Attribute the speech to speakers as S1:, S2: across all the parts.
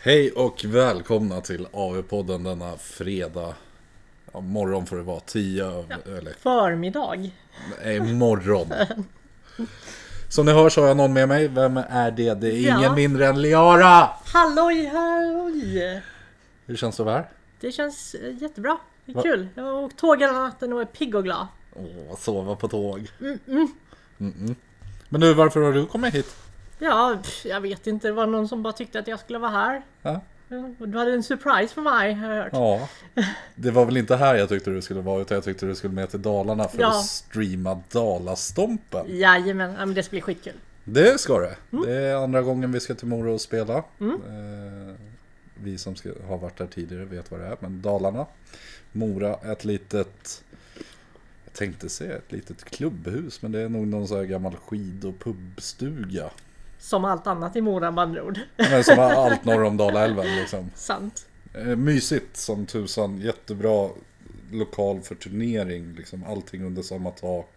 S1: Hej och välkomna till AV-podden denna fredag. Ja, morgon får det vara, 10 över- eller
S2: Förmiddag.
S1: nej, morgon. Som ni hör så har jag någon med mig. Vem är det? Det är ingen
S2: Ja.
S1: mindre än Liara!
S2: Halloj halloj!
S1: Hur känns det att vara här?
S2: Det känns eh, jättebra. Det är kul. Jag har åkt tåg hela natten och är pigg och glad.
S1: Åh, sova på tåg. Mm-mm. Men du, varför har du kommit hit?
S2: Ja, pff, jag vet inte. Det var någon som bara tyckte att jag skulle vara här.
S1: Ja.
S2: Mm, och Du hade en surprise för mig har jag hört.
S1: ja, det var väl inte här jag tyckte du skulle vara utan jag tyckte du skulle med till Dalarna för
S2: Ja.
S1: att streama Dalastompen.
S2: Jajamän, ja, men det ska bli skitkul.
S1: Det ska det. Det är andra gången vi ska till Mora och spela. Eh, vi som ska, har varit där tidigare vet vad det är, men Dalarna. Mora, ett litet... Jag tänkte säga ett litet klubbhus, men det är nog någon sån här gammal skid och pubstuga.
S2: Som allt annat i Mora med andra ord.
S1: Men som är allt norr om Dalälven liksom.
S2: Sant.
S1: Eh, mysigt som tusan, jättebra lokal för turnering, liksom allting under samma tak.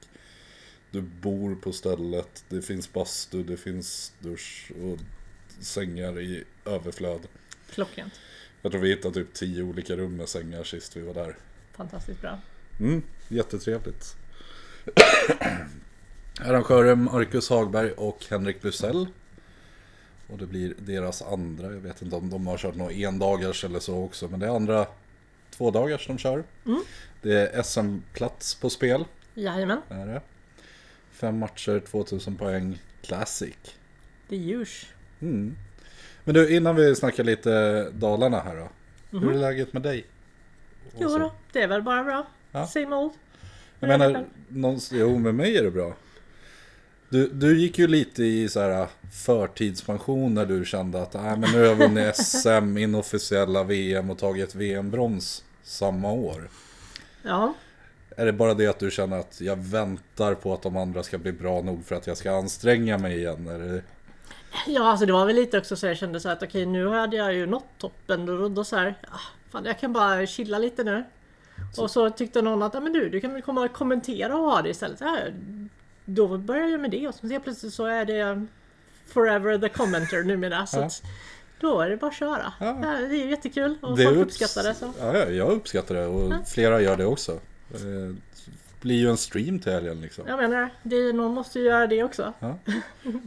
S1: Du bor på stället, det finns bastu, det finns dusch och sängar i överflöd.
S2: Klockrent.
S1: Jag tror vi hittade typ tio olika rum med sängar sist vi var där.
S2: Fantastiskt bra.
S1: Mm, jättetrevligt. Arrangörer Marcus Hagberg och Henrik Busell. Och det blir deras andra, jag vet inte om de har kört några endagars eller så också, men det är andra tvådagars de kör. Det är SM-plats på spel,
S2: Jajamän.
S1: är det. Fem matcher, 2000 poäng, classic.
S2: Det är djurs.
S1: Men du, innan vi snackar lite Dalarna här då. Hur är läget med dig? Och
S2: Jo
S1: så.
S2: då, det är väl bara bra.
S1: Ja.
S2: Same old.
S1: Jag menar, någonstans, jo med mig är det bra. Du, du gick ju lite i så här äh, förtidspension när du kände att äh, men nu har jag vunnit SM, inofficiella VM och tagit VM-brons samma år.
S2: Ja.
S1: Är det bara det att du känner att jag väntar på att de andra ska bli bra nog för att jag ska anstränga mig igen? Eller?
S2: Ja, alltså det var väl lite också så jag kände så här att okej nu hade jag ju nått toppen och då, då så här, ah, fan jag kan bara chilla lite nu. Och så tyckte någon att, ja men du, du kan väl komma och kommentera och ha det istället. Ja, då började jag med det och så helt plötsligt så är det forever the commenter numera. Så
S1: Ja.
S2: att, då är det bara att köra.
S1: Ja.
S2: Ja, det är ju jättekul och
S1: Det
S2: folk
S1: upps-
S2: uppskattar det. Så.
S1: Ja, ja, jag uppskattar det och flera gör det också. Eh, Det blir ju en stream till helgen liksom.
S2: Jag menar det, är- någon måste ju göra det också.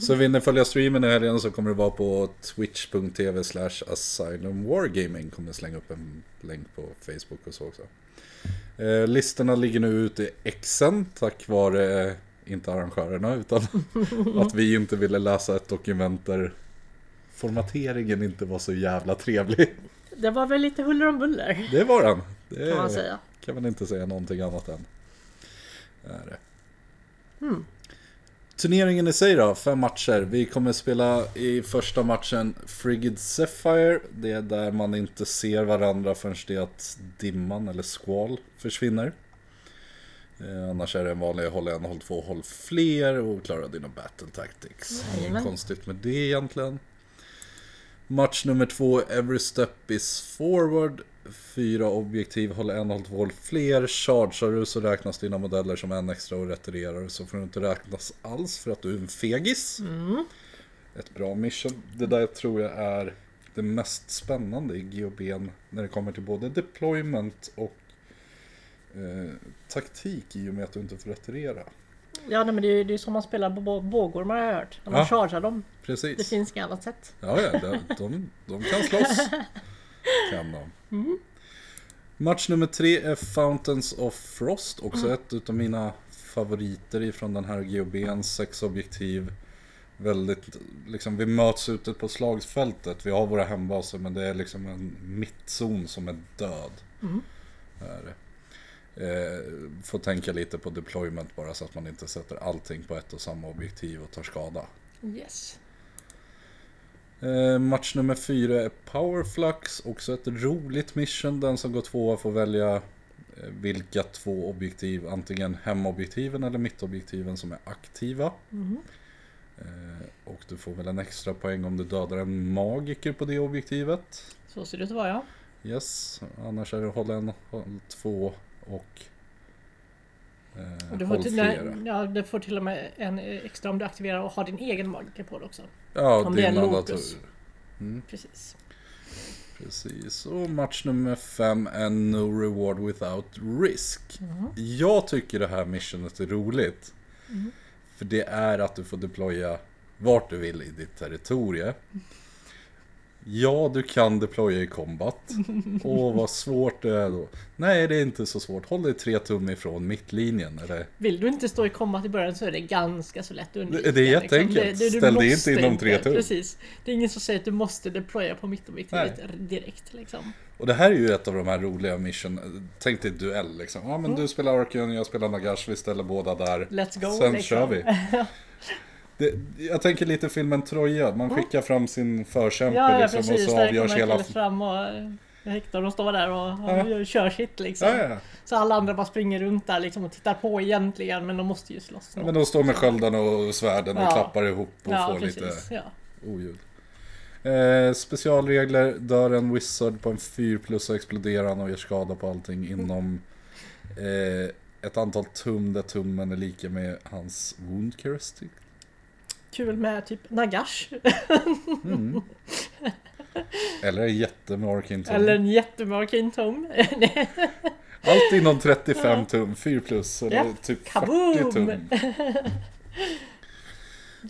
S1: Så vill ni följa streamen i helgen så kommer det vara på twitch.tv slash asylum wargaming. Kommer slänga upp en länk på Facebook och så också. Eh, listorna ligger nu ute i Exen tack vare, eh, inte arrangörerna, utan att vi inte ville läsa ett dokument där formateringen inte var så jävla trevlig.
S2: Det var väl lite huller om buller
S1: Det var den. Det
S2: kan man säga.
S1: kan man inte säga någonting annat än. Det Är det. Turneringen i sig då, fem matcher. Vi kommer spela i första matchen Frigid Sapphire. Det är där man inte ser varandra förrän det är att dimman eller skval försvinner. Eh, annars är det en vanlig håll en, håll två, håll fler och klara dina battle tactics. Inget
S2: Jajamän.
S1: konstigt med det egentligen. Match nummer två, Every Step Is Forward. Fyra objektiv, håll en, håll två, håll fler. Chargear du så räknas dina modeller som en extra och retirerar du så får du inte räknas alls för att du är en fegis.
S2: Mm.
S1: Ett bra mission. Det där tror jag är det mest spännande i GHBn när det kommer till både deployment och eh, taktik i och med att du inte får retirera.
S2: Ja nej, men det är ju det är ju så man spelar på bå- bågormar har jag hört. När man
S1: Ja.
S2: chargar dem. Det
S1: Precis.
S2: finns inget annat sätt.
S1: Ja, ja de, de, de kan slåss. Kan de. Match nummer tre är Fountains of Frost. Också ett utav mina favoriter ifrån den här GHBn. Sex objektiv. Väldigt, liksom, vi möts ute på slagsfältet. Vi har våra hembaser men det är liksom en mittzon som är död. Är det. Eh, får tänka lite på deployment bara så att man inte sätter allting på ett och samma objektiv och tar skada.
S2: Yes.
S1: Eh, match nummer fyra är Powerflux, också ett roligt mission. Den som går tvåa får välja eh, vilka två objektiv, antingen hemobjektiven eller mittobjektiven som är aktiva.
S2: Mhm.
S1: Eh, och du får väl en extra poäng om du dödar en magiker på det objektivet.
S2: Så ser det ut att vara ja.
S1: Yes, annars är det håll en, håll två och eh,
S2: Och du typ får
S1: håll
S2: till,
S1: flera.
S2: nej, ja, du får till och med en eh, extra om du aktiverar och har din egen magiker på det också.
S1: Ja, Mm.
S2: om det är en
S1: din andra
S2: locus.
S1: tur.
S2: Precis.
S1: Precis, och match nummer fem är No Reward Without Risk. Jag tycker det här missionet är roligt. För det är att du får deploya vart du vill i ditt territorie. Ja, du kan deploya i combat. Åh, vad svårt det är då. Nej, det är inte så svårt. Håll dig tre tum ifrån mittlinjen. Eller?
S2: Vill du inte stå i kommat i början så är det ganska så lätt att undvika. liksom.
S1: Det är jätteenkelt. Ställ dig
S2: måste
S1: inte inom tre
S2: inte-
S1: tum.
S2: Precis. Det är ingen som säger att du måste deploya på mittobjektivet direkt. Liksom.
S1: Och det här är ju ett av de här roliga mission. Tänk dig duell liksom. Ja men du spelar Arken, jag spelar Nagash, vi ställer båda där.
S2: Mm. Let's go,
S1: Sen
S2: liksom.
S1: kör vi. Det, jag tänker lite filmen Troja. Man skickar fram sin förkämpe
S2: Mm. Ja, ja
S1: liksom,
S2: precis.
S1: och så
S2: Där
S1: avgörs
S2: kommer
S1: hela...
S2: hela... fram och eh, Hector och står där och han kör sitt liksom.
S1: Ja, ja, ja.
S2: Så alla andra bara springer runt där liksom och tittar på egentligen men de måste ju slåss.
S1: Men de står med sköldarna och svärden och
S2: Ja.
S1: klappar ihop och
S2: ja,
S1: får lite
S2: precis. Ja.
S1: oljud. Eh, specialregler, dör en wizard på en 4 plus så exploderar han och gör skada på allting inom eh, ett antal tum där tummen är lika med hans wound characteristic.
S2: Kul med typ Nagash.
S1: Mm. Eller en jättemörk intum.
S2: Eller en jättemörk intom. Nej,
S1: Allt inom 35 tum, 4 plus eller
S2: Japp,
S1: typ 40
S2: kaboom!
S1: tum.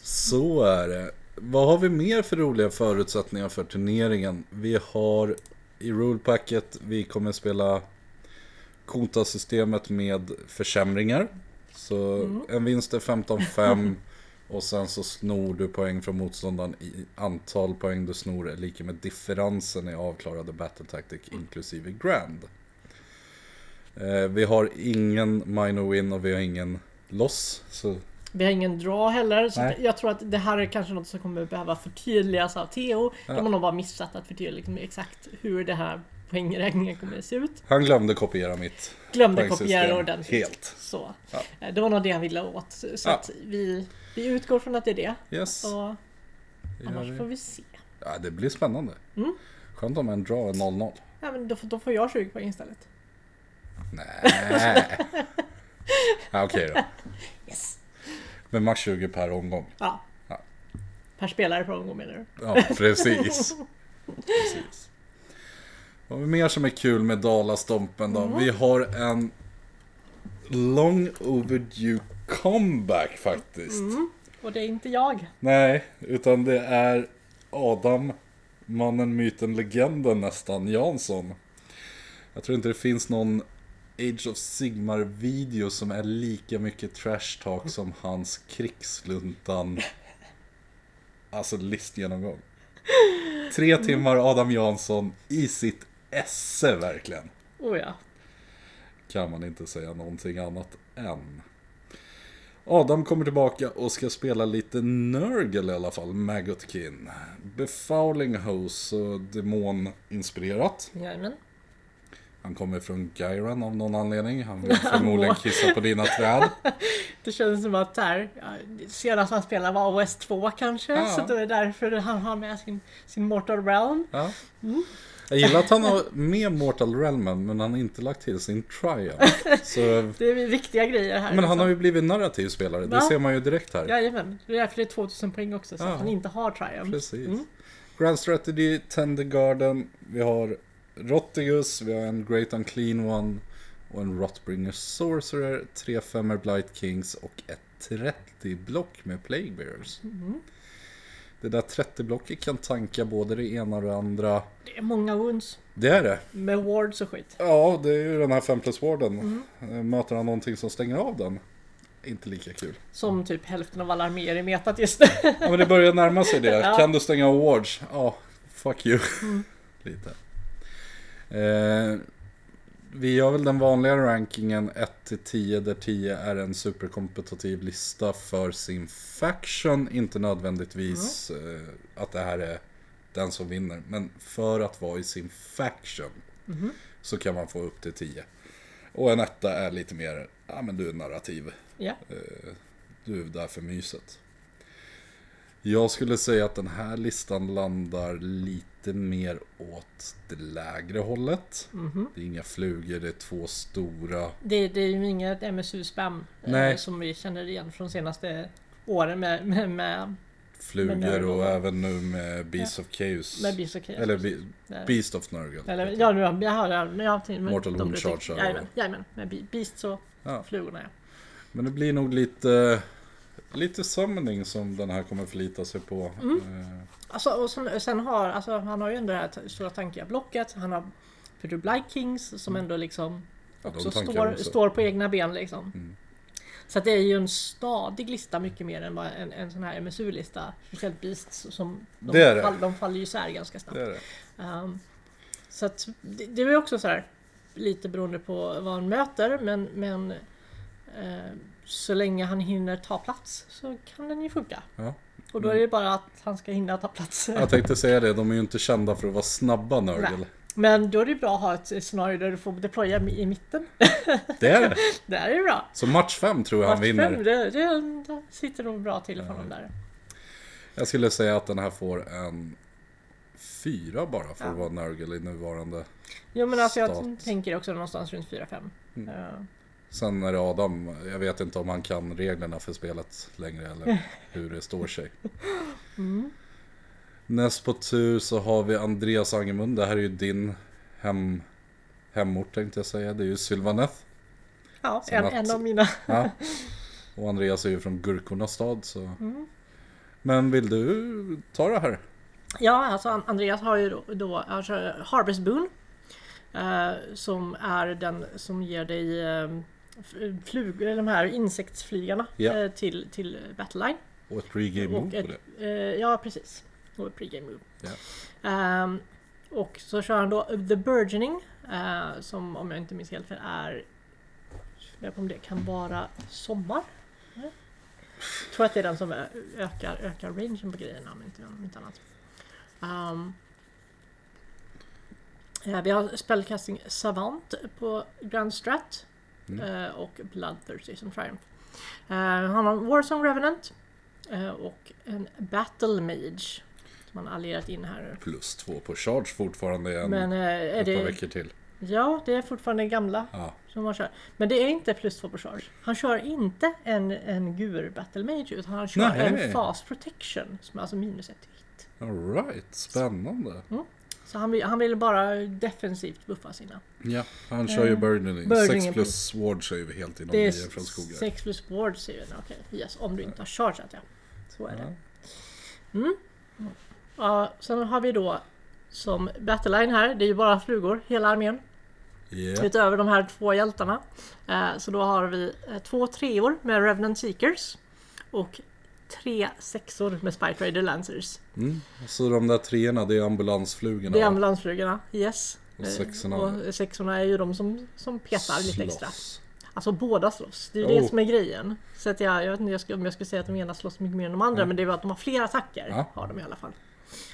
S1: Så är det. Vad har vi mer för roliga förutsättningar för turneringen? Vi har i rulepacket, vi kommer spela Kota-systemet med försämringar. Så en vinst är 15-5 och sen så snor du poäng från motståndaren i antal poäng du snor är lika med differensen i avklarade battle tactic inklusive grand. Eh, vi har ingen minor win och vi har ingen loss. Så
S2: Vi har ingen dra heller. Så
S1: Nej.
S2: att jag tror att det här är kanske något som kommer behöva förtydligas av Theo. De har nog bara missat att förtydliga liksom exakt hur det här poängräkningen kommer att se ut.
S1: han glömde kopiera mitt
S2: Glömde
S1: poängsystem
S2: kopiera det ordentligt.
S1: Helt.
S2: Så. Eh, Det var nog det han ville åt. Så så
S1: Ja.
S2: att vi, vi utgår från att det är det.
S1: Yes.
S2: Och
S1: det gör
S2: annars
S1: vi.
S2: får Mm. vi se.
S1: Ja, det blir spännande. Skönt om en drar 0-0.
S2: Ja, men då, får- då får jag 20 poäng istället.
S1: Nej. ja, Okej då.
S2: Yes!
S1: Men max 20 per omgång.
S2: Ja.
S1: Ja.
S2: Per spelare på omgång menar du?
S1: Ja, precis. precis. Vad har vi mer som är kul med Dalastompen då?
S2: Mm.
S1: Vi har en long overdue comeback faktiskt.
S2: Och det är inte jag.
S1: Nej, utan det är Adam, mannen, myten, legenden nästan, Jansson. Jag tror inte det finns någon Age of Sigmar video som är lika mycket trash talk som hans krigsluntan. Alltså listgenomgång. Tre timmar Adam Jansson i sitt esse verkligen.
S2: Oh ja.
S1: Kan man inte säga någonting annat än. Adam kommer tillbaka och ska spela lite Nurgle i alla fall, Maggotkin. Befouling Hose, så demoninspirerat.
S2: Jajamän.
S1: Han kommer från Gyran av någon anledning. Han vill förmodligen kissa på dina träd.
S2: Det känns som att här, ja, senast han spelade var OS 2 kanske.
S1: Ja.
S2: Så då är det därför han har med sin, sin Mortal Realm.
S1: Ja. Jag gillar att han har med Mortal Realmen men han har inte lagt till sin Triumph. Så...
S2: Det är viktiga grejer här.
S1: Men han har ju blivit narrativ spelare, det
S2: Va?
S1: ser man ju direkt här.
S2: Jajamän. Det är därför det är 2000 poäng också. Så
S1: Ja.
S2: att han inte har Triumph.
S1: Precis. Grand Strategy, Tender Garden, vi har Rottigus, vi har en Great Unclean One och en Rotbringer Sorcerer, tre femmer Blight Kings och ett 30-block med Plague Bearers. Det där 30-blocket kan tanka både det ena och det andra.
S2: Det är många wounds.
S1: Det är det.
S2: Med wards och skit.
S1: Ja, det är ju den här 5 plus warden. Eh, Möter han någonting som stänger av den? Inte lika kul.
S2: Som typ hälften av alla arméer i metat just nu.
S1: Ja men det börjar närma sig det.
S2: Ja.
S1: Kan du stänga awards? Ja, fuck you. Lite. Eh, vi gör väl den vanliga rankingen 1-10 där 10 är en superkompetitiv lista för sin faction. Inte nödvändigtvis eh, att det här är den som vinner. Men för att vara i sin faction så kan man få upp till 10. Och en etta är lite mer, ja men du är narrativ. Eh,
S2: ja.
S1: Du är där för myset. Jag skulle säga att den här listan landar lite mer åt det lägre hållet. Det är inga flugor, det är två stora.
S2: Mhm. Det, det är ju inget MSU-spam eh,
S1: Nej.
S2: som vi känner igen från senaste åren med, med, med
S1: flugor
S2: Nurgle,
S1: och
S2: va?
S1: även nu med Beast of Chaos.
S2: Med Beast of Chaos.
S1: Eller Be-
S2: Nej.
S1: Beast of Nurgle.
S2: Eller, ja, nu, jag har jag, jag har till
S1: Mortal
S2: de
S1: Wound
S2: du
S1: Charge,
S2: tycker-
S1: ja.
S2: Jajamän, jajamän. Med Be- Beast så
S1: Ja.
S2: flugorna ja.
S1: Men det blir nog lite, lite summoning som den här kommer förlita sig på. Eh,
S2: Alltså, och sen, sen har, alltså, han har ju ändå det här t- stora tankiga blocket. Han har för du Black Kings som ändå liksom
S1: Mm. ja, de
S2: också
S1: tankar
S2: står,
S1: också.
S2: står på egna ben liksom.
S1: Mm.
S2: Så att det är ju en stadig lista mycket mer än bara en, en sån här MSU-lista. Speciellt Beasts som de,
S1: Det är det.
S2: Fall, de faller ju isär ganska snabbt.
S1: Det är det.
S2: Ehm, så att det, det är ju också så här lite beroende på vad han möter men, men eh, så länge han hinner ta plats så kan den ju funka.
S1: Ja. Mm.
S2: Och då är det ju bara att han ska hinna ta plats.
S1: Jag tänkte säga det, de är ju inte kända för att vara snabba Nurgle.
S2: Men då är det ju bra att ha ett scenario där du får deploya i mitten.
S1: Det är det.
S2: Det här är ju bra.
S1: Så match 5 tror jag han
S2: Vart
S1: vinner.
S2: fem, det, det, det sitter nog bra till för honom där.
S1: Jag skulle säga att den här får en fyra bara för
S2: Ja.
S1: att vara Nurgle i nuvarande.
S2: Jo men alltså jag
S1: Stat.
S2: tänker också någonstans runt 4-5.
S1: Mm.
S2: Eh,
S1: Sen är det Adam, jag vet inte om han kan reglerna för spelet längre eller hur det står sig. Mm. Näst på tur så har vi Andreas Angemund, det här är ju din hem, hemort tänkte jag säga, det är ju Sylvaneth.
S2: ja,
S1: Sen
S2: en,
S1: att-
S2: en av mina.
S1: Ja. Och Andreas är ju från Gurkornas stad så.
S2: Mm.
S1: Men vill du ta det här?
S2: Ja, alltså An- Andreas har ju då, då alltså Harvest Boon. eh, som är den som ger dig eh, f- flug, eller de här insektsflygarna
S1: Ja.
S2: eh, till, till Battleline.
S1: Och ett pregame
S2: Och
S1: move
S2: ett-
S1: på det.
S2: Eh, ja, precis. Och ett pregame move.
S1: Ja.
S2: Ehm, och så kör han då The Burgeoning eh, som om jag inte minns helt fel är... Jag kommer det kan vara sommar? Nej. Jag tror att det är den som ö- ökar, ökar rangen på grejerna om inte, om inte annat. Ehm, eh, vi har Spellcasting Savant på Grand Strat eh, och Bloodthirsty som Triumph. Eh, han har Warsong Revenant eh, och en Battle Mage som han allierat in här nu.
S1: Plus två på charge fortfarande i en,
S2: Men eh, är
S1: ett par
S2: det...
S1: veckor till.
S2: Ja, det är fortfarande gamla
S1: Ja.
S2: som han kör. Men det är inte plus 2 på charge. Han kör inte en, en gur battle mage utan han kör
S1: Nej.
S2: en fast protection som är alltså minus ett hit.
S1: All right, spännande.
S2: Mm. Så han vill, han vill bara defensivt buffa sina.
S1: Ja, han kör ju burdening.
S2: burdening
S1: 6
S2: är
S1: plus sword kör ju helt inom
S2: Eh, Det är
S1: nio från skogar.
S2: 6 plus ward säger den. Okej, yes, om du inte har chargeat ja. Så är det.
S1: Ja.
S2: Mm. Ja, sen har vi då som battleline här, det är ju bara flugor, hela armén.
S1: Ja.
S2: utöver de här två hjältarna. Eh, så då har vi eh, två treor med Revenant Seekers och tre sexor med Spike Raider Lancers.
S1: Mm. Så de där treorna, det är ambulansflugorna.
S2: Det är
S1: va?
S2: ambulansflugorna, yes.
S1: Och
S2: Eh,
S1: sexorna-
S2: och sexorna är ju de som, som petar lite extra.
S1: Slåss.
S2: Alltså båda slåss, det är ju
S1: Oh.
S2: det som är grejen. Så att jag, jag vet inte jag ska, om jag skulle säga att de ena slåss mycket mer än de andra, men det är ju att de har fler attacker.
S1: Ja.
S2: Har de i alla fall.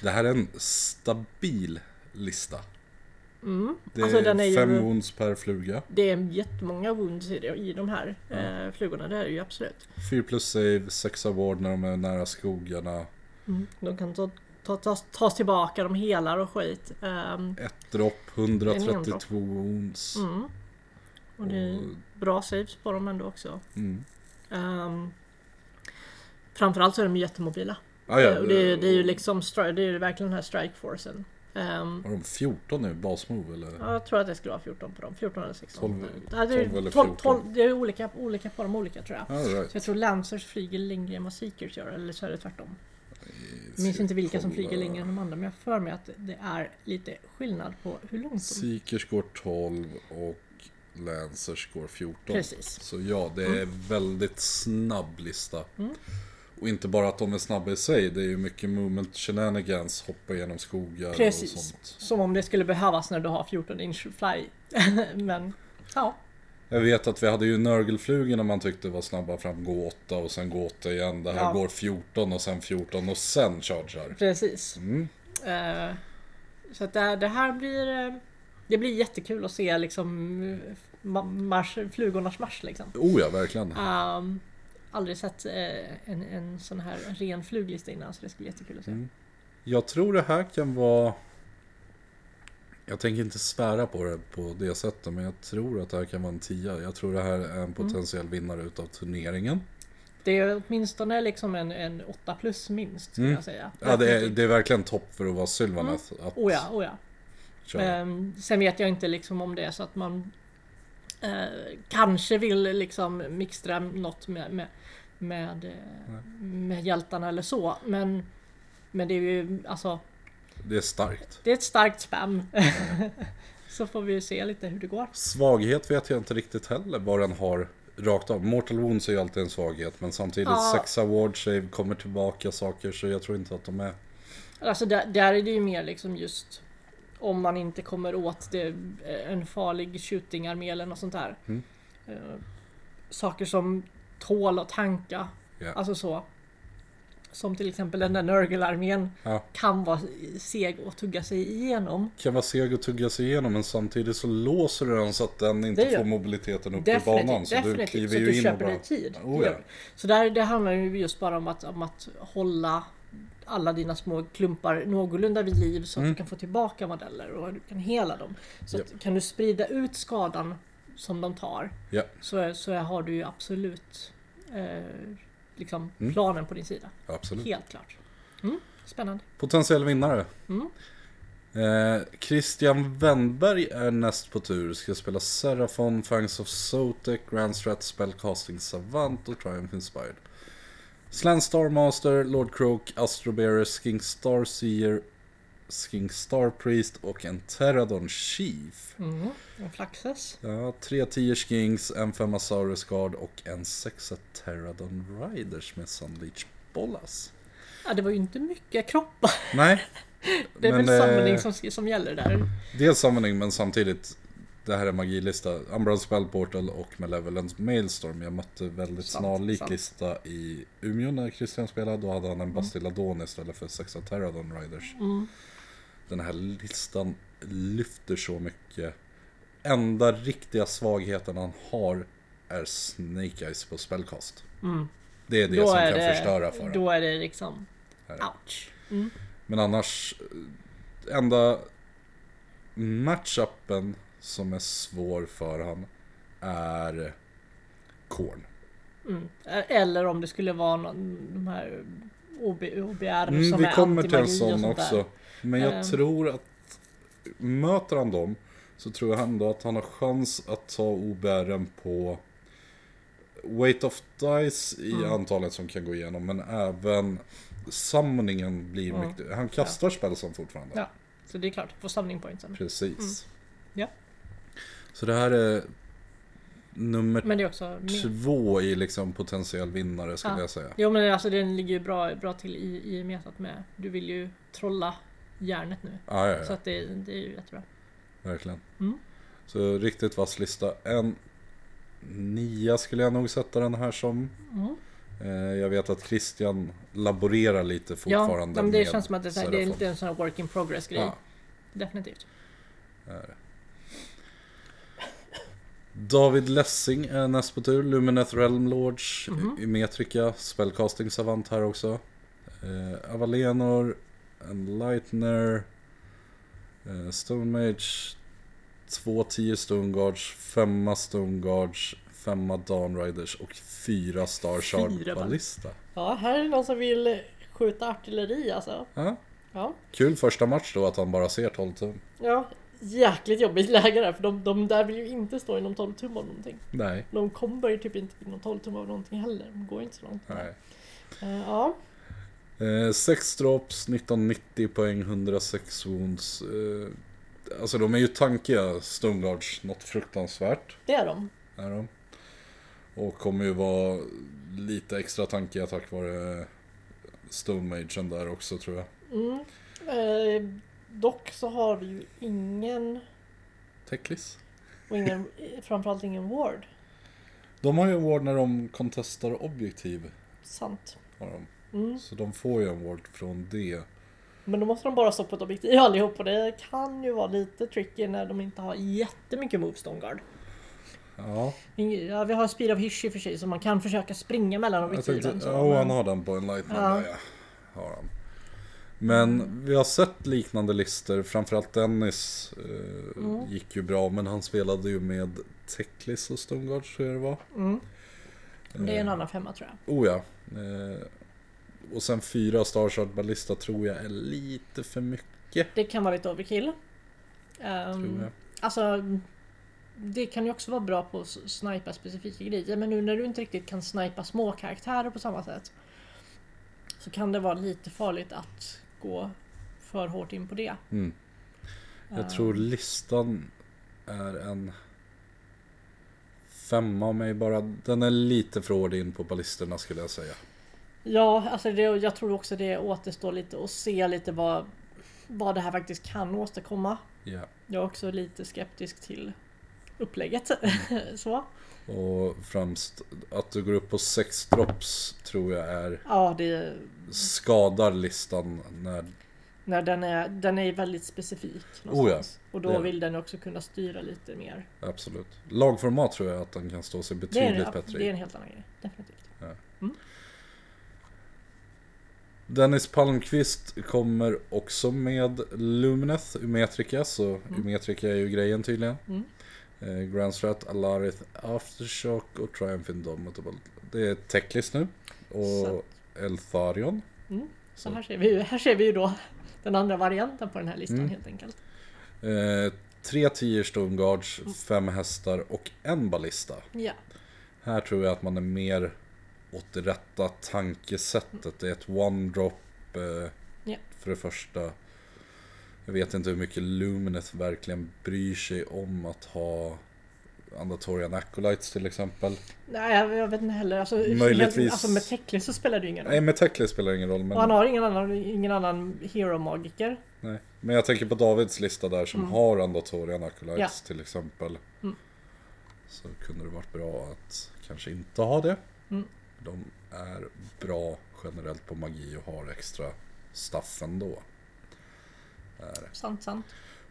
S1: Det här är en stabil lista. Det är,
S2: Alltså, den är ju-
S1: fem wounds per fluga.
S2: Det är jättemånga wounds i, det, i de här eh, flugorna, det är det ju absolut.
S1: 4 plus save, 6 award när de är nära skogarna. Mm.
S2: De kan ta, ta, ta, tas tillbaka, de helar och skit. Ehm,
S1: Ett dropp, 132 wounds.
S2: Mm, Och det är bra saves på dem ändå också.
S1: Mm.
S2: Ehm, framförallt så är de ju jättemobila.
S1: Ah, ja,
S2: och det, är- det är ju liksom stri- det är ju verkligen den här strikeforcen. Ehm,
S1: Har de 14 nu, basmove eller?
S2: ja, jag tror att det skulle vara 14 på dem. 14 eller 16.
S1: 12,
S2: Ja, det, är,
S1: 12 eller
S2: 12,
S1: 14.
S2: 12, det är olika, olika på dem olika tror jag.
S1: All right.
S2: Så jag tror Lancers flyger längre än vad Seekers gör, eller så är det tvärtom. Jag minns inte vilka som flyger längre än de andra, men jag har för mig att det är lite skillnad på hur långt de...
S1: Seekers går 12 och Lancers går 14.
S2: Precis. Mm.
S1: Så ja, det är väldigt snabb lista. Och inte bara att de är snabba i sig, det är ju mycket movement shenanigans, hoppa genom skogar och
S2: Precis.
S1: sånt.
S2: Som om det skulle behövas när du har 14 inch fly. men ja.
S1: Jag vet att vi hade ju nörgelflugorna man tyckte var snabba fram, gå 8 och sen gå 8 igen. Det här
S2: Ja.
S1: går 14 och sen 14 och sen chargear.
S2: Precis.
S1: Mm.
S2: Eh, så att det, här- det här blir eh, Det blir jättekul att se liksom eh, ma- marsch, flugornas marsch liksom.
S1: Oh ja, verkligen.
S2: Ehm, aldrig sett eh, en, en sån här ren fluglista innan så det ska bli jättekul
S1: Mm.
S2: att se.
S1: Jag tror det här kan vara... Jag tänker inte svära på det på det sättet,
S2: Mm.
S1: men jag tror att det här kan vara en tia. Jag tror det här är en potentiell vinnare utav turneringen.
S2: Det är åtminstone liksom en, en 8 plus minst skulle jag säga.
S1: Mm. Ja, det är, det är verkligen topp för att vara Sylvaneth att
S2: Oh ja, oh ja.
S1: köra.
S2: Ehm, sen vet jag inte liksom om det är så att man eh, kanske vill liksom mixtra något med, med, med, eh, med hjältarna eller så. Men, men det är ju alltså,
S1: Det är starkt.
S2: det är ett starkt spam. så får vi ju se lite hur det går.
S1: Svaghet vet jag inte riktigt heller vad den har rakt av. Mortal Wounds är ju alltid en svaghet men samtidigt
S2: Ja.
S1: sexa ward save kommer tillbaka saker så jag tror inte att de är...
S2: Alltså där, där är det ju mer liksom just om man inte kommer åt det, eh, en farlig shootingarmé eller något sånt där.
S1: Mm.
S2: Eh, saker som tål att tanka.
S1: Ja.
S2: Alltså så. Som till exempel den där Nurgle-armén
S1: Ja.
S2: kan vara seg och tugga sig igenom.
S1: Kan vara seg och tugga sig igenom men samtidigt så låser du den så att den
S2: Det
S1: inte
S2: gör-
S1: får mobiliteten upp i
S2: Definitivt,
S1: banan. Så du
S2: definitivt.
S1: kliver
S2: så
S1: ju
S2: att du
S1: in och
S2: köper
S1: bara...
S2: dig tid.
S1: Oh,
S2: Det gör
S1: ja.
S2: du. Så där, det handlar ju just bara om att, om att hålla alla dina små klumpar någorlunda vid liv så att
S1: Mm.
S2: du kan få tillbaka modeller och du kan hela dem. Så att, kan du sprida ut skadan som de tar
S1: Ja.
S2: så, så har du ju absolut eh, liksom
S1: Mm.
S2: planen på din sida.
S1: Absolut.
S2: Helt klart. Mm, spännande.
S1: Potentiell vinnare.
S2: Mm.
S1: Eh, Christian Wennberg är näst på tur. Ska spela Seraphon, Fangs of Sotek, Grand Strat, Spellcasting Savant och Triumph Inspired. Slan Starmaster, Lord Croak, Astrobearer, Skink Starseer, Skink Star Priest och en Pterodon Chief.
S2: Mm, en flaxes.
S1: Ja, tre 10 Skinks, en 5 Saurus Guard och en 6 Pterodon Riders med Sunleech Bollas.
S2: Ja, det var ju inte mycket kroppar.
S1: Nej,
S2: Det är
S1: Men,
S2: väl
S1: eh,
S2: samling som, som gäller där.
S1: Dels sammanhang men samtidigt Det här är magilista Umbral Spell Portal och Malevolent Mailstorm Jag mötte väldigt
S2: Sant,
S1: snarlik
S2: sant. Mm.
S1: lista i Umeå när Christian spelade Då hade han en Bastilladon istället för sexa Pterodon Riders Den här listan lyfter så mycket Enda riktiga svagheten han har Är Snake Eyes på spellcast Det Mm. är det som kan förstöra för honom
S2: Då är det liksom...
S1: Här.
S2: Ouch.
S1: Men annars, eh, enda matchupen som är svår för han är Korn.
S2: Eller om det skulle vara någon, de här OB, OBR
S1: Mm,
S2: som
S1: vi
S2: är
S1: kommer till en
S2: antimagi och
S1: sån
S2: sånt
S1: också.
S2: Där.
S1: Men jag
S2: Ehm.
S1: tror att möter han dem så tror jag ändå att han har chans att ta obären på Weight of Dice i
S2: Mm.
S1: antalet som kan gå igenom men även samlingen blir
S2: Mm.
S1: mycket. Han kastar spel som fortfarande.
S2: Ja, så det är klart. Får samling poäng sen.
S1: Precis.
S2: Ja.
S1: Så det här är nummer
S2: Men det är också... Min...
S1: två i liksom potentiell vinnare skulle
S2: Ja.
S1: jag säga.
S2: Jo men alltså den ligger ju bra, bra till i, i metat med. Du vill ju trolla järnet nu.
S1: Ja, ja,
S2: Så
S1: ja
S2: att det, det är ju jättebra.
S1: verkligen.
S2: Mm.
S1: Så riktigt vass lista. En nia skulle jag nog sätta den här som.
S2: Mm.
S1: Eh, Jag vet att Christian laborerar lite
S2: Ja,
S1: fortfarande
S2: men det
S1: med
S2: känns som att det är, så här, det är
S1: Serafon.
S2: lite en sån här work in progress grej.
S1: Ja.
S2: Definitivt.
S1: David Lessing är näst på tur. Lumineth Realm Lords,
S2: Mhm.
S1: Emetrica, Spellcasting Savant här också. Eh, Avalenor, Enlightener, eh, Stone Mage, två 10 Stone Guards, femma Stone Guards, femma Dawn Riders och fyra Star Shard
S2: Fyra, va?
S1: Ballista.
S2: Ja, här är det någon som vill skjuta artilleri alltså.
S1: Ja.
S2: Ja.
S1: Kul första match då att han bara ser 12 tum.
S2: Ja, jäkligt jobbigt läge där för de, de där vill ju inte stå inom 12 tum av någonting.
S1: Nej.
S2: De kommer ju typ inte inom 12 tum av någonting heller. De går ju inte så långt.
S1: Nej.
S2: Eh, ja,
S1: Eh, 6 drops, 1990 poäng, 106 wounds. Eh, alltså de är ju tankiga Stoneguards, något fruktansvärt
S2: det är de.
S1: är de. Och kommer ju vara lite extra tankiga tack vare Stone Magen där också tror jag.
S2: Mm. Eh, dock så har vi ju ingen,
S1: Teklis.
S2: och ingen eh, framförallt ingen ward.
S1: De har ju en ward när de contestar objektiv.
S2: Sant.
S1: Har de.
S2: Mm.
S1: Så de får ju en ward från det.
S2: Men då måste de bara stå på ett objektiv allihop och det kan ju vara lite tricky när de inte har jättemycket move stone guard.
S1: Ja,
S2: Ja, vi har speed of hish i och för sig så man kan försöka springa mellan
S1: Jag
S2: objektiven.
S1: tänkte,
S2: så,
S1: ja
S2: men-
S1: han har den på en lightman
S2: Ja.
S1: där ja. Har han. Men vi har sett liknande listor, framförallt Dennis eh,
S2: Mm.
S1: gick ju bra men han spelade ju med Teklis och Stumgards tror jag det var.
S2: Mm. Men Det är en annan femma tror jag.
S1: Eh, Oh ja. Eh, och sen fyra Star Shard Ballista tror jag är lite för mycket.
S2: Det kan vara lite overkill. Ehm,
S1: Tror jag.
S2: Alltså, det kan ju också vara bra på att s- snipa specifika grejer, men nu när du inte riktigt kan snipa små karaktärer på samma sätt så kan det vara lite farligt att gå för hårt in på det.
S1: Mm. Jag
S2: Ehm,
S1: tror listan är en femma av mig bara. Den är lite för hård in på ballisterna skulle jag säga.
S2: Ja, alltså det, jag tror också det återstår lite och se lite vad, vad det här faktiskt kan åstadkomma.
S1: Ja.
S2: Jag är också lite skeptisk till upplägget. så.
S1: Och främst att du går upp på sex drops tror jag är
S2: Ja, det,
S1: skadar listan när...
S2: när den, är, den är väldigt specifik. någonstans. Och
S1: Oh Det
S2: då
S1: är
S2: vill den också kunna styra lite mer.
S1: Absolut. Lagformat tror jag att den kan stå sig
S2: Det är,
S1: betydligt
S2: en,
S1: bättre
S2: det är
S1: i.
S2: en helt annan grej. Definitivt.
S1: Dennis Palmqvist kommer också med Lumineth, Umetrica, så Umetrica är ju grejen tydligen.
S2: Mm.
S1: Eh, Grand Strat, Alarith, Aftershock och Triumph Indomitable. Det är Techlist nu.
S2: Så.
S1: Och Eltharion.
S2: Mm. Så
S1: Så.
S2: här ser, vi, ju- här ser vi ju då den andra varianten på den här listan
S1: Mm.
S2: helt enkelt.
S1: Eh, tre 10 Stone Guards,
S2: Mm.
S1: fem hästar och en ballista.
S2: Ja,
S1: Här tror jag att man är mer åt det rätta tankesättet. Det är ett one-drop eh,
S2: Ja.
S1: för det första. Jag vet inte hur mycket Lumineth verkligen bryr sig om att ha Andatorian Acolytes till exempel.
S2: nej jag, jag vet inte heller. Alltså,
S1: Möjligtvis-
S2: helt, alltså med Teklis så spelar det ju ingen roll.
S1: Nej, med Tekle spelar det ingen roll.
S2: Och han
S1: Men,
S2: har ingen annan, ingen annan hero-magiker.
S1: nej. men jag tänker på Davids lista där som har Andatorian Acolytes till exempel.
S2: Mm.
S1: Så kunde det varit bra att kanske inte ha det.
S2: Mm.
S1: De är bra generellt på magi och har extra staff ändå.
S2: Sant, sant.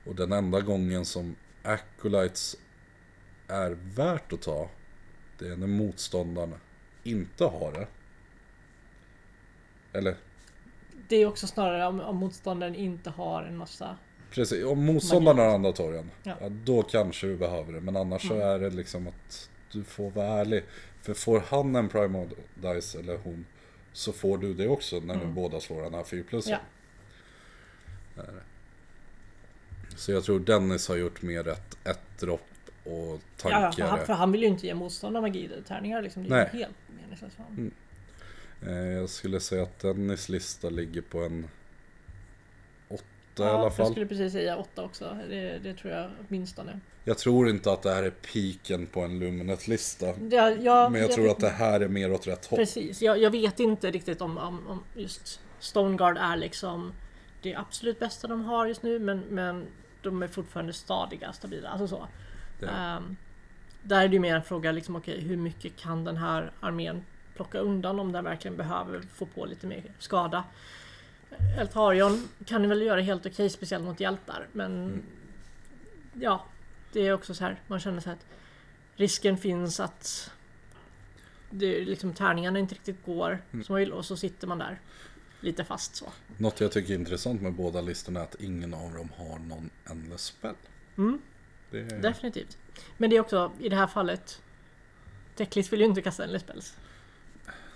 S1: Och den enda gången som Acolytes är värt att ta, det är när motståndaren inte har det. Eller
S2: Det är också snarare om, om motståndaren inte har en massa...
S1: precis, om motståndaren har andra torgen,
S2: Ja. Mm.
S1: ja. då kanske du behöver det. Men annars så är det liksom att du får vara ärlig. För får han en Primal Dice, eller hon, så får du det också när ni båda slår den här 4
S2: Mm. Ja.
S1: Så jag tror Dennis har gjort mer ett, ett dropp och
S2: Ja,
S1: tankare.
S2: ja, för, han, för han vill ju inte ge motståndaren magitärningar liksom. Det är ju
S1: Nej.
S2: helt meningslöst. för honom.
S1: Eh, Jag skulle säga att Dennis lista ligger på en åtta i
S2: Ja,
S1: alla
S2: Jag
S1: fall.
S2: skulle precis säga åtta också. Det, det tror jag åtminstone.
S1: Jag tror inte att det här är piken på en Luminet-lista.
S2: Det, jag, jag,
S1: Men jag tror att det här är mer åt rätt håll.
S2: Precis, jag, jag vet inte riktigt om, om, om just Stoneguard är liksom det absolut bästa de har just nu men, men de är fortfarande stadiga, stabila. Alltså så.
S1: Det-
S2: Ehm, där är det ju mer en fråga liksom, okej, hur mycket kan den här armén plocka undan om den verkligen behöver få på lite mer skada. Eltarion kan ni väl göra helt okej, speciellt mot hjältar, men ja, det är också så här, man känner så här att risken finns att det är liksom tärningarna inte riktigt går
S1: Mm.
S2: som man vill och så sitter man där lite fast så.
S1: Något jag tycker är intressant med båda listorna är att ingen av dem har någon endless spell. Det är...
S2: Definitivt. Men det är också i det här fallet Teklis vill ju inte kasta en spells.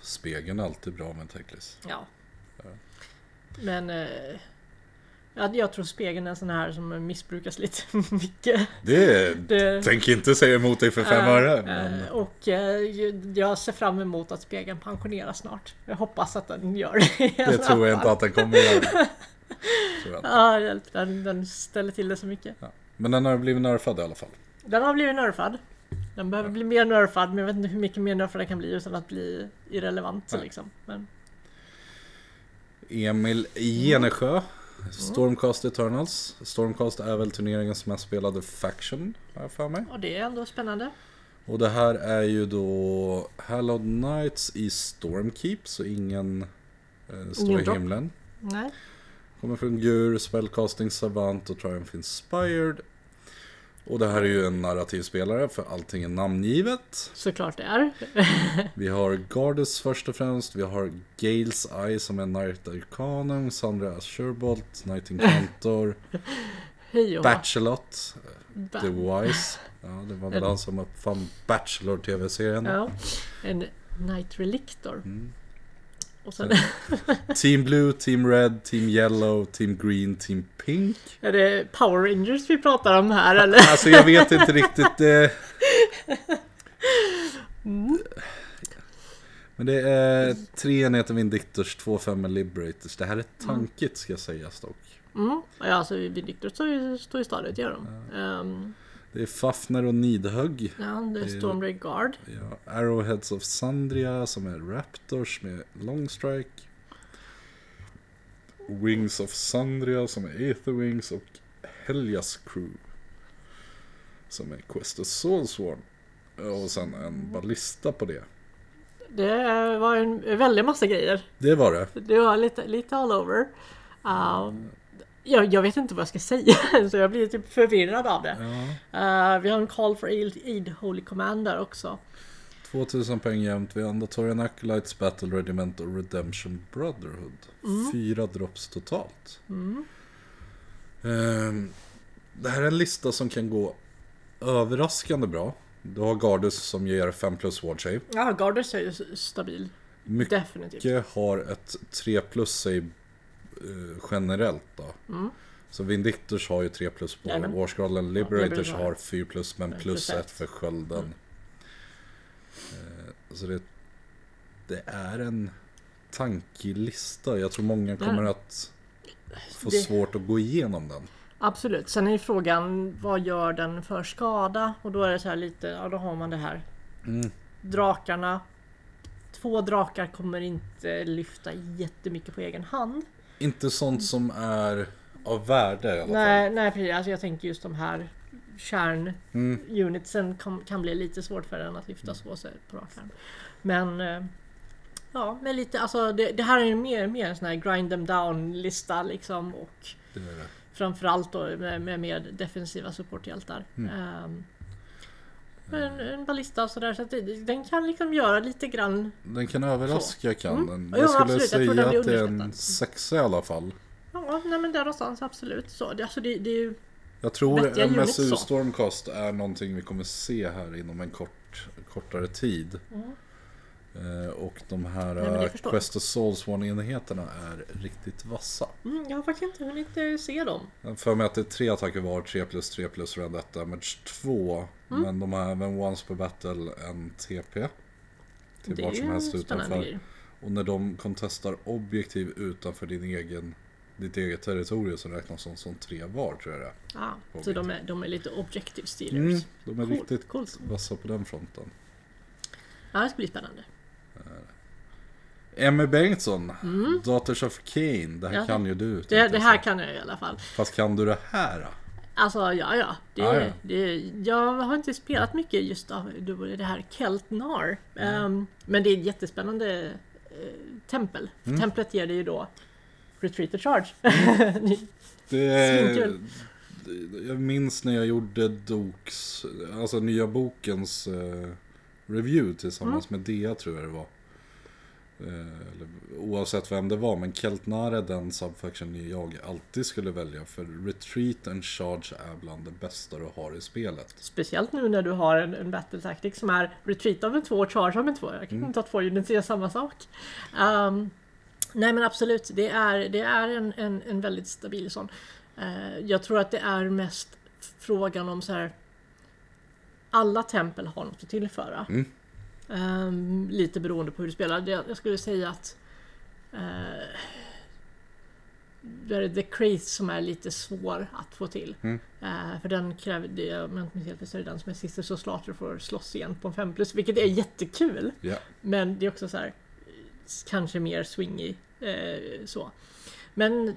S1: Spegeln är alltid bra med Teklis.
S2: Ja. Men eh, jag, jag tror spegeln är en sån här som missbrukas lite mycket.
S1: Det...
S2: Det-
S1: Tänk inte säga emot dig för fem öre.
S2: Eh,
S1: Men...
S2: Och eh, ju- jag ser fram emot att spegeln pensioneras snart. Jag hoppas att den gör det.
S1: Det tror jag inte att den kommer göra. Tror jag.
S2: Ja, hjälp, den, den ställer till det så mycket.
S1: Ja. Men den har blivit nerfad i alla fall.
S2: Den har blivit nerfad. Den behöver bli mer nerfad, men jag vet inte hur mycket mer nerfad den kan bli utan att bli irrelevant.
S1: Nej.
S2: Liksom. Men,
S1: Emil Genesjö Stormcast Eternals Stormcast är väl turneringens mest spelade faction har jag för mig
S2: och det är ändå spännande.
S1: Och det här är ju då Hallowed Knights i Stormkeep Så ingen eh, står
S2: Ingen
S1: i
S2: dropp.
S1: himlen
S2: Nej.
S1: Kommer från Gur, Spellcasting Savant och Triumph Inspired Och det här är ju en narrativ spelare för allting är namngivet
S2: Såklart det är.
S1: Vi har Gardus först och främst, vi har Gales Eye som är Knight Arcanum, Sandra Asherbolt, Knight Incantor
S2: Hej och
S1: Bachelot,
S2: ba-
S1: The Wise. Ja, det var väl han som uppfann Bachelor-tv-serien. Mm.
S2: ja. En Night Relictor. Och sen
S1: Team Blue, Team Red, Team Yellow, Team Green, Team Pink.
S2: är det Power Rangers vi pratar om här eller?
S1: Alltså jag vet inte riktigt. Eh... Men det är tre enheter Vindictors, två femmor Liberators. Det här är tankigt ska sägas dock.
S2: Mm. Ja, alltså Vindictor står ju står ju stadigt gör de. Ehm,
S1: Det är Fafner och Nidhögg.
S2: ja, det är Stormray Guard.
S1: Ja, Arrowheads of Sandria som är Raptors med Long Strike. Wings of Sandria som är Aetherwings och Helias Crew. Som är Quest of Soulsworn. Och sen en ballista på det.
S2: Det var en väldig massa grejer.
S1: Det var det.
S2: Det var lite, lite all over. Ehm, jag, jag vet inte vad jag ska säga så jag blir typ förvirrad av det.
S1: Ja.
S2: Eh, vi har en Call for Aid, Aid Holy Commander också. 20
S1: 2000 poäng jämt. Vi har Andatorian Acolytes, Battle Regiment och Redemption Brotherhood. Fyra drops totalt. Ehm, det här är en lista som kan gå överraskande bra. Du har Gardus som ger 5 plus ward save.
S2: Ja, Garders är ju s- stabil.
S1: Mycket
S2: Definitivt.
S1: har ett 3 plus save eh, generellt då.
S2: Mm.
S1: Så Vindictors har ju 3 plus på
S2: Jajamän.
S1: Warscrollen. Liberators
S2: Liberators har
S1: har 4 plus men
S2: Men
S1: plus
S2: plus ett.
S1: 1 för skölden. Eh, Så det, det är en tankig lista. Jag tror många kommer att få
S2: Mm. Det-
S1: svårt att gå igenom den.
S2: Absolut. Sen är ju frågan vad gör den för skada? Och då är det så här lite, ja då har man det här.
S1: Mm.
S2: Drakarna. Två drakar kommer inte lyfta jättemycket på egen hand.
S1: Inte sånt som är av värde i alla fall.
S2: Nej, nej precis. Alltså jag tänker just de här
S1: Mm,
S2: kärnunitsen kan, kan bli lite svårt för den att lyfta så sig på rak arm. Men eh, ja, men lite alltså det, det här är ju mer, mer en sån här grind them down lista liksom och
S1: Det är det.
S2: framförallt då med, med mer defensiva supporthjältar.
S1: Mm.
S2: Ehm, men en ballista och sådär så att det, den kan liksom göra lite grann.
S1: Den kan överraska kan den.
S2: Ja,
S1: Jag skulle
S2: Mm. absolut. Jag
S1: säga
S2: tror den blir
S1: att det är en
S2: underskattad.
S1: sexa i alla fall.
S2: Ja, nej men där någonstans absolut. Så, det, alltså det, det är ju
S1: Jag tror
S2: Vettiga units
S1: MSU
S2: så.
S1: Stormcast är någonting vi kommer se här inom en kort, kortare tid. Eh, Och de här
S2: Nej, men det
S1: eh,
S2: förstår
S1: Quest of Souls enheterna är riktigt vassa.
S2: mm, Jag har faktiskt inte hunnit eh, se dem.
S1: Jag har För mig att det är tre attacker var, 3 plus 3 plus Round 1 Damage 2.
S2: Mm.
S1: Men de har även Once per Battle en TP. Till
S2: Det är
S1: vart
S2: ju
S1: som
S2: en
S1: helst
S2: spännande
S1: utanför.
S2: grej.
S1: Och när de contestar objektiv utanför din egen, ditt eget territorium så räknas de som tre var tror jag det är.
S2: Ja, så
S1: Objektiv.
S2: de är, de är lite objective stealers.
S1: Mm, de är
S2: Cool,
S1: riktigt
S2: coolt.
S1: vassa på den fronten.
S2: Ja, det ska bli spännande.
S1: Emmy Bengtsson, Daughters of Cain. Det här
S2: Ja, det-
S1: kan ju du. tänkte
S2: Mm. Det,
S1: jag
S2: det
S1: säga.
S2: här kan jag i alla fall.
S1: Fast kan du det här? då?
S2: Alltså, ja, ja. Det,
S1: Ja, ja.
S2: Det, jag har inte spelat mycket just av det det här Keltnar.
S1: Mm.
S2: Ehm, men det är ett jättespännande eh, tempel. För
S1: Mm.
S2: Templet ger dig ju då Retreat and Charge.
S1: Mm. Det,
S2: Svinkul.
S1: det- jag minns när jag gjorde Doks, alltså nya bokens eh, review tillsammans
S2: Mm.
S1: med Dea tror jag det var. Eh, eller, oavsett vem det var, men Keltnar är den subfaction jag alltid skulle välja för Retreat and Charge är bland det bästa du har i spelet.
S2: Speciellt nu när du har en, en battle tactic som är retreat av en två och charge av en två. Jag kan inte ha två units gör samma sak. Ehm, nej men absolut, det är, det är en, en, en väldigt stabil sån. Eh, jag tror att det är mest frågan om så här. Alla tempel har något att tillföra.
S1: Mm.
S2: Ehm, lite beroende på hur du spelar. Det- Jag skulle säga att eh, det är The Craze som är lite svår att få till. Eh, för den kräver, det, om jag inte minns helt fel så är det den som är sist så Slater får slåss igen på en 5 plus, vilket är jättekul.
S1: Ja.
S2: Men det är också så här, s- kanske mer swingy. Eh, så. Men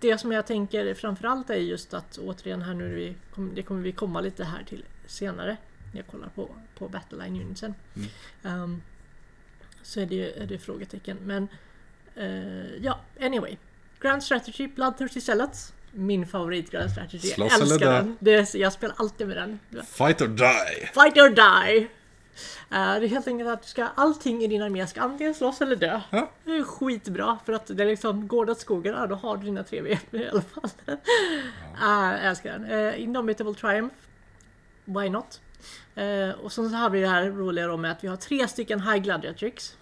S2: det som jag tänker framförallt är just att återigen här nu, vi kom, det kommer vi komma lite här till senare. När jag kollar på, på Battleline Unitsen.
S1: Mm.
S2: Ehm, så är det, är det frågetecken. Men eh, ja, anyway. Grand Strategy, Blood Thirsty Zealots. Min favorit Grand Strategy. Jag
S1: Slåss eller dö?
S2: älskar den. Det, är- jag spelar alltid med den.
S1: Fight or die!
S2: Fight or die! Eh, det är helt enkelt att du ska, allting i din armé ska antingen slåss eller dö.
S1: Ja.
S2: Det är skitbra för att det är liksom, går det åt skogen, ja, då har du dina tre VP i alla Eh, fall. Ja. jag älskar den. Uh, Indomitable Triumph. Why not? Eh, och sen så har vi det här roliga då med att vi har tre stycken High Gladiatrix.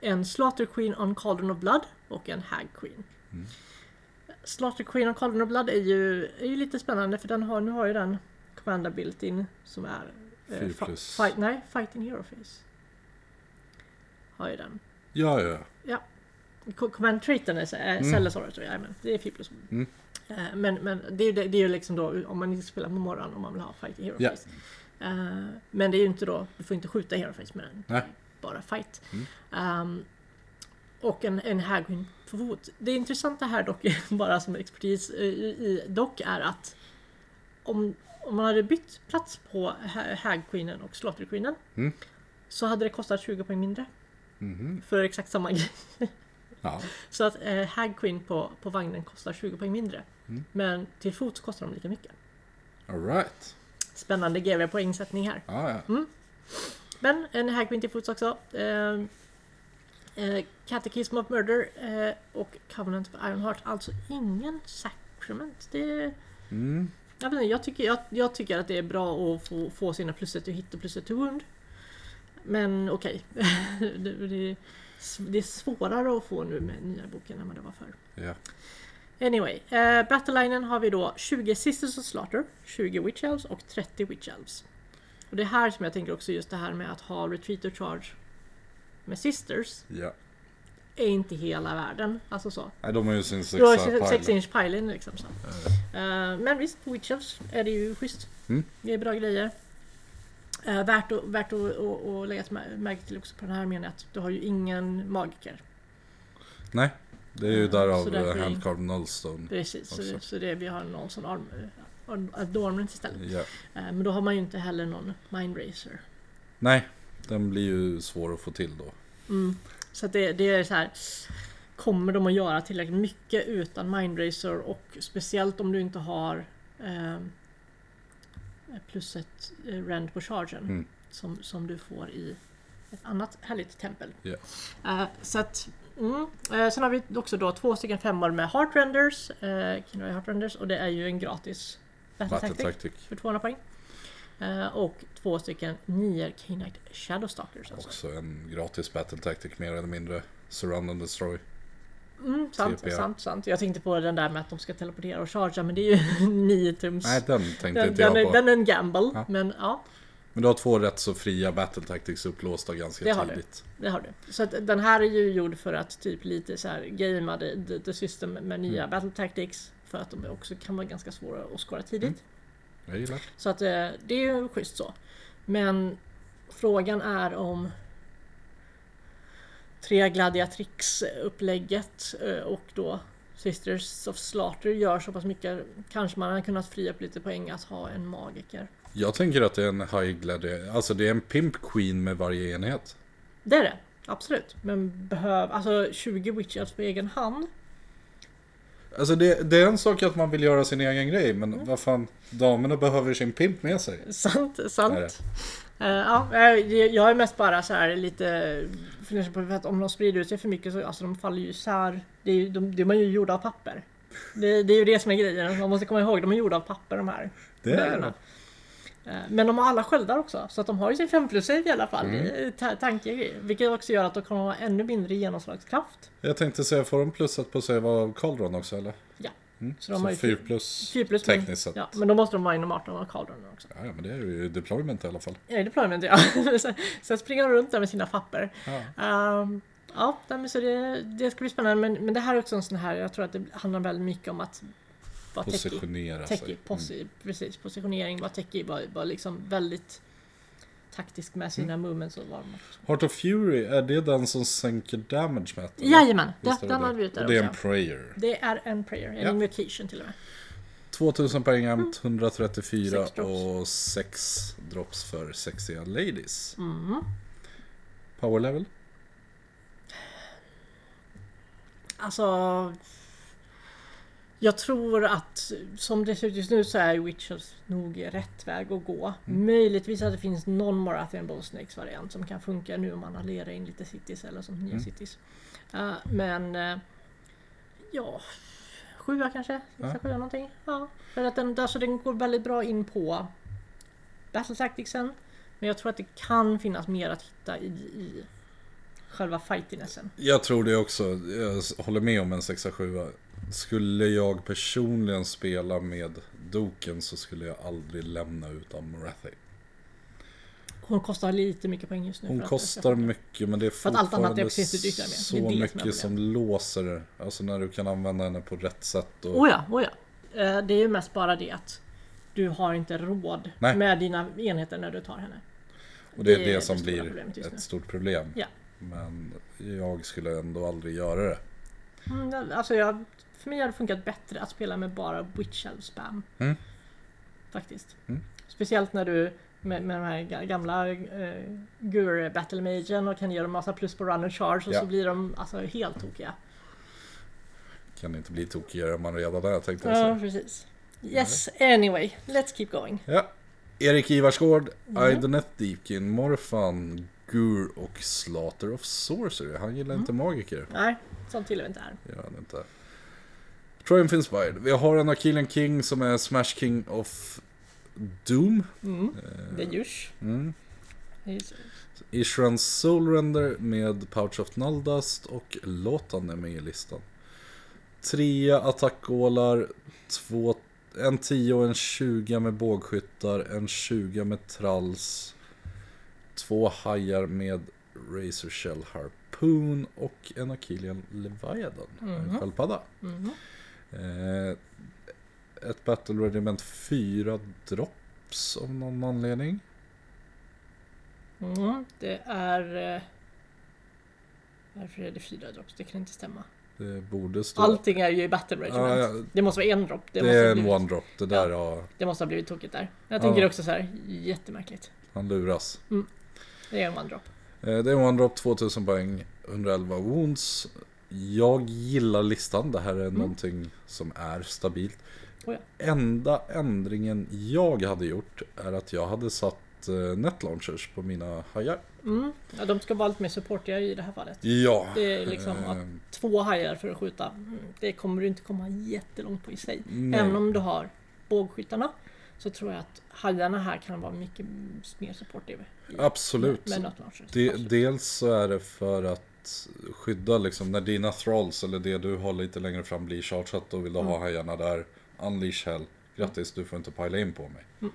S2: En Slaughter Queen on Cauldron of Blood och en Hag Queen.
S1: Mm.
S2: Slaughter Queen on Cauldron of Blood är ju, är ju lite spännande för den har, nu har ju den Commander built-in som är...
S1: Fyra
S2: fa-
S1: plus.
S2: Fight, nej, Fighting Hero Face. Har ju den.
S1: Ja, ja.
S2: Ja. Co- Command Traitor är mm. Cellas Orator, jajamän. Det är 4 plus.
S1: Mm.
S2: Eh, Men, men det, är ju- det, det är ju liksom då om man inte spelar på morgonen om man vill ha Fight i Hero
S1: Ja.
S2: Face. Eh, men det är ju inte då, du får inte skjuta Hero Face med den.
S1: Nej.
S2: Bara fight.
S1: Mm.
S2: Ehm, och en, en Hagwin på fot. Det intressanta här dock, bara som expertis eh, i, i dock, är att om, om man hade bytt plats på Ha- Hagqueenen och Slaughterqueenen
S1: Mm.
S2: så hade det kostat 20 poäng mindre.
S1: Mhm.
S2: För exakt samma grej.
S1: Ja.
S2: Så att eh, Hag Queen på, på vagnen kostar 20 poäng mindre. Men till fots kostar de lika mycket.
S1: All right.
S2: Spännande GW poängsättning här.
S1: Ja, ja.
S2: Men en Hag Queen till fots också. Eh, eh, Catechism of Murder eh, och Covenant of Ironheart. Alltså ingen sacrament. Det,
S1: Mm.
S2: jag, vet inte, jag, tycker, jag, jag tycker att det är bra att få, få sina plus ett till hit och plus ett till wound. Men okej. det, det, är s- det är svårare att få nu med nya boken än vad det var förr.
S1: Ja.
S2: Anyway, eh, Battlelinen har vi då 20 Sisters of Slaughter, 20 Witch Elves och 30 Witch Elves. Och det är här som jag tänker också just det här med att ha Retreat och Charge med Sisters
S1: ja.
S2: är inte hela världen. Alltså så.
S1: Nej, de har ju sin
S2: Du har
S1: sexa
S2: ju 6
S1: pile.
S2: inch piling liksom. Så. Eh, men visst, på Witch Elves är det ju schysst.
S1: Mm.
S2: Det är bra grejer. Eh, värt att, värt att, att, att lägga ett mär- märke till också på den här meningen att du har ju ingen magiker.
S1: Nej, det är ju
S2: Mm. Så
S1: därav
S2: därför
S1: eh,
S2: är-
S1: Handcarved Nullstone.
S2: Precis, så,
S1: Också.
S2: det- så det är, vi har någon sån arm, arm, adornment istället.
S1: Ja.
S2: Eh, Men då har man ju inte heller någon Mindracer.
S1: Nej, den blir ju svår att få till då.
S2: Mm. Så att det, det är så här. Kommer de att göra tillräckligt mycket utan Mindracer och speciellt om du inte har eh, plus ett eh, rend på chargen
S1: Mm.
S2: som, som du får i ett annat härligt tempel.
S1: Ja.
S2: Eh, så att, mm. eh, sen har vi också då två stycken femmor med Heartrenders, eh, Kindred Heartrenders och det är ju en gratis battle tactic.
S1: Vattentaktik
S2: för 200 poäng. Eh, och två stycken nior K-Knight Shadowstalkers. Alltså.
S1: också. En gratis battle tactic mer eller mindre. Surround and destroy.
S2: Mm, sant,
S1: TPA.
S2: sant, sant. Jag tänkte på den där med att de ska teleportera och chargea men det är ju 9 tums.
S1: Nej, den tänkte
S2: den,
S1: inte
S2: den,
S1: jag
S2: är,
S1: på.
S2: den är en gamble.
S1: Ja.
S2: Men ja,
S1: Men du har två rätt så fria battle tactics upplåsta ganska
S2: Det har du.
S1: tidigt.
S2: det har du. Så att den här är ju gjord för att typ lite så här gamea the, the, the system med
S1: Mm.
S2: nya battle tactics. För att de också kan vara ganska svåra att skåra tidigt.
S1: Jag gillar.
S2: Så att eh, det är ju schysst så. Men frågan är om tre gladiatrix-upplägget eh, och då Sisters of Slaughter gör så pass mycket. Kanske man hade kunnat fria upp lite poäng att ha en magiker.
S1: Jag tänker att det är en high gladi- Alltså det är en pimp queen med varje enhet.
S2: Det är det, absolut. Men behöv, alltså 20 witches på egen hand.
S1: Alltså det, det är en sak att man vill göra sin egen grej, men
S2: Mm.
S1: vad fan. Damerna behöver sin pimp med sig.
S2: Sant,
S1: Är
S2: sant.
S1: det?
S2: Eh, ja, eh, jag är mest bara så här lite fundersam på för att om de sprider ut sig för mycket så alltså, de faller ju isär. Det är ju, de, de är ju gjorda av papper. Det, det är ju det som är grejen. Man måste komma ihåg, de är gjorda av papper de här.
S1: Det är
S2: bögarna.
S1: det.
S2: Eh, Men de har alla sköldar också, så att de har ju sin 5 plus i alla fall. Mm. Tanke, vilket också gör att de kommer ha ännu mindre genomslagskraft.
S1: Jag tänkte säga, får de plusat på sig vad Calderon också eller?
S2: Ja.
S1: Mm.
S2: Så
S1: Så,
S2: de har ju
S1: fyra
S2: fy-
S1: plus,
S2: 4 plus men-
S1: tekniskt sett.
S2: Ja, men då måste de vara inom 18 av Caldronen också.
S1: Ja, ja, men det är ju deployment i alla fall.
S2: Jag är deployment ja. Sen- Sen springer de runt där med sina papper.
S1: Ja.
S2: Ehm, ja, nej, men så det, det ska bli spännande. Men, men det här är också en sån här, jag tror att det handlar väldigt mycket om att vara techie.
S1: Positionera
S2: Techie,
S1: sig. Mm.
S2: posi, precis, positionering, vara techie, vara, vara liksom väldigt taktisk med
S1: Mm.
S2: sina movements och vad man...
S1: Heart of Fury, är det den som sänker damage med? eller?
S2: Jajamän,
S1: Visst
S2: det, den
S1: det?
S2: har vi ute
S1: Och det är
S2: där
S1: en
S2: också.
S1: prayer.
S2: Det är en prayer, en
S1: Ja.
S2: invocation till och med.
S1: 2000 poäng amt, 134
S2: Mm. Sex drops.
S1: och 6 drops för sexiga ladies.
S2: Mm.
S1: Power level?
S2: Alltså... Jag tror att som det ser ut just nu så är Witches nog rätt väg att gå. Möjligtvis att det finns någon Marathian Bowsnakes variant som kan funka nu om man har lerat in lite cities eller som nya cities. Eh, men eh, ja, sjua kanske? Sexa,
S1: Ja.
S2: sjua någonting. Ja. För att den, alltså, den går väldigt bra in på battle tacticsen. Men jag tror att det kan finnas mer att hitta i, i själva fightinessen.
S1: Jag tror det också. Jag håller med om en 6-7. Skulle jag personligen spela med Doken så skulle jag aldrig lämna utan Morathi.
S2: Hon kostar lite mycket poäng just nu.
S1: Hon
S2: för att-
S1: kostar mycket men det är
S2: För att allt annat
S1: fortfarande
S2: är precis det du yttrade med.
S1: så
S2: Det är det som är
S1: mycket
S2: problemet.
S1: som låser. Alltså när du kan använda henne på rätt sätt. Och...
S2: Oh ja, oh ja. Eh, Det är ju mest bara det att du har inte råd
S1: Nej.
S2: med dina enheter när du tar henne.
S1: Och det är
S2: Det
S1: det,
S2: är det
S1: som
S2: stora
S1: blir
S2: problemet just nu.
S1: ett stort problem.
S2: Ja.
S1: Men jag skulle ändå aldrig göra det.
S2: Mm, alltså jag, för mig hade det funkat bättre att spela med bara witch elf spam.
S1: Mm.
S2: Faktiskt.
S1: Mm.
S2: Speciellt när du med, med de här ga- gamla eh, Gur Battle Magen och kan ge dem massa plus på run och charge och
S1: Ja.
S2: så blir de alltså helt tokiga.
S1: Kan inte bli tokigare än man redan är tänkte jag
S2: Ja,
S1: säga.
S2: precis. Yes, anyway, let's keep going.
S1: Ja. Erik Ivarsgård,
S2: Mm.
S1: Aidonet Deepkin, Morfan, Gur och Slater of Sorcery. Han gillar
S2: Mm.
S1: inte magiker.
S2: Nej, sånt gillar vi inte här.
S1: gör han inte. Triumph Inspired. Vi har en Achillean King som är Smash King of Doom.
S2: Mm. Det är djurs.
S1: Mm.
S2: Det är ju så-
S1: Ishrans Soul Render med Pouch of Nuldust och Lotan är med i listan. Trea attackålar, två, en 10 och en 20 med bågskyttar, en 20 med tralls, två hajar med Razor Shell Harpoon och en Achillean Leviathan, en
S2: Mhm.
S1: sköldpadda.
S2: Mhm.
S1: Eh, ett Battle Regiment 4 drops av någon anledning.
S2: Mm, det är... eh, Varför är det fyra drops? Det kan inte stämma.
S1: Det borde stå...
S2: Allting är ju i Battle Regiment.
S1: Ja, ja.
S2: Det måste vara en drop. Det,
S1: det
S2: måste,
S1: är
S2: ha
S1: en
S2: blivit,
S1: one drop. Det där ja,
S2: det måste ha blivit tokigt där. Jag
S1: Ja.
S2: tänker också så här, jättemärkligt.
S1: han luras.
S2: Det är en one drop.
S1: Eh, det är en one drop, 2000 poäng, 111 wounds. Jag gillar listan. Det här är någonting som är stabilt.
S2: Mm. Oh ja.
S1: Enda ändringen jag hade gjort är att jag hade satt eh, net launchers på mina hajar.
S2: Mm. Ja, de ska vara lite mer supportiga i det här fallet.
S1: Ja.
S2: Det är liksom
S1: eh,
S2: att två hajar för att skjuta, mm, det kommer du inte komma jättelångt på i sig.
S1: Nej.
S2: Även om du har bågskyttarna så tror jag att hajarna här kan vara mycket mer supportive. i-
S1: Absolut.
S2: Med Not Launchers.
S1: De,
S2: Absolut.
S1: dels så är det för att skydda liksom när dina thralls eller det du har lite längre fram blir chargeat och vill du ha hajarna där. Unleash hell. Grattis, du får inte pajla in på mig.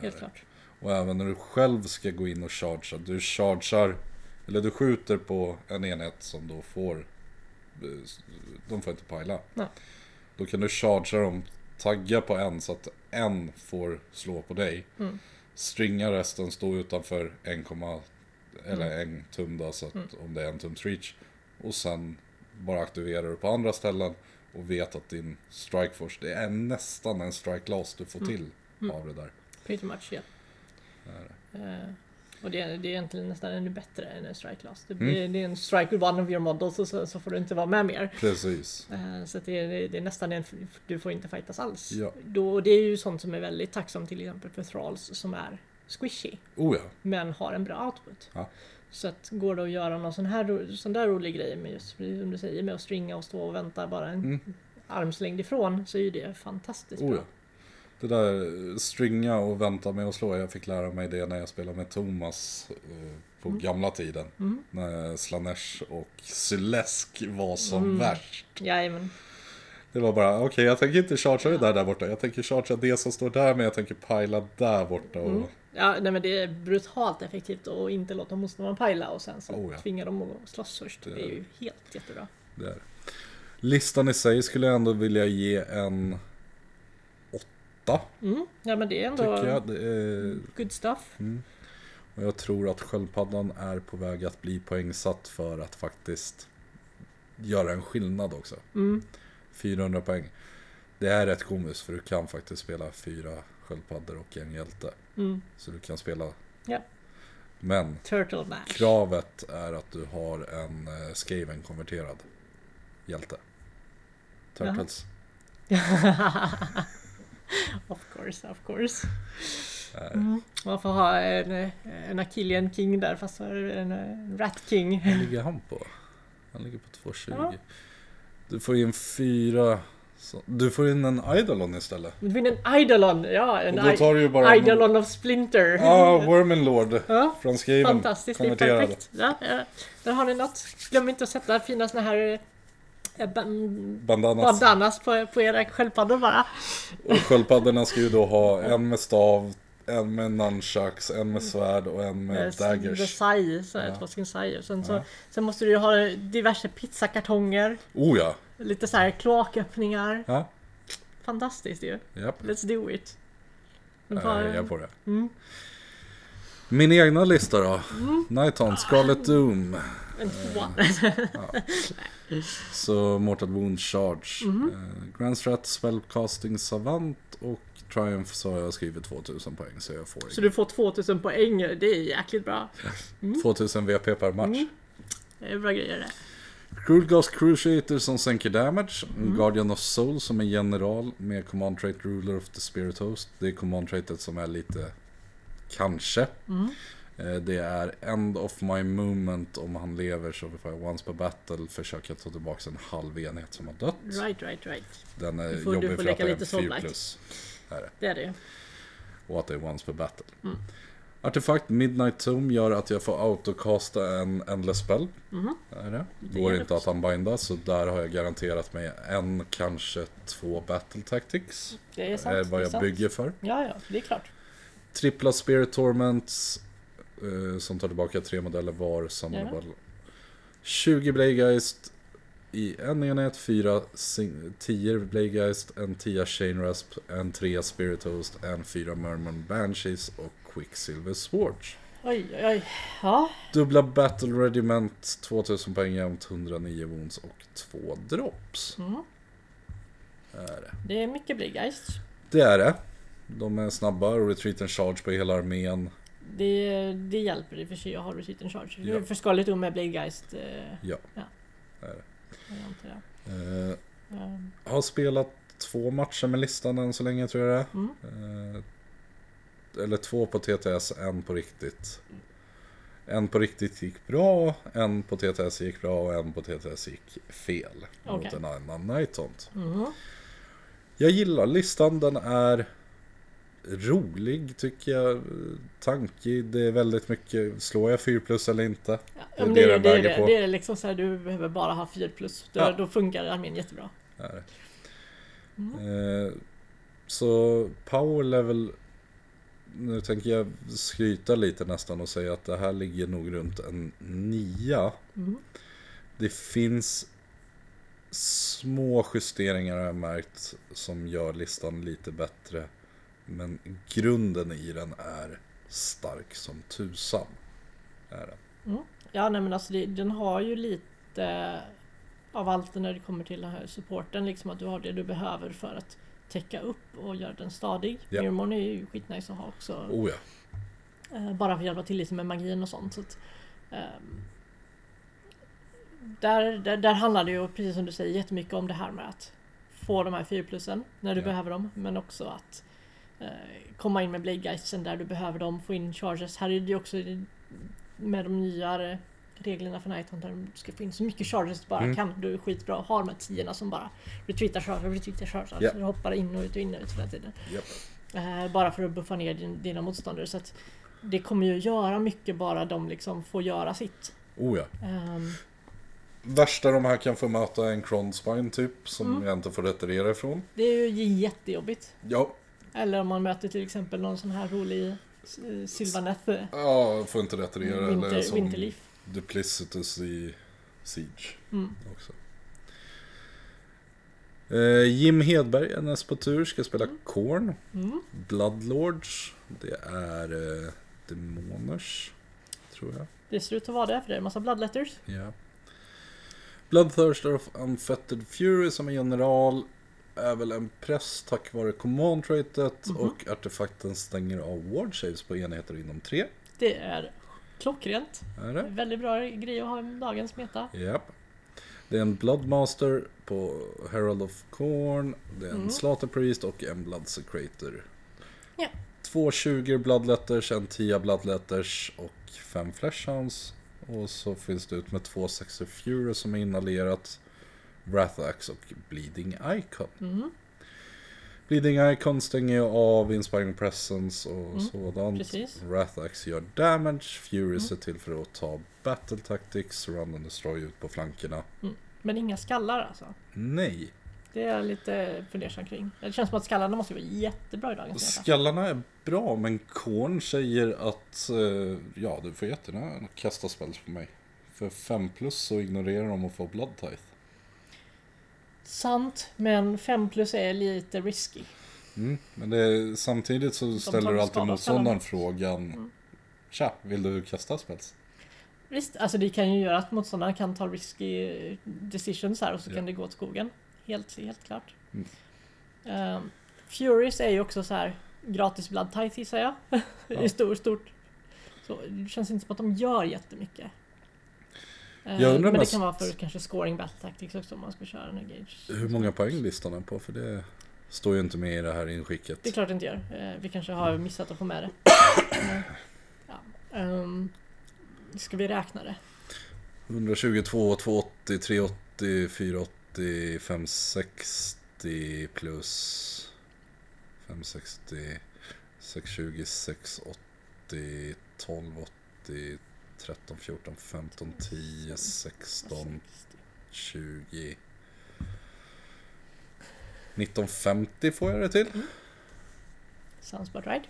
S2: Helt klart.
S1: Och även när du själv ska gå in och chargea. Du chargear, eller du skjuter på en enhet som då får, eh, de får inte pajla.
S2: Nej.
S1: Då kan du chargea dem, tagga på en så att en får slå på dig.
S2: Mm.
S1: Stringa resten, stå utanför 1, eller en tum då, så att om det är en tums reach. Och sen bara aktiverar du på andra ställen och vet att din strikeforce, det är nästan en strike loss du får till av det där.
S2: Pretty much, ja. Eh, och det är, det är egentligen nästan ännu bättre än en strike loss. Det,
S1: Mm.
S2: blir, det är en strike with one of your models och så, så får du inte vara med mer.
S1: Precis.
S2: Eh, Så att det, är, det är nästan en, du får inte fightas alls.
S1: Ja.
S2: Då, och det är ju sånt som är väldigt tacksamt till exempel för Thralls som är squishy
S1: Oh ja.
S2: men har en bra output.
S1: Ja.
S2: Så att går det att göra någon sån, här, ro- sån där rolig grej med just som du säger med att stringa och stå och vänta bara en armslängd ifrån så är ju det fantastiskt
S1: Mm. Oh,
S2: bra.
S1: ja. Det där eh, stringa och vänta med att slå, jag fick lära mig det när jag spelade med Thomas eh, på
S2: Mm.
S1: gamla tiden. När Slanesh och Sylesk var som
S2: Mm.
S1: värst.
S2: Jajamän.
S1: Det var bara, okej jag tänker inte chargea det där där borta, jag tänker chargea det som står där men jag tänker pajla där borta. Och...
S2: Mm. Ja, nej, men det är brutalt effektivt att inte låta motståndaren pajla och sen så
S1: Oh, ja.
S2: tvinga dem att slåss först. Det är ju helt jättebra.
S1: Där. Listan i sig skulle jag ändå vilja ge en åtta,
S2: Mm. Ja men det är ändå
S1: tycker jag. Det är...
S2: good stuff.
S1: Och jag tror att sköldpaddan är på väg att bli poängsatt för att faktiskt göra en skillnad också. 400 poäng. Det är rätt komiskt för du kan faktiskt spela fyra sköldpaddor och en hjälte.
S2: Mm.
S1: Så du kan spela.
S2: Ja.
S1: Men
S2: Turtle Mash.
S1: kravet är att du har en eh, Skaven konverterad hjälte. Turtles.
S2: Of course, of course.
S1: Eh,
S2: Mm. Man får ha en, eh, en Achillean King där fast så är det en eh, Rat King.
S1: Vad ligger han på? Han ligger på 2,20.
S2: Ja.
S1: Du får in fyra Så, du får in en Eidolon istället.
S2: Du vinner en Eidolon! Ja, en
S1: Och då tar du ju bara en-
S2: Eidolon of Splinter.
S1: Ah, Worminlord
S2: Ja,
S1: från Skaven.
S2: Fantastiskt, det är
S1: konverterad.
S2: perfekt. Ja, ja. Där har ni något. Glöm inte att sätta fina såna här eh, ban-
S1: Bandanas.
S2: bandanas på, på era sköldpaddor bara.
S1: Och sköldpaddorna ska ju då ha en med stav, en med nunchucks, en med svärd och en med
S2: Eh, The
S1: daggers.
S2: sai, så här, två stycken sai. Och Sen, så, sen måste du ju ha diverse pizzakartonger,
S1: Oh ja!
S2: lite så här kloaköppningar.
S1: Ja,
S2: Fantastiskt ju.
S1: japp.
S2: Let's do it. Men
S1: Eh, Jag
S2: bara-
S1: är på det.
S2: Mm.
S1: Min egna lista då? Nighton, Scarlet Doom.
S2: en tvåa.
S1: Så Mortal Wound Charge.
S2: Mhm.
S1: Eh, Grand Strat Spellcasting Savant och Triumph så har jag skrivit 2000 poäng så jag får
S2: Så
S1: inget.
S2: du får 2000 poäng, det är jäkligt bra.
S1: 2000 VP per match.
S2: Mm. Det är bra grejer det.
S1: Cruel Ghost Cruciator som sänker damage.
S2: Mm.
S1: Guardian of Soul som är general med Command Trait Ruler of the Spirit Host. Det är Command Traitet som är lite kanske.
S2: Mm.
S1: Eh, Det är End of My Movement om han lever så får jag once per battle försöka ta tillbaka en halv enhet som har dött.
S2: Right, right, right.
S1: Den är
S2: Du får- du
S1: jobbig
S2: får
S1: för
S2: leka
S1: att den är
S2: lite Soul
S1: 4
S2: Knight.
S1: plus. Är det.
S2: Det är det ju.
S1: Och att det är once per battle. Artefakt Midnight Tomb gör att jag får autocasta en Endless Spell.
S2: Mhm.
S1: Är det. Går
S2: gör
S1: inte att unbinda så där har jag garanterat mig en, kanske två battle tactics.
S2: Det är
S1: Det är
S2: sant.
S1: Eh, vad
S2: det är
S1: jag
S2: sant.
S1: bygger för.
S2: Ja, ja, det är klart.
S1: Trippla Spirit Torments eh, som tar tillbaka tre modeller var. Samlar
S2: Ja.
S1: bara 20 Bladegeist i en enhet, fyra sing- 10 Bladegeist, en 10 Chain Rasp, en 3 Spirit Host, en 4 Merman Banshees och Quicksilver Swords.
S2: Oj, oj, oj. Ja,
S1: Dubbla Battle Regiment, 2000 poäng jämt, 109 wounds och 2 drops.
S2: Mm. det är mycket Bliggeist.
S1: Det är det. De är snabba och retreat and charge på hela armén.
S2: Det, det hjälper i och för sig att ha Retreat and Charge.
S1: Ja.
S2: För Scarlet Doom med Bliggeist. Eh,
S1: Ja.
S2: jag antar det.
S1: Eh,
S2: Ja.
S1: Har spelat två matcher med listan än så länge tror jag det är. Eh, Eller två på TTS, en på riktigt. En på riktigt gick bra, en på TTS gick bra och en på TTS gick fel. Mot
S2: Okej.
S1: en annan Night Hunt.
S2: Mhm.
S1: Jag gillar listan, den är rolig tycker jag. Tankig, det är väldigt mycket, slår jag 4 plus eller inte?
S2: Ja,
S1: Det är
S2: men
S1: det
S2: det,
S1: den
S2: det, är
S1: väger på.
S2: det, det är liksom så här, du behöver bara ha 4 plus. Då,
S1: Ja.
S2: då funkar armén jättebra.
S1: är det. Eh, så power level Nu tänker jag skryta lite nästan och säga att det här ligger nog runt en nia Det finns små justeringar har jag märkt som gör listan lite bättre Men grunden i den är stark som tusan är den.
S2: Ja, nej men alltså det, den har ju lite av allt när det kommer till den här supporten. Liksom att du har det du behöver för att täcka upp och göra den stadig.
S1: Ja.
S2: Mirmon är ju skitnice att ha också.
S1: Oh ja,
S2: Eh, bara för att hjälpa till lite med magin och sånt. Så att, ehm, där, där, där handlar det ju, precis som du säger, jättemycket om det här med att få de här 4 plusen när du
S1: Ja.
S2: behöver dem. Men också att eh, komma in med bladegeisten där du behöver dem, få in charges. Här är det ju också i- med de nyare reglerna för Nighton där du ska få in så mycket charges du bara
S1: Mm.
S2: kan. Du är skitbra och har de här tiorna som bara retreatar charger, retreatar charger.
S1: Ja.
S2: Så du hoppar in och ut och in och ut hela tiden.
S1: japp.
S2: Eh, bara för att buffa ner din, dina motståndare. Så att det kommer ju göra mycket bara de liksom får göra sitt.
S1: oh ja
S2: Ehm,
S1: Värsta de här kan få möta är en Cronspine typ som jag inte får retirera ifrån.
S2: det är ju jättejobbigt.
S1: Ja,
S2: Eller om man möter till exempel någon sån här rolig eh, Sylvaneth eh,
S1: ja får inte retirera. eller
S2: Winter,
S1: som
S2: Winterleaf.
S1: Duplicitus i Siege
S2: Mm.
S1: också. Eh, Jim Hedberg är näst på tur, ska spela Korn.
S2: Mm.
S1: Bloodlords, det är eh, Demoners, tror jag.
S2: Det ser ut att vara det, för det är en massa bloodletters.
S1: Ja. Bloodthirster of Unfettered Fury som är general är väl en press tack vare command traitet och artefakten stänger av ward saves på enheter inom tre.
S2: Det är klockrent.
S1: Är det?
S2: Väldigt bra grej att ha i dagens meta.
S1: Japp. Det är en Bloodmaster på Herald of Corn, det är en Slaughter Priest och en Bloodsecrator.
S2: Ja.
S1: Två 20 Bloodletters, en 10 Bloodletters och fem Fleshhounds. Och så finns det ut med två sexer Fury som är inhalerat. Wrathax och Bleeding Icon.
S2: Mm.
S1: Bleeding Icon stänger ju av Inspiring Presence och sådant.
S2: Mm. precis. Mm.
S1: Wrathax gör damage, Fury ser till för att ta Battle Tactics, Run and Destroy ut på flankerna.
S2: Men inga skallar alltså.
S1: Nej,
S2: Det är jag lite fundersam kring. Det känns som att skallarna måste vara jättebra i dagens meta.
S1: skallarna är bra men Korn säger att eh, ja, du får jättegärna kasta spells på mig. För 5 plus så ignorerar de att få Blood Tithe.
S2: Sant, men 5 plus är lite risky.
S1: Mm, men det, samtidigt så ställer
S2: tar
S1: du alltid
S2: skada Mm.
S1: motståndaren
S2: sällan.
S1: frågan Tja, vill du kasta spets?
S2: Visst, alltså det kan ju göra att motståndarna kan ta risky decisions här och så
S1: Ja. Mm.
S2: kan det gå åt skogen. Helt, helt klart. Ehm, Furies är ju också så här gratis blood tithe gissar jag.
S1: Ja.
S2: I stor, stort. Så det känns inte som att de gör jättemycket. Ehm,
S1: Jag undrar
S2: men det
S1: mest-
S2: kan vara för kanske scoring battle tactics också om man ska köra en engage.
S1: Hur många poäng listan är på? För det står ju inte med i det här inskicket.
S2: Det är klart det inte gör. Eh, Vi kanske har missat att få med det. Eh, Ja. ehm, Ska vi räkna det?
S1: 122, 280, 380, 480, 560 plus 560, 620, 680, 1280, 13, 14, 15, 10, 16, 20 1950 får jag det till.
S2: Sounds about right.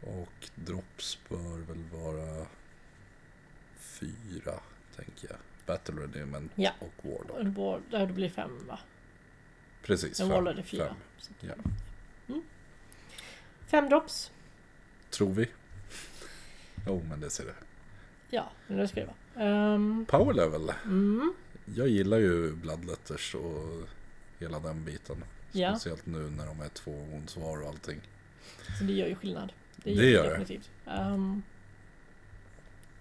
S1: Och drops bör väl vara fyra, tänker jag. Battle Rediment
S2: Ja.
S1: och Warlord.
S2: En wall, ja, det blir fem va?
S1: Precis,
S2: En
S1: fem.
S2: wall är det fyra.
S1: fem.
S2: Så att-
S1: Ja.
S2: Mm. Fem drops.
S1: Tror vi. Jo, men det ser det.
S2: Ja, men det ska det vara. Ehm,
S1: Power level.
S2: mm,
S1: Jag gillar ju Bloodletters och hela den biten.
S2: ja,
S1: Speciellt nu när de är två ons var och allting.
S2: så det gör ju skillnad.
S1: Det gör det.
S2: definitivt. Ehm,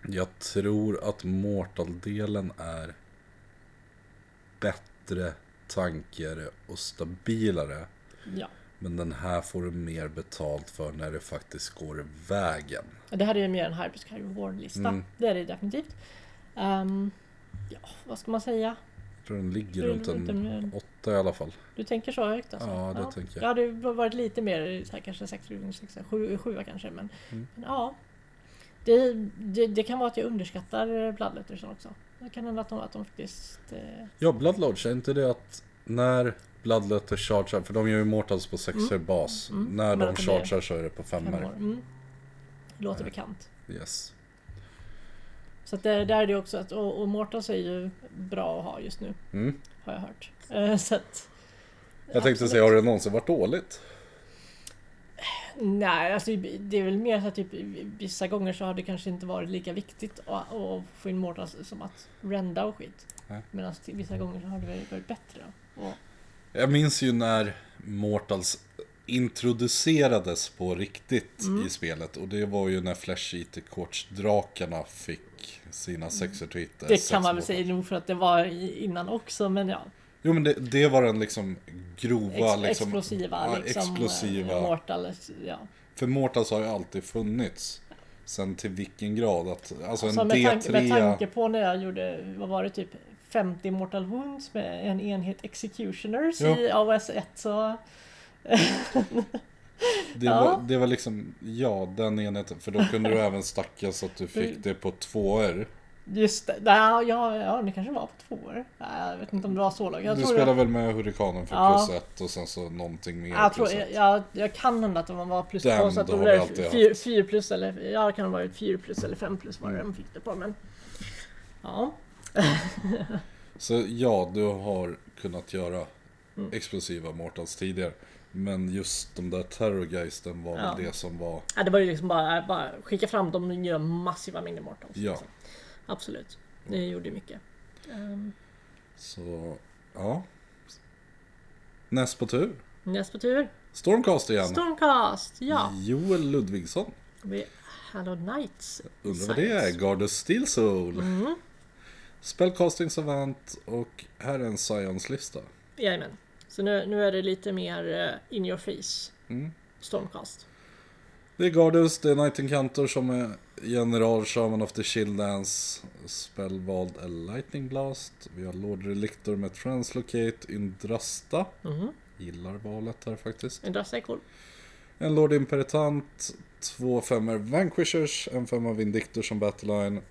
S1: Jag tror att Mortal-delen är bättre, tankigare och stabilare.
S2: ja.
S1: Men den här får du mer betalt för när det faktiskt går vägen.
S2: Det här är ju mer en high risk high reward-lista.
S1: Mm.
S2: Det är det definitivt. Ehm, ja, vad ska man säga?
S1: Jag tror den ligger
S2: Det är
S1: runt
S2: runt en-
S1: en åtta i alla fall.
S2: Du tänker så högt alltså?
S1: Ja, det tänker
S2: Det
S1: jag.
S2: hade varit lite mer så här, kanske 6, 6, 7, 7 kanske. Men,
S1: Mm.
S2: men ja. Det, det, det kan vara att jag underskattar Bloodlettersen också. Det kan hända att de, att de faktiskt... Eh,
S1: Ja, Bloodlodge, är inte det att när Bloodletter chargear, för de gör ju Mortals på sexer bas.
S2: Mm.
S1: När
S2: Men
S1: de
S2: att de
S1: chargear så är det på
S2: fem år.
S1: femmer.
S2: Mm. Det låter
S1: Nej.
S2: bekant.
S1: Yes.
S2: Så att det, där är det också att... Och, och Mortals är ju bra att ha just nu.
S1: Mm.
S2: Har jag hört. Eh, så att...
S1: Jag tänkte säga, har det någonsin varit dåligt?
S2: Nej, alltså det är väl mer så att typ, vissa gånger så har det kanske inte varit lika viktigt att, att få in Mortals som att rända och skit.
S1: Nej.
S2: Medan till- vissa gånger så har det väl varit bättre. Och,
S1: Jag minns ju när Mortals introducerades på riktigt
S2: Mm.
S1: i spelet och det var ju när Flash it drakarna fick sina sexer till hitta
S2: det
S1: sex
S2: kan man väl
S1: Mortals.
S2: säga nog för att det var i- innan också, men ja.
S1: Jo men det, det var den liksom grova
S2: Ex,
S1: liksom,
S2: explosiva
S1: ja,
S2: liksom.
S1: explosiva.
S2: eh, Mortals, ja.
S1: För Mortals har ju alltid funnits. Sen till vilken grad att, alltså en
S2: Så med,
S1: D3.
S2: tanke, med tanke på när jag gjorde, vad var det, typ 50 Mortal Wounds med en enhet Executioners
S1: Ja.
S2: i AOS 1 så...
S1: det,
S2: ja.
S1: var, det var liksom, ja den enheten. För då kunde du även stacka så att du
S2: Mm.
S1: fick det på två r
S2: Just det, nej, ja, ja, det kanske var på två år. Nej, Jag vet inte om det var så långt. Jag
S1: Du
S2: tror
S1: spelar
S2: jag,
S1: väl med Hurrikanen för
S2: Ja.
S1: plus ett och sen så någonting mer liksom.
S2: jag, tror,
S1: plus ett.
S2: jag, jag kan hända att man var plus
S1: Den
S2: två så att
S1: har
S2: de
S1: vi
S2: blev
S1: alltid
S2: fyra, fyra plus eller ja, det kan ha varit fyra plus eller fem plus var det
S1: Mm.
S2: de fick det på. Men, ja,
S1: Så ja, du har kunnat göra
S2: Mm.
S1: explosiva Mortals tidigare. Men just de där terrorgeisten var
S2: Ja.
S1: väl det som var,
S2: Ja, det var ju liksom bara, bara skicka fram dem och göra massiva mängder mortals.
S1: ja.
S2: liksom. Absolut, det gjorde mycket. Ehm,
S1: Så, ja. Näst på tur.
S2: näst på tur,
S1: Stormcast igen.
S2: Stormcast! Ja,
S1: Mm. Joel Ludvigsson.
S2: vi är Hello Knights.
S1: Undrar vad det är? Gardo Steel Soul. Spellcasting Savant och här är en Science-lista.
S2: Jajamän.
S1: Mm.
S2: Så nu, nu är det lite mer eh, in your face. Stormcast.
S1: Det är Gardus, det är Knight Encounter som är General Shaman of the Shieldlands Spellbald eller Lightning Blast. Vi har Lord Relictor med Translocate Indrasta.
S2: Mhm.
S1: Gillar valet här faktiskt.
S2: En drassa är cool.
S1: En Lord Imperitant, två femmor Vanquishers, en femma Vindictor som Battleline.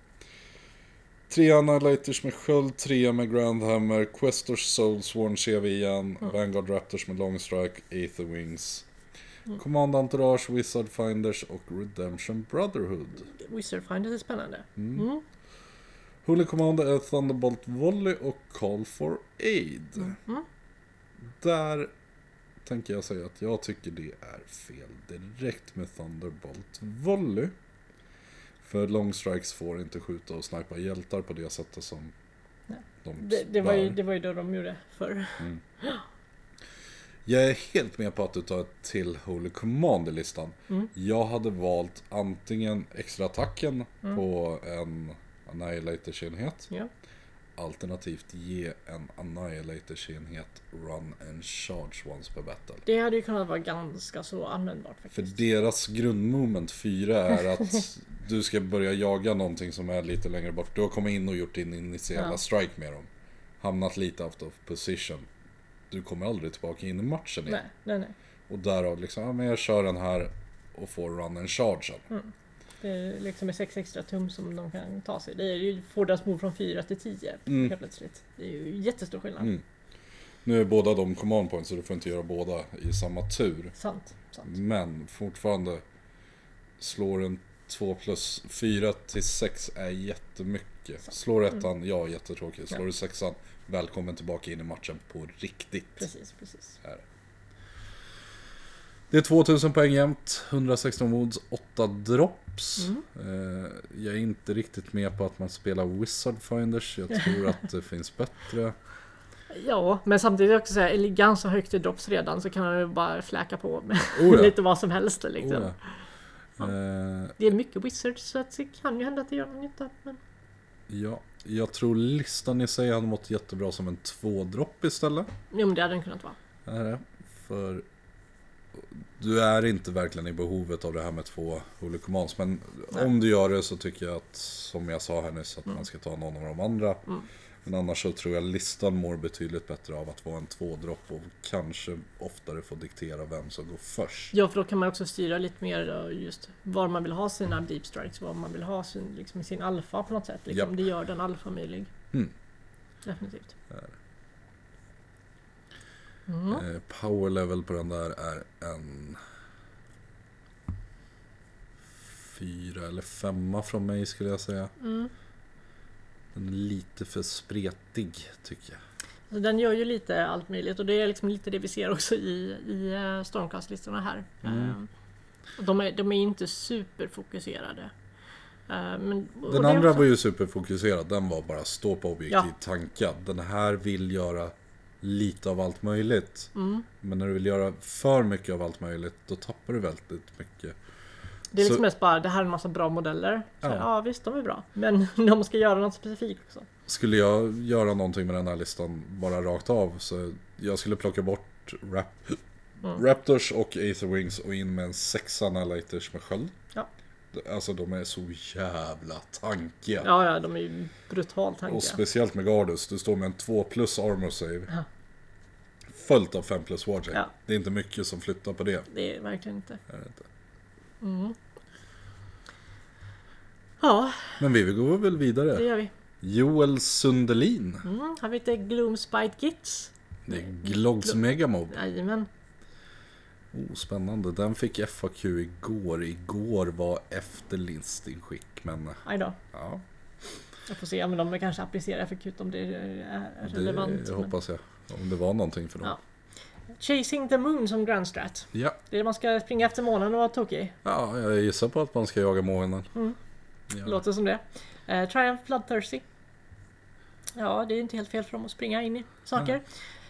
S1: Tre Annihilators med sköld, trea med Grandhammer, Questors Soulsworn ser vi igen, Vanguard Raptors med Long Strike, Aether Wings. Command Entourage, Wizard Finders och Redemption Brotherhood.
S2: Wizard Finders är spännande.
S1: Holy Command är Thunderbolt Volley och Call for Aid.
S2: Mm.
S1: Där tänker jag säga att jag tycker det är fel direkt med Thunderbolt Volley. För Long Strikes får inte skjuta och snipa hjältar på det sättet som
S2: Nej.
S1: de
S2: Det, det, var ju,
S1: bör.
S2: det var ju det de gjorde förr.
S1: Jag är helt med på att du tar ett till Holy Command i listan.
S2: Mm.
S1: Jag hade valt antingen extra attacken på en Annihilators-enhet.
S2: Mm. Ja.
S1: Alternativt ge en Annihilators-enhet Run and Charge once per battle.
S2: Det hade ju kunnat vara ganska så användbart
S1: För
S2: faktiskt.
S1: deras grundmoment 4 är att du ska börja jaga någonting som är lite längre bort. Du har kommit in och gjort din initiala
S2: Ja.
S1: strike med dem. Hamnat lite out of position. Du kommer aldrig tillbaka in i matchen igen.
S2: Nej, nej, nej.
S1: Och därav liksom, ja men jag kör den här och får run and charge sen.
S2: Mm. Det är liksom med 6 extra tum som de kan ta sig. Det är ju, fordras mod från 4 till 10
S1: Mm.
S2: helt plötsligt. Det är ju jättestor skillnad.
S1: Mm. Nu är båda de command points så du får inte göra båda i samma tur.
S2: Sant, sant.
S1: Men fortfarande slår en 2 plus 4 till 6 är jättemycket. Slår
S2: Mm.
S1: ettan, ja jättetråkigt. Slår du sexan, välkommen tillbaka in i matchen på riktigt.
S2: Precis, precis.
S1: Här. Det är 2000 poäng jämt, 116 mods, 8 drops. Eh, Jag är inte riktigt med på att man spelar Wizard Finders. Jag tror att det finns bättre.
S2: Ja, men samtidigt också så här, är ligan så högt i drops redan så kan man ju bara fläka på med
S1: Oh ja.
S2: lite vad som helst. Liksom.
S1: Oh, ja. Eh,
S2: Det är mycket wizards så att det kan ju hända att det gör någon nytta. Men...
S1: ja, jag tror listan i sig hade mått jättebra som en 2-dropp istället.
S2: Jo, men det hade den kunnat vara.
S1: Är det? För du är inte verkligen i behovet av det här med två Holy Commands. Men om du gör det så tycker jag att, som jag sa här nyss, att man ska ta någon av de andra. Men annars så tror jag listan mår betydligt bättre av att vara en tvådropp och kanske oftare få diktera vem som går först.
S2: Ja, för då kan man också styra lite mer då, just var man vill ha sina deep strikes, var man vill ha sin, liksom, sin alfa på något sätt. Liksom.
S1: Japp.
S2: Det gör den alfa möjlig.
S1: Mm.
S2: Definitivt. Mm.
S1: Eh, Power level på den där är en fyra eller femma från mig skulle jag säga.
S2: Mm.
S1: Den är lite för spretig tycker jag.
S2: Så den gör ju lite allt möjligt och det är liksom lite det vi ser också i, i eh, stormcast-listorna här.
S1: Mm.
S2: Ehm, och De är, de är inte superfokuserade. Ehm, Men, och
S1: Den
S2: det är
S1: andra
S2: också-
S1: var ju superfokuserad. Den var bara stå på objektiv
S2: Ja.
S1: tanka. Den här vill göra lite av allt möjligt.
S2: Mm.
S1: Men när du vill göra för mycket av allt möjligt då tappar du väldigt mycket.
S2: Det är liksom
S1: Så-
S2: mest bara, det här är en massa bra modeller. Så,
S1: Ja.
S2: ja. visst, de är bra. Men de ska göra något specifikt också.
S1: Skulle jag göra någonting med den här listan bara rakt av så jag skulle plocka bort rap Raptors och Aether Wings och in med en sexa Annihilators med sköld.
S2: Ja,
S1: Alltså de är så jävla tankiga.
S2: ja, ja de är ju brutalt tankiga.
S1: Och speciellt med Gardus, du står med en 2 plus armor save. Följt av 5 plus ward save.
S2: Ja.
S1: Det är inte mycket som flyttar på det.
S2: Det är verkligen inte. Mm.
S1: Är det inte.
S2: Ja,
S1: Men vi går väl
S2: det
S1: vidare.
S2: gör vi.
S1: Joel Sundelin.
S2: Mm, har vi inte Gloom Spite Gits?
S1: Det är Glogs Megamob.
S2: Jajamän.
S1: Oh, spännande. Den fick FAQ igår. Igår var efter listinskick, men
S2: Aj då.
S1: ja,
S2: Jag får se, men de kanske applicerar för kul om det är är
S1: det
S2: relevant. men-
S1: hoppas jag. Om det var någonting för dem.
S2: Ja. Chasing the Moon som Grand Strat.
S1: Ja.
S2: Det är man ska springa efter månen och vara tokig.
S1: ja, jag gissar på att man ska jaga månen.
S2: Mm.
S1: Ja.
S2: Låter som det. Eh, Triumph Bloodthirsty. Ja, det är inte helt fel för dem att springa in i saker.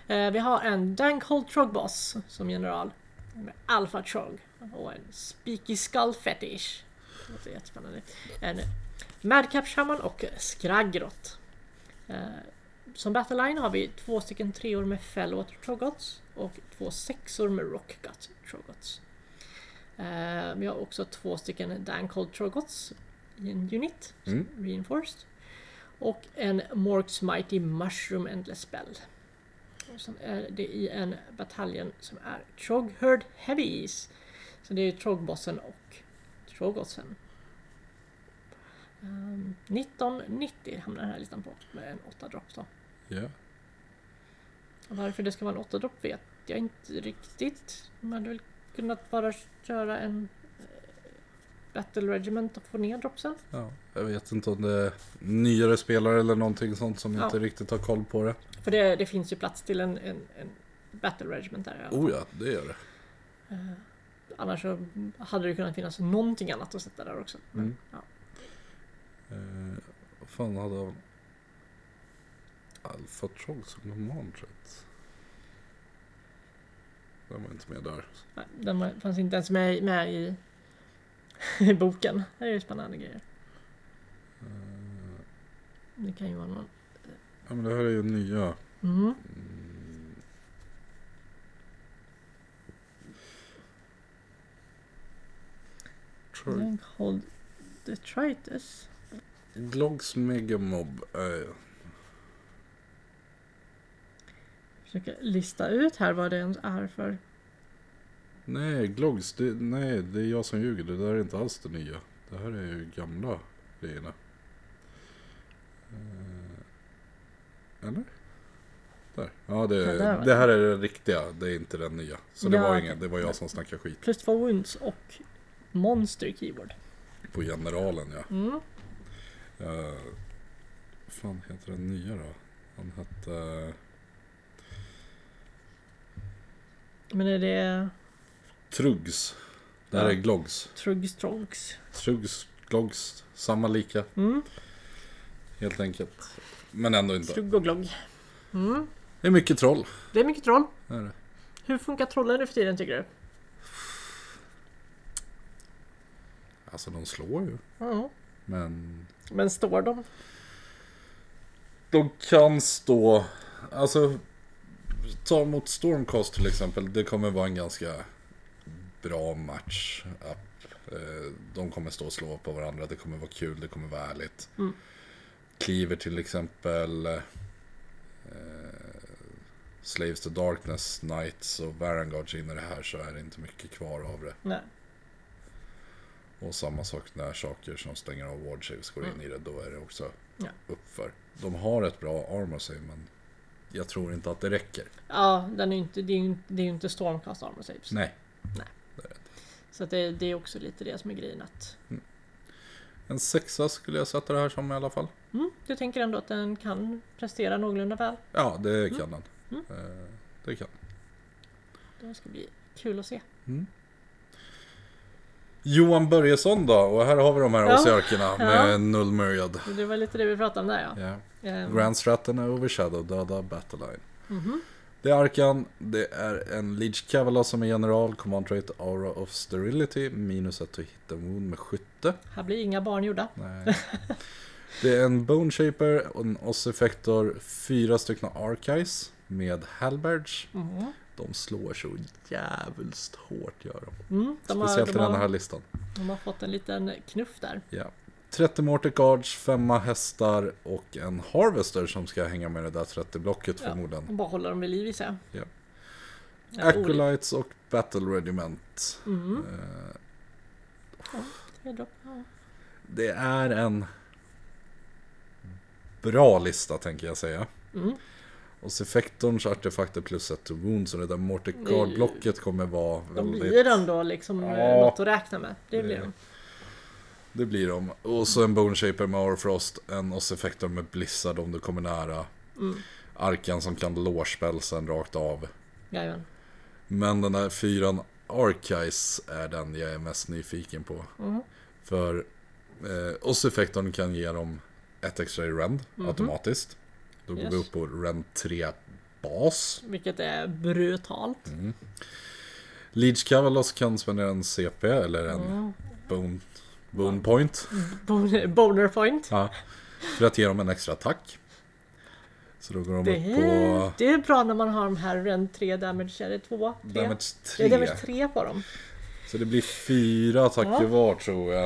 S2: Eh, vi har en Dankhold Trogboss som general. Med Alpha Trog. Och en Speaky Skull Fetish. Det låter jättespännande. En Madcap Shaman och Skraggrott. Eh, som Battleline har vi två stycken treor med Fellwater Trogots och två sexor med Rockgut Trogots. Eh, Men jag har också två stycken Dan Culture Gods i en unit.
S1: Mm.
S2: Reinforced. Och en Morks Mighty Mushroom Endless Spell. Och sen är det i en bataljon som är Trog Herd Heavies. Så det är Trog-bossen och Trogotsen. Ehm, 1990 hamnar den här listan på med en 8-dropp då.
S1: Ja.
S2: Och Varför det ska vara en 8-dropp vet jag inte riktigt. Man hade väl kunnat bara köra en eh, Battle Regiment och få ner droppsen.
S1: ja. Jag vet inte om det är nyare spelare eller någonting sånt som
S2: Ja.
S1: inte riktigt har koll på det.
S2: För det, det finns ju plats till en, en, en Battle Regiment där. Eh,
S1: Oh ja, det gör det.
S2: Annars så hade det kunnat finnas någonting annat att sätta där också. Men,
S1: Mm.
S2: ja.
S1: Eh, vad fan hade han? Alpha Trog som normalt sett. Den var inte med där.
S2: Nej, Den var- fanns inte ens med, med i, i boken. Det är ju spännande grejer. Det kan ju vara någon.
S1: Eh, Ja men det här är ju nya.
S2: Mm.
S1: Trog.
S2: Den hold detritus.
S1: Glogs Megamob. Eh,
S2: Försöker lista ut här vad det ens är för.
S1: nej, Glogs. Det, nej, det är jag som ljuger. Det där är inte alls det nya. Det här är ju gamla grejerna. Eh, eller? Där. Ja, det,
S2: Det där var
S1: det här är det riktiga. Det är inte den nya. Så det
S2: Ja.
S1: var ingen. Det var jag som snackade skit
S2: Plus två wounds och monster keyword.
S1: på generalen ja.
S2: Mm.
S1: Eh, fan heter den nya då? Han hette... eh,
S2: Men är det
S1: Trugs. Det här
S2: Ja.
S1: är Glogs.
S2: Trugstrongs?
S1: Trugs, Glogs. Samma lika.
S2: Mm.
S1: Helt enkelt. Men ändå inte.
S2: Trugg och glogg. Mm.
S1: Det är mycket troll.
S2: Det är mycket troll.
S1: Det Är det.
S2: Hur funkar trollen nu för tiden tycker du?
S1: Alltså de slår ju.
S2: Ja.
S1: Men...
S2: Men står de?
S1: De kan stå... Alltså... Ta mot Stormcast till exempel. Det kommer vara en ganska bra match. Up. Eh, De kommer stå och slå på varandra. Det kommer vara kul. Det kommer vara ärligt.
S2: Mm.
S1: Cleaver till exempel. Eh, Slaves to Darkness, Knights och Varangards in i det här så är det inte mycket kvar av det.
S2: Nej.
S1: Och samma sak när saker som stänger av ward saves går in i det, då är det också
S2: Ja.
S1: uppför. De har ett bra armor save, men jag tror inte att det räcker.
S2: Ja, den är ju inte, det, är ju, inte- det är ju inte Stormcast Armor Saves.
S1: Nej.
S2: Så att det, det är också lite det som är grejen att...
S1: En sexa skulle jag sätta det här som i alla fall.
S2: Mm, du tänker ändå att den kan prestera någorlunda väl?
S1: Ja, det
S2: Mm.
S1: kan den. Eh, Det kan
S2: Det ska bli kul att se.
S1: Johan Börjesson då, och här har vi de här
S2: Ja.
S1: Osiarkerna med
S2: Ja.
S1: Null Myriad.
S2: Det var lite det vi pratade om där ja.
S1: Ja.
S2: Ehm, mhm.
S1: Grand Stratten är Overshadow, döda Battleline. Det är Arkan, det är en Leech Cavala som är general, command trait Aura of Sterility, minus ett to hit and wound med skytte.
S2: Här blir inga barn gjorda.
S1: Nej. Det är en Bone Shaper, en Ossifactor, fyra stycken Archives med Halberds.
S2: Mm.
S1: De slår så jävligt hårt gör de.
S2: Mm, de, har,
S1: Speciellt
S2: de,
S1: i den här
S2: har,
S1: listan.
S2: de har fått en liten knuff där.
S1: Ja. 30 Mortar Guards, femma hästar och en Harvester som ska hänga med det där 30-blocket
S2: Ja.
S1: förmodligen.
S2: De bara håller dem vid liv gissar jag.
S1: Ja.
S2: Ja, olyck-
S1: Acolytes och Battle Regiment.
S2: Mm.
S1: Eh,
S2: tre dropp, ja.
S1: Det är en bra lista tänker jag säga.
S2: Mm.
S1: Och så effektorns artefakter plus ett to wound, så det där Mortecard-blocket kommer vara
S2: De
S1: väldigt...
S2: blir ändå liksom eh,
S1: Ja.
S2: något att räkna med. Det blir de.
S1: Det blir de. Och så en Bone Shaper med Aurfrost, en oss effektor med Blizzard om du kommer nära.
S2: Mm.
S1: Arkan som kan lårspelsen rakt av.
S2: Jajamän.
S1: Men den där fyran Archies är den jag är mest nyfiken på.
S2: Mm.
S1: För eh, oss effektorn kan ge dem ett extra i rend automatiskt. Då går vi
S2: Mhm. Yes.
S1: upp på rend 3 bas.
S2: Vilket är brutalt.
S1: Leech Cavalos kan spendera en CP eller en
S2: Mm.
S1: bone, bone point.
S2: Bon- Boner point.
S1: Ja, för att ge dem en extra attack. Så då går de
S2: Det
S1: upp på
S2: är, det är bra när man har de här Ren 3 damage, är det 2? 3?
S1: damage
S2: Det
S1: 3.
S2: är damage 3 på dem.
S1: Så det blir fyra attacker
S2: Ja.
S1: var tror jag.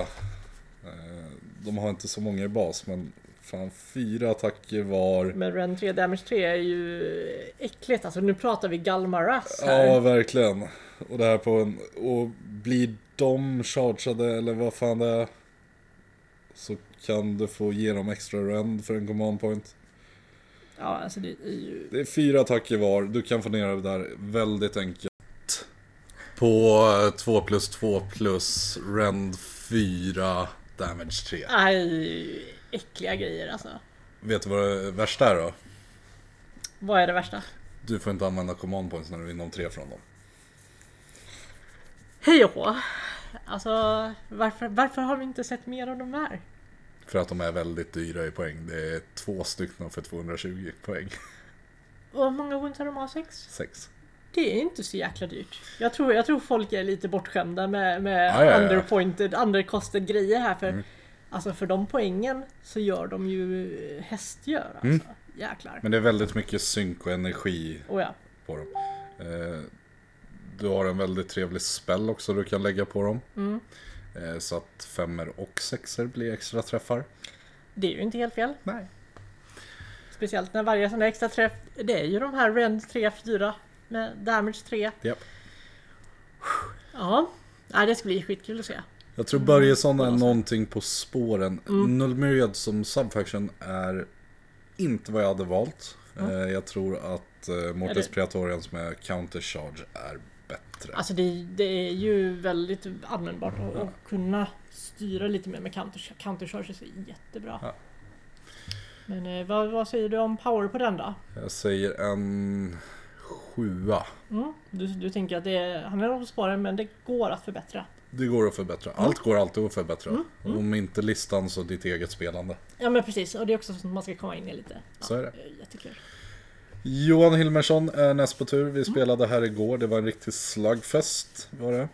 S1: Eh, De har inte så många i bas men fan fyra attacker var.
S2: Men Ren 3 Damage 3 är ju äckligt. Alltså nu pratar vi Galmaras här.
S1: Ja, verkligen. Och det här på en... Och blir de chargeade eller vad fan det är. Så kan du få ge dem extra rend för en command point.
S2: ja, alltså det är ju...
S1: Det är fyra attacker var. Du kan få ner det där väldigt enkelt. På 2 plus 2 plus rend 4 damage 3.
S2: Aj, äckliga grejer alltså.
S1: Vet du vad det värsta är då?
S2: Vad är det värsta?
S1: Du får inte använda command points när du är inom tre från dem.
S2: Hej och hå! Alltså, varför, varför har vi inte sett mer av de här?
S1: För att de är väldigt dyra i poäng. Det är två stycken för 220 poäng.
S2: Och hur många wounds har de A6?
S1: Sex.
S2: Det är inte så jäkla dyrt. Jag tror, jag tror folk är lite bortskämda med, med
S1: Ja, Mm. ja, ja.
S2: underpointed, underkosted grejer här. För, Alltså för de poängen så gör de ju hästgör alltså.
S1: Mm.
S2: Jäklar.
S1: Men det är väldigt mycket synk och energi
S2: Oh, ja.
S1: på dem. Eh, du har en väldigt trevlig spell också du kan lägga på dem.
S2: Mm.
S1: Eh, så att femmer och sexer blir extra träffar.
S2: Det är ju inte helt fel.
S1: Nej.
S2: Speciellt när varje sån här extra träff, det är ju de här Rend 3, 4 med Damage 3.
S1: Japp.
S2: Ja, Nej, det ska bli skitkul att se.
S1: Jag tror Börjesson är någonting på spåren. Nullmyriad som subfaction är inte vad jag hade valt. Eh, Jag tror att eh, Mortis
S2: Är det-
S1: Preatorian som är countercharge är bättre.
S2: Alltså det, det är ju väldigt användbart att, att kunna styra lite mer med counter, countercharges är jättebra.
S1: Ja.
S2: Men eh, vad, vad säger du om power på den då?
S1: Jag säger en sjua.
S2: Mm. Du, du tänker att det är, han är på spåren men det går att förbättra.
S1: Det går att förbättra. Allt går alltid att förbättra. Om inte listan så ditt eget spelande.
S2: Ja men precis, och det är också sånt man ska komma in i lite. Ja, eh,
S1: Så är det.
S2: Jättekul.
S1: Johan Hilmersson är näst på tur. Vi spelade här igår. Det var en riktig slagfest var det.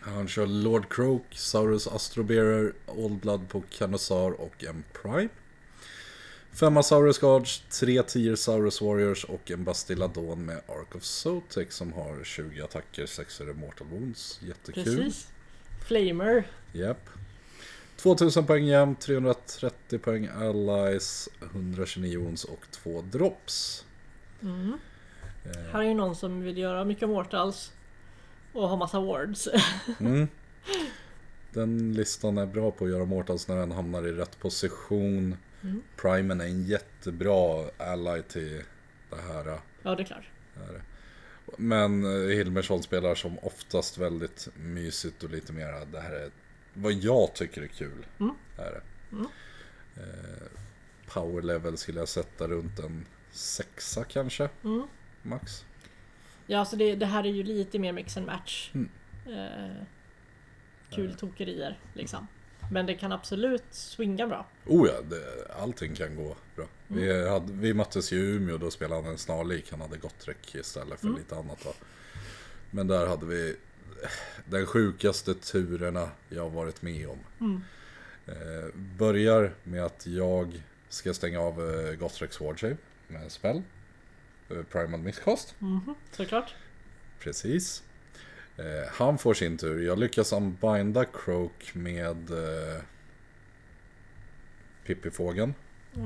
S1: Han kör Lord Croak, Saurus Astrobearer, Old Blood på Canosar och en Prime. Femma Saurus Guards, tre Tier Saurus Warriors och en Bastilladon med Ark of Sotek som har 20 attacker, 6 Mortal Wounds. Jättekul.
S2: Precis. Flamer.
S1: Japp. 2000 poäng jämnt, 330 poäng allies, 129 wounds och 2 drops.
S2: Mm.
S1: Eh,
S2: Här är ju någon som vill göra mycket mortals och ha massa wards.
S1: Mm. Den listan är bra på att göra mortals när den hamnar i rätt position. Primen är en jättebra ally till det här.
S2: ja, det är klart.
S1: Men eh, Hilmersson spelar som oftast väldigt mysigt och lite mera det här är vad jag tycker är kul. Är det. Eh, Power level skulle jag sätta runt en sexa kanske. Max.
S2: Ja, alltså det, det här är ju lite mer mix and match.
S1: Mm.
S2: Eh, kul tokerier liksom. Men det kan absolut swinga bra.
S1: Oh ja, det, allting kan gå bra. Vi, hade, vi möttes i Umeå, då spelade han en snarlik. Han hade Gottrek istället för lite annat. Va? Men där hade vi den sjukaste turerna jag har varit med om. Eh, börjar med att jag ska stänga av eh, Gottreks Wardshape med en spell. Eh, Primal Mistkost.
S2: Såklart.
S1: Precis. Eh, han får sin tur. Jag lyckas unbinda Croak med eh, Pippifågeln.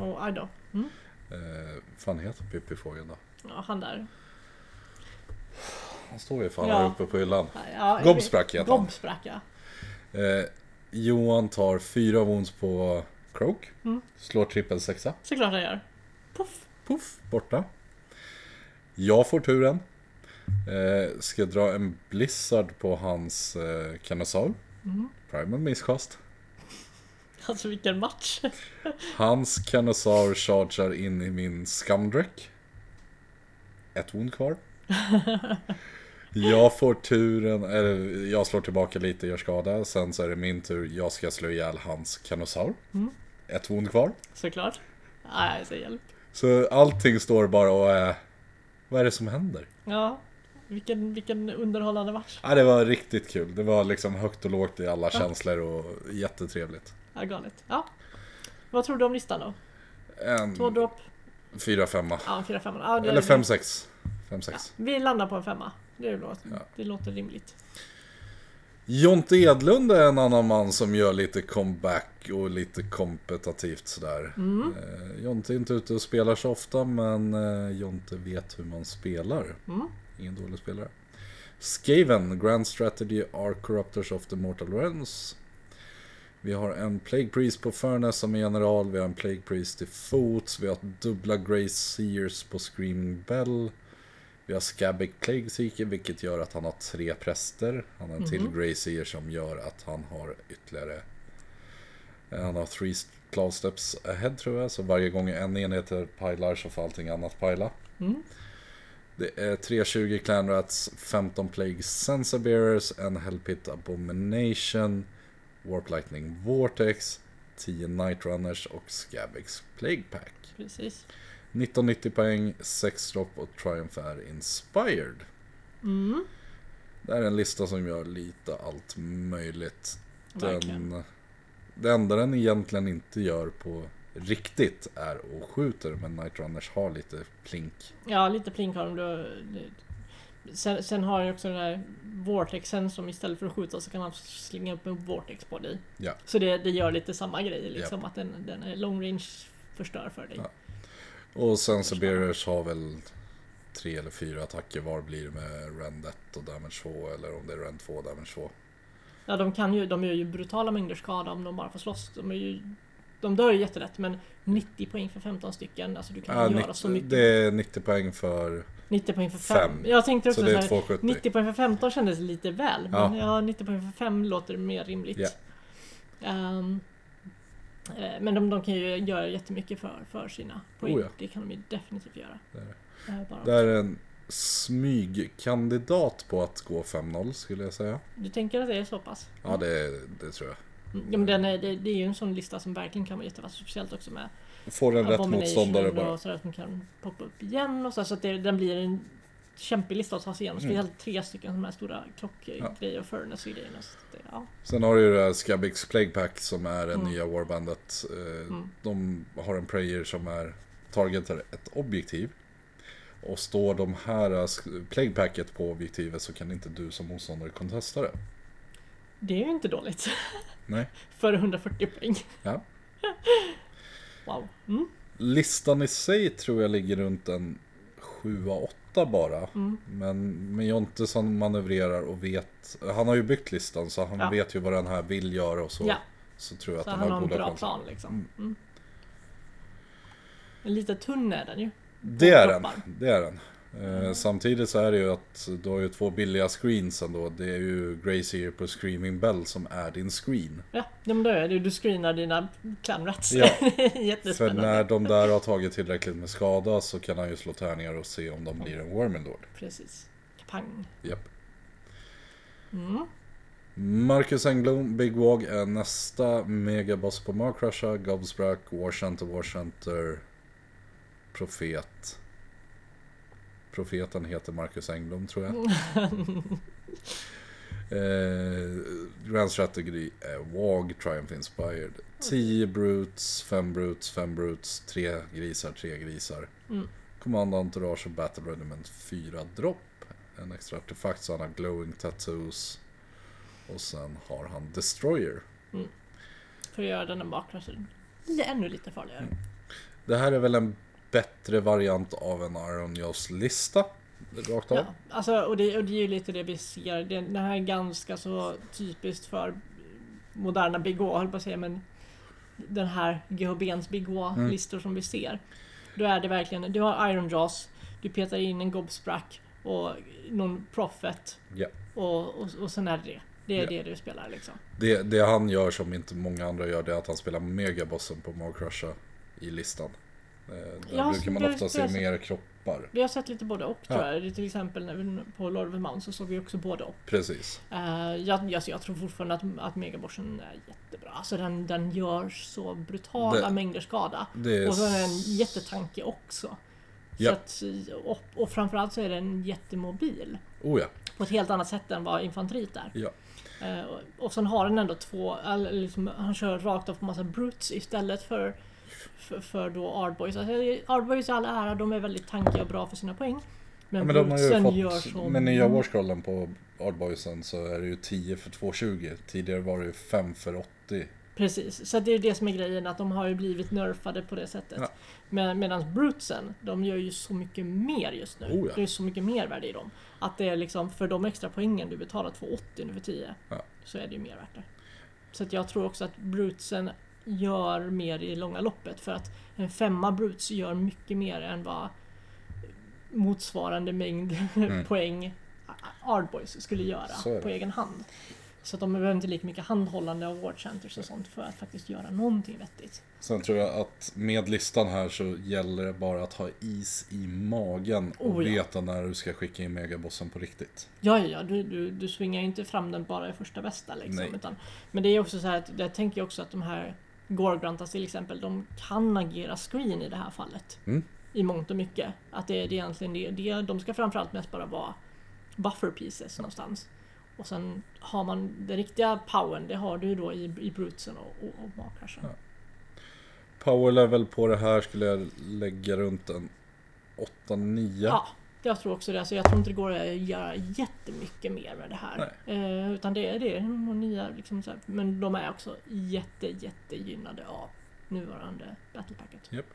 S2: Och aj då. Mm.
S1: Eh, fan heter Pippifågeln då?
S2: Ja, han där.
S1: Han står ju fan
S2: Ja.
S1: här uppe på hyllan.
S2: Ja,
S1: Gobsprack heter han.
S2: Gobsprack ja.
S1: Eh, Johan tar fyra wounds på Croak.
S2: Mm.
S1: Slår trippel sexa.
S2: Såklart han gör. Puff.
S1: Poff, borta. Jag får turen. Eh, ska dra en blizzard på hans eh, Canosaur.
S2: Mm.
S1: Primal misskast.
S2: Alltså vilken match.
S1: Hans Canosaur chargear in i min skamdräck. Ett wound kvar. Jag får turen, eller jag slår tillbaka lite, gör skada. Sen så är det min tur, jag ska slå ihjäl hans Canosaur.
S2: Mm.
S1: Ett wound kvar.
S2: Såklart. Nej, så hjälp.
S1: Så allting står bara och är... Vad är det som händer?
S2: Ja. Vilken, vilken underhållande match.
S1: Ja, det var riktigt kul. Det var liksom högt och lågt i alla känslor och jättetrevligt.
S2: Ja, galet. Ja. Vad tror du om listan då?
S1: En
S2: Två dropp?
S1: fyra, femma.
S2: Ja, fyra, femma. Ja, det-
S1: Mm. Eller fem, sex. Fem, sex.
S2: Vi landar på en femma. Det låter, det låter rimligt.
S1: Jonte Edlund är en annan man som gör lite comeback och lite kompetativt sådär. Eh, Jonte är inte ute och spelar så ofta men eh, Jonte vet hur man spelar. Ingen dålig spelare. Skaven, Grand Strategy are Corruptors of the Mortal Realms. Vi har en Plague Priest på Furnace som är general, vi har en Plague Priest till fots, vi har dubbla Grey Seers på Screaming Bell. Vi har Scabic Plague Seeker vilket gör att han har tre präster. Han har en till Grey Seer som gör att han har ytterligare... eh, Han har three cloud steps ahead tror jag, så varje gång en enhet pajlar så får allting annat pajla.
S2: Mm,
S1: Det är 320 Clan Rats, 15 Plague Sensor Bearers, en Hellpit Abomination, Warp Lightning Vortex, 10 Night Runners och Scabix Plague Pack.
S2: Precis.
S1: 1990 poäng, 6 dropp och Triumph är Inspired.
S2: Mm,
S1: Det här är en lista som gör lite allt möjligt. Den,
S2: Verkligen.
S1: det enda den egentligen inte gör på riktigt är och skjuter, men Night Runners har lite plink.
S2: Ja, lite plink har de. då- det- Sen, sen har jag också den här vortexen som istället för att skjuta så kan han slänga upp en vortex på dig.
S1: Ja.
S2: Så det, det gör lite samma grej liksom, att den, den är long range förstör för dig.
S1: Ja. Och sen så Bearers har väl tre eller fyra attacker var blir det med Rend 1 och Damage 2 eller om det är Rend 2 och Damage 2.
S2: Ja, de kan ju, de gör ju brutala mängder skada om de bara får slåss. De, är ju, de dör ju jättelätt men 90 poäng för 15 stycken, alltså du kan
S1: Ja,
S2: ju göra
S1: 90
S2: så mycket.
S1: Äh, Det är 90 poäng för...
S2: 90 poäng för
S1: Fem.
S2: 5. Jag tänkte
S1: Så
S2: också
S1: det är
S2: så här,
S1: 270.
S2: 90 poäng för 15 kändes lite väl, men ja. 90 poäng för 5 låter mer rimligt.
S1: Ja.
S2: Ehm, eh, men de, de kan ju göra jättemycket för, för sina poäng.
S1: Oh ja.
S2: Det kan de ju definitivt göra.
S1: Det är
S2: Eh, bara.
S1: Det här är en smygkandidat på att gå 5-0 skulle jag säga.
S2: Du tänker att det är så pass?
S1: Ja, det, det tror jag.
S2: Mm, Ja, men den är, det, det är ju en sån lista som verkligen kan vara jättevass, speciellt också med
S1: Får en rätt
S2: Abomination
S1: motståndare bara.
S2: och sådär som kan poppa upp igen och så, så att det, den blir en kämpig lista att ta sig igenom.
S1: Mm.
S2: Speciellt tre stycken sådana här stora
S1: Ja.
S2: klockgrejer och furnace och grejer. Så att det, ja.
S1: Sen har du ju det här Scabix Plague Pack som är det
S2: Mm.
S1: nya Warbandet. Eh,
S2: Mm.
S1: De har en prayer som är targetar ett objektiv. Och står de här eh, sk- Plague Packet på objektivet så kan inte du som motståndare contesta det.
S2: det är ju inte dåligt.
S1: Nej.
S2: För 140 poäng.
S1: Ja.
S2: Wow. Mm.
S1: Listan i sig tror jag ligger runt en 7-8 bara.
S2: Mm.
S1: Men med Jonte som manövrerar och vet. Han har ju byggt listan så han
S2: Ja.
S1: vet ju vad den här vill göra och så.
S2: Ja,
S1: Så tror jag
S2: så
S1: att
S2: han har en
S1: goda
S2: bra
S1: chanser.
S2: plan liksom. Mm. Men Lite tunn är den ju.
S1: Det är den.
S2: Toppar.
S1: Det är den. Eh, Samtidigt så är det ju att du har ju två billiga screens ändå. Det är ju Grace Ear på Screaming Bell som är din screen.
S2: Ja, men då är det ju. Du screenar dina clanrats.
S1: Ja. För
S2: Jättespännande.
S1: när de där har tagit tillräckligt med skada så kan han ju slå tärningar och se om de blir en Wormendord.
S2: Precis. Pang.
S1: Japp. Marcus Engblom, Big Wog är nästa megaboss på Markrusha, Gobsbrack, Warcenter, Warcenter, Profet. Profeten heter Marcus Engblom tror jag. eh, Grand Strategy är Wog, Triumph Inspired. 10 Brutes, 5 Brutes, 5 Brutes, 3 grisar, 3 grisar.
S2: Mm.
S1: Command Entourage och Battle Regiment 4 dropp. En extra artefakt så han har glowing tattoos. Och sen har han Destroyer.
S2: För att göra den där bakre så li- ännu lite
S1: Mm.
S2: farligare.
S1: Det här är väl en bättre variant av en Iron Jaws lista. Rakt av.
S2: Ja, alltså, och, det, och det är ju lite det vi ser. Det, det här är ganska så typiskt för moderna Big O, höll på att säga, men den här GHBns Big O-listor som vi ser. Då är det verkligen, du har Iron Jaws, du petar in en Gobsprack och någon Prophet
S1: Ja.
S2: och, och, och sen är det det. Det är
S1: Ja.
S2: det du spelar liksom.
S1: Det, det han gör som inte många andra gör det är att han spelar megabossen på Magcrusha i listan. Eh, Där
S2: Ja,
S1: brukar man
S2: det-
S1: ofta
S2: det
S1: se
S2: är så.
S1: mer kroppar.
S2: Vi har sett lite både och
S1: Ja.
S2: tror jag. Det är Till exempel när vi, på Lord of the Mountain så såg vi också både och.
S1: Precis.
S2: Eh, jag, jag, jag tror fortfarande att, att megaborsen är jättebra. Alltså den, den gör så brutala
S1: Det-
S2: mängder skada.
S1: Det är
S2: Och så är den en
S1: s-
S2: jättetanke också.
S1: Ja.
S2: Så att, och, och framförallt så är den jättemobil.
S1: Oh ja.
S2: På ett helt annat sätt än vad infanteriet är.
S1: ja.
S2: Eh, och, och sen har den ändå två, eller liksom, han kör rakt av på massa brutes istället för för, för då Ardboys. Alltså, Ardboys i all ära, de är väldigt tankiga och bra för sina poäng. Men,
S1: Ja, men de har ju
S2: brutesen gör
S1: fått
S2: så
S1: med nya Warscrollen på Ardboysen så är det ju 10 för 2,20. Tidigare var det ju 5 för 80.
S2: Precis, så att det är det som är grejen att de har ju blivit nerfade på det sättet.
S1: Ja.
S2: Men, medan brutsen, de gör ju så mycket mer just nu.
S1: Oh ja.
S2: Det är så mycket mer värde i dem. Att det är liksom för de extra poängen du betalar 2,80 nu för 10
S1: Ja.
S2: så är det ju mer värt det. Så att jag tror också att brutsen gör mer i det långa loppet för att en femma bruts gör mycket mer än vad motsvarande mängd poäng Ardboys skulle
S1: Mm. Så är det.
S2: göra på egen hand. Så att de behöver inte lika mycket handhållande av Ward Centers och sånt för att faktiskt göra någonting vettigt.
S1: Sen tror jag att med listan här så gäller det bara att ha is i magen och
S2: Oh ja.
S1: veta när du ska skicka in megabossen på riktigt.
S2: Ja, ja, ja, du, du, du svingar ju inte fram den bara i första bästa
S1: Nej.
S2: liksom. Utan, men det är också så här att jag tänker också att de här Gorgrantas till exempel, de kan agera screen i det här fallet.
S1: Mm.
S2: I mångt och mycket. Att det är det är egentligen det, det de ska framförallt mest bara vara buffer pieces någonstans. Och sen har man den riktiga powern, det har du ju då i, i brutsen och, och, och makrashen.
S1: Power level på det här skulle jag lägga runt en 8-9.
S2: Ja, jag tror också det. Alltså, jag tror inte det går att göra jättemycket mer med det här. Eh, utan det är det. de Nya, liksom, så här. Men de är också jätte, jättegynnade av nuvarande battlepacket.
S1: Japp.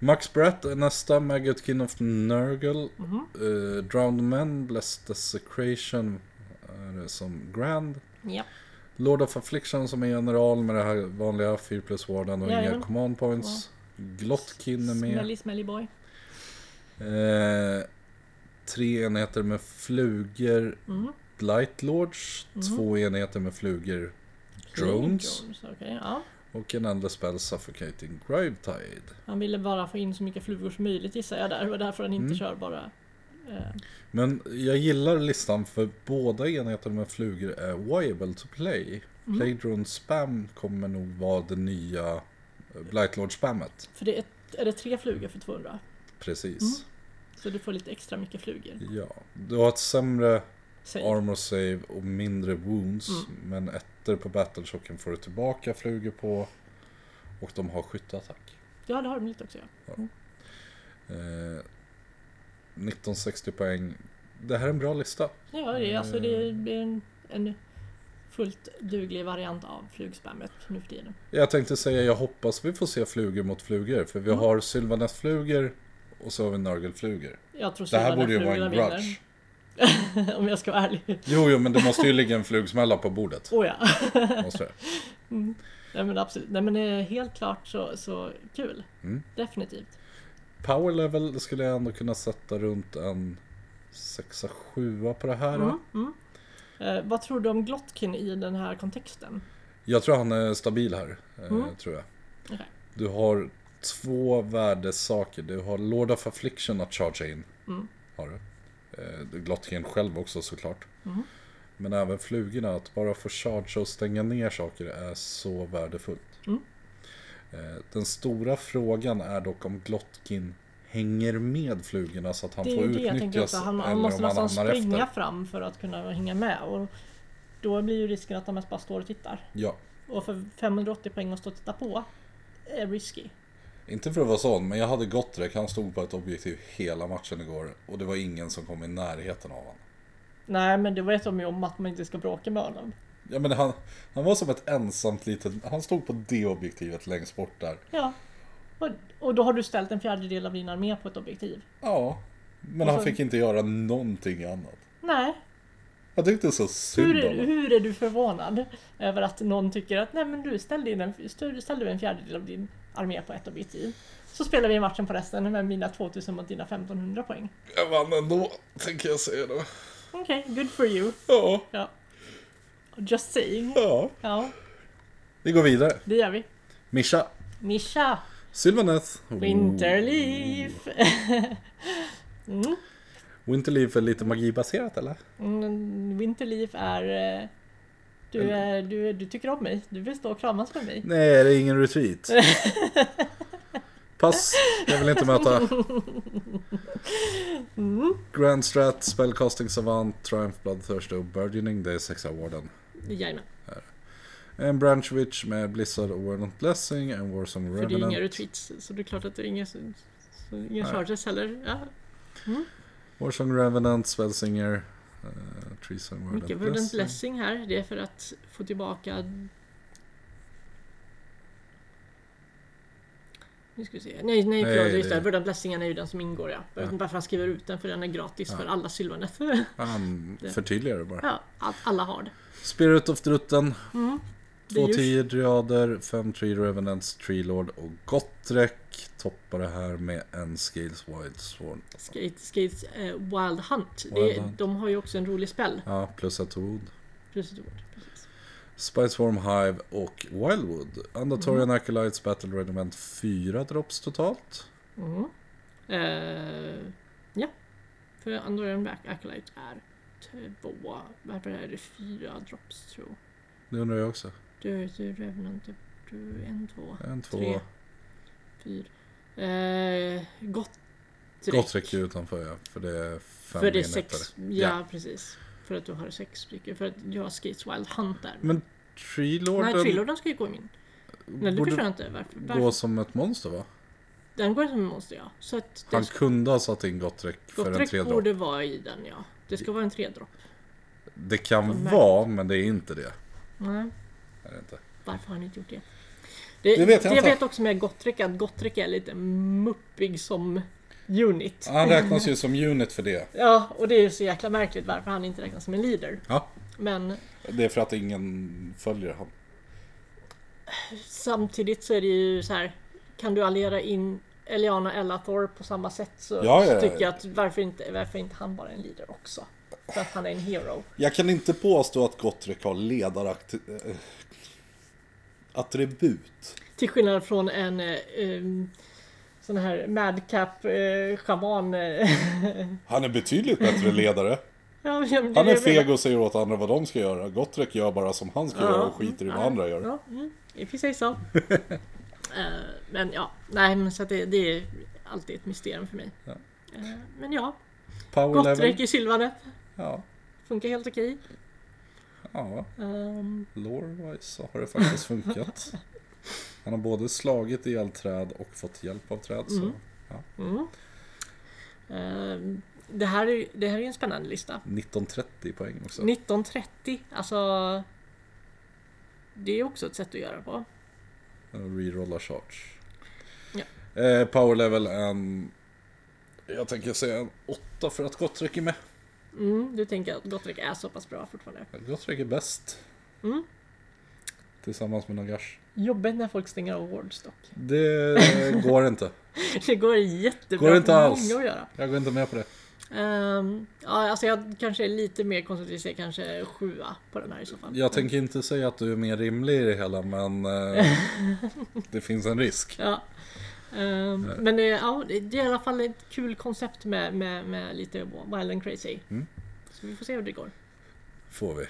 S1: Max Bratt är nästa, Maggot King of Nurgle.
S2: Mhm.
S1: Eh, Drowned Men, Blessed Desecration är det som Grand.
S2: Ja,
S1: Lord of Affliction som är general med det här vanliga 4 plus warden och inga
S2: Jajamän.
S1: command points. Glottkin är med.
S2: smelly smelly boy.
S1: Eh, tre enheter med flugor
S2: Mm.
S1: Blight Lords. Två enheter med flugor Drones.
S2: Drones, okej, ja.
S1: Och en andra spell Suffocating Gravetide.
S2: Han ville bara få in så mycket flugor som möjligt gissar jag där. Det var därför han inte
S1: Mm.
S2: kör bara... Eh,
S1: Men jag gillar listan för båda enheterna med flugor är viable to play. Playdrone Spam kommer nog vara det nya eh, Blight Lord spammet.
S2: för det är, ett- är det tre flugor för 200?
S1: Precis.
S2: Så du får lite extra mycket flugor.
S1: Ja. Du har ett sämre
S2: Säg.
S1: armor save och mindre wounds. Men ettor på battlechocken får du tillbaka flugor på. Och de har skytteattack.
S2: Ja, det har de lite också ja.
S1: Eh, 1960 poäng. Det här är en bra lista.
S2: Ja, det, är- alltså
S1: Eh.
S2: det blir en, en fullt duglig variant av flugspammet nu för tiden.
S1: Jag tänkte säga jag hoppas vi får se flugor mot flugor. För vi har Sylvaness-flugor och så har vi Nurgle-flugor.
S2: Jag tror
S1: Det här
S2: Sylvan
S1: borde ju
S2: är
S1: vara en
S2: flugorna
S1: grudge.
S2: vinner, Om jag ska vara ärlig.
S1: Jo, jo, men det måste ju ligga en flugsmälla på bordet.
S2: Oh, ja.
S1: Måste det.
S2: Nej men absolut. Nej men eh, helt klart så, så kul.
S1: Mm.
S2: Definitivt.
S1: Power level skulle jag ändå kunna sätta runt en 6-7 på det här. va?
S2: Mm, Eh, vad tror du om Glotkin i den här kontexten?
S1: Jag tror han är stabil här. eh, Tror jag.
S2: Mm. Okej.
S1: Du har två värdesaker. Du har Lord of Affliction att charge in.
S2: Mm.
S1: Har du. Eh, du Glottingen själv också såklart.
S2: Mm.
S1: Men även flugorna, att bara få charge och stänga ner saker är så värdefullt.
S2: Mm.
S1: Eh, Den stora frågan är dock om Glotkin hänger med flugorna så att han
S2: Det
S1: får
S2: är ju det jag tänker
S1: utnyttjas
S2: också. Han, han
S1: eller
S2: måste
S1: om han
S2: nästan
S1: hamnar
S2: springa
S1: efter.
S2: fram för att kunna hänga med. Och då blir ju risken att de mest bara står och tittar.
S1: Ja,
S2: Och för 580 poäng att stå och titta på är risky.
S1: inte för att vara sån, men jag hade Gottrek, han stod på ett objektiv hela matchen igår och det var ingen som kom i närheten av honom.
S2: Nej men det vet de ju om att man inte ska bråka med honom.
S1: Ja men han, han var som ett ensamt litet, han stod på det objektivet längst bort där.
S2: Ja. Och, och då har du ställt en fjärdedel av din armé på ett objektiv.
S1: Ja, men
S2: Och
S1: han
S2: så-
S1: fick inte göra någonting annat.
S2: Nej.
S1: Jag tyckte så
S2: Hur
S1: synd
S2: är,
S1: om honom.
S2: hur är du förvånad över att någon tycker att nej men du ställde, in en, du ställde en fjärdedel av din armé på ett objektiv. Så spelar vi matchen på resten med mina 2000 mot dina 1500 poäng.
S1: Jag vann ändå, tänker jag säga då.
S2: Okej, good for you.
S1: Ja,
S2: Ja. Just saying.
S1: ja.
S2: Ja,
S1: Vi går vidare.
S2: det gör vi.
S1: Mischa,
S2: Mischa,
S1: Sylvaneth.
S2: Winterleaf.
S1: Winterleaf är lite magibaserat eller?
S2: Mm, Winterleaf är... eh, Du, är du, du tycker om mig. Du vill stå och kramas med mig.
S1: Nej, det är ingen retreat. Pass, jag vill inte möta.
S2: Mm.
S1: Grand Strat, Spellcasting Savant, Triumph Bloodthirsty och Burgeoning, det är sexa warden.
S2: Jajamän.
S1: En Branch Witch med Blizzard och Warrant Blessing, en Warsong
S2: För det är
S1: Revenant.
S2: inga retreats. Så det är klart att det är inga, så, så inga
S1: Nej.
S2: charges heller. Ja.
S1: Warsong Revenant, Spellsinger, eh, Trees and
S2: Mycket
S1: Verdant
S2: Verdant
S1: Blessing.
S2: Blessing här. Det är för att få tillbaka... Nu ska vi se. Nej, nej,
S1: Nej,
S2: förlåt. Just
S1: det-
S2: det. Verdant Blessing är ju den som ingår ja. Jag vet inte varför han skriver ut den för den är gratis för alla Sylvanet.
S1: Han förtydligar Ah, det bara.
S2: ja, all- alla har det.
S1: Spirit of Drutten.
S2: Mm. Det är
S1: Två
S2: ju-
S1: tio driader, fem Tree Revenants, Tree Lord och Gottrek toppar det här med en Scales Wide Sworn.
S2: Skate, skates eh, Wild Hunt.
S1: Wild
S2: det,
S1: Hunt.
S2: De har ju också en rolig spell.
S1: Ja, plus ett Wood.
S2: Precis. precis.
S1: Spiceworm Hive och Wildwood.
S2: Mm.
S1: Andatorian Acolytes Battle Regiment 4 drops totalt.
S2: Eh, ja. För Andorian Back Acolyte är två. Varför är det fyra drops tror jag?
S1: Det undrar jag också.
S2: Du, du Revenant, du, du en, två,
S1: En, två.
S2: Tre. fyra. Eh, Gottrek.
S1: Gottrek är utanför ja, för det är fem
S2: För det är
S1: enheter.
S2: sex. Ja,
S1: Ja.
S2: precis. För att du har sex stycken. För att jag har Skates Wild Hunt där.
S1: Men Tree Lorden
S2: Nej, Trillorden ska ju gå i min. Nej, det
S1: borde
S2: förstår jag inte. Varför?
S1: gå
S2: varför?
S1: som ett monster va?
S2: Den går som en monster, ja. Så att det
S1: Han kunde ha satt in Gottrek för en
S2: Gottrek
S1: tredje
S2: borde vara i den, ja. Det ska vara en tredropp.
S1: Det kan
S2: Nej.
S1: vara, men det är inte det.
S2: Nej,
S1: Är det inte?
S2: varför har ni inte gjort det? Det,
S1: Det vet jag inte.
S2: vet också med Gottrek att Gottrek är lite muppig som unit.
S1: Han räknas ju som unit för det.
S2: Ja, och det är ju så jäkla märkligt varför han inte räknas som en leader.
S1: Ja,
S2: Men
S1: det är för att ingen följer honom.
S2: samtidigt så är det ju så här Kan du alliera in Eliana Elathor på samma sätt så
S1: Ja, ja, ja.
S2: tycker jag att varför inte, varför inte han bara är en leader också? För att han är en hero.
S1: Jag kan inte påstå att Gottrek har eh, ledarattribut.
S2: Till skillnad från en eh, em, sån här madcap eh, shaman. Eh,
S1: Han är betydligt bättre ledare.
S2: ja, men det det
S1: Han är
S2: jag menar.
S1: feg och säger åt andra vad de ska göra. Gottrek gör bara som han ska göra och skiter i vad andra gör.
S2: Ja, mm, i precis så. Eh, men ja, nej men så att det, det är alltid ett mysterium för mig. Eh, men ja,
S1: Power
S2: Gottrek
S1: level.
S2: i Sylvanet.
S1: Ja,
S2: Funkar helt okej.
S1: ja.
S2: Ehm,
S1: Lore-wise så har det faktiskt funkat. Han har både slagit ihjäl träd och fått hjälp av träd. Så.
S2: Mm. ehm, det, här är, det här är ju en spännande lista.
S1: 1930 poäng också.
S2: 1930, alltså... Det är också ett sätt att göra på.
S1: Rerolla charge.
S2: Ja.
S1: Eh, power level en... Jag tänker säga en 8 för att Gottrek är med.
S2: Mm, du tänker att Gottrek är så pass bra fortfarande.
S1: Gottrek är bäst.
S2: Mm.
S1: Tillsammans med Nagash.
S2: Jobbigt när folk stänger av Wards dock.
S1: Det går inte.
S2: Det går jättebra
S1: Går inte
S2: för
S1: alls.
S2: många att göra.
S1: Jag går inte med på det.
S2: Ehm, ja, alltså jag kanske är lite mer konstruktiv, så jag kanske är sjua på den här i så fall.
S1: Jag tänker inte säga att du är mer rimlig i det hela men eh, det finns en risk.
S2: Ja. Ehm, men det, ja, det det är i alla fall ett kul koncept med, med, med lite wild and crazy.
S1: Mm.
S2: Så vi får se hur det går.
S1: Får vi.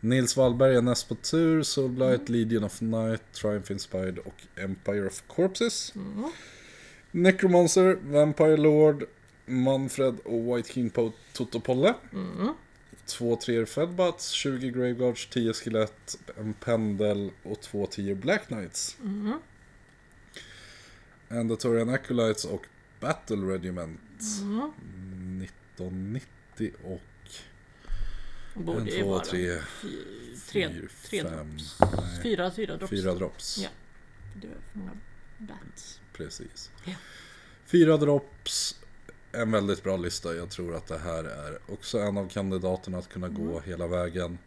S1: Nils Wallberg är näst på tur, Soulblight, Legion of Night, Triumph Inspired och Empire of Corpses.
S2: Mm,
S1: Necromancer, Vampire Lord, Manfred och White King på Totopolle.
S2: mm,
S1: Två treor Fedbats, 20 Graveguards, 10 Skelett, en Pendel och två tior Black Knights.
S2: Mm-hmm.
S1: Endatorian Acolytes och Battle Regiment.
S2: mm.
S1: 1990 och
S2: Borde
S1: en,
S2: ju
S1: två,
S2: vara
S1: tre,
S2: fy- tre,
S1: fyra,
S2: tre
S1: fem,
S2: drops.
S1: nej,
S2: Fyra, fyra drops.
S1: fyra drops.
S2: Ja. Det är för många bats.
S1: Precis.
S2: Ja.
S1: Fyra drops, en väldigt bra lista. Jag tror att det här är också en av kandidaterna att kunna gå
S2: Mm.
S1: hela vägen.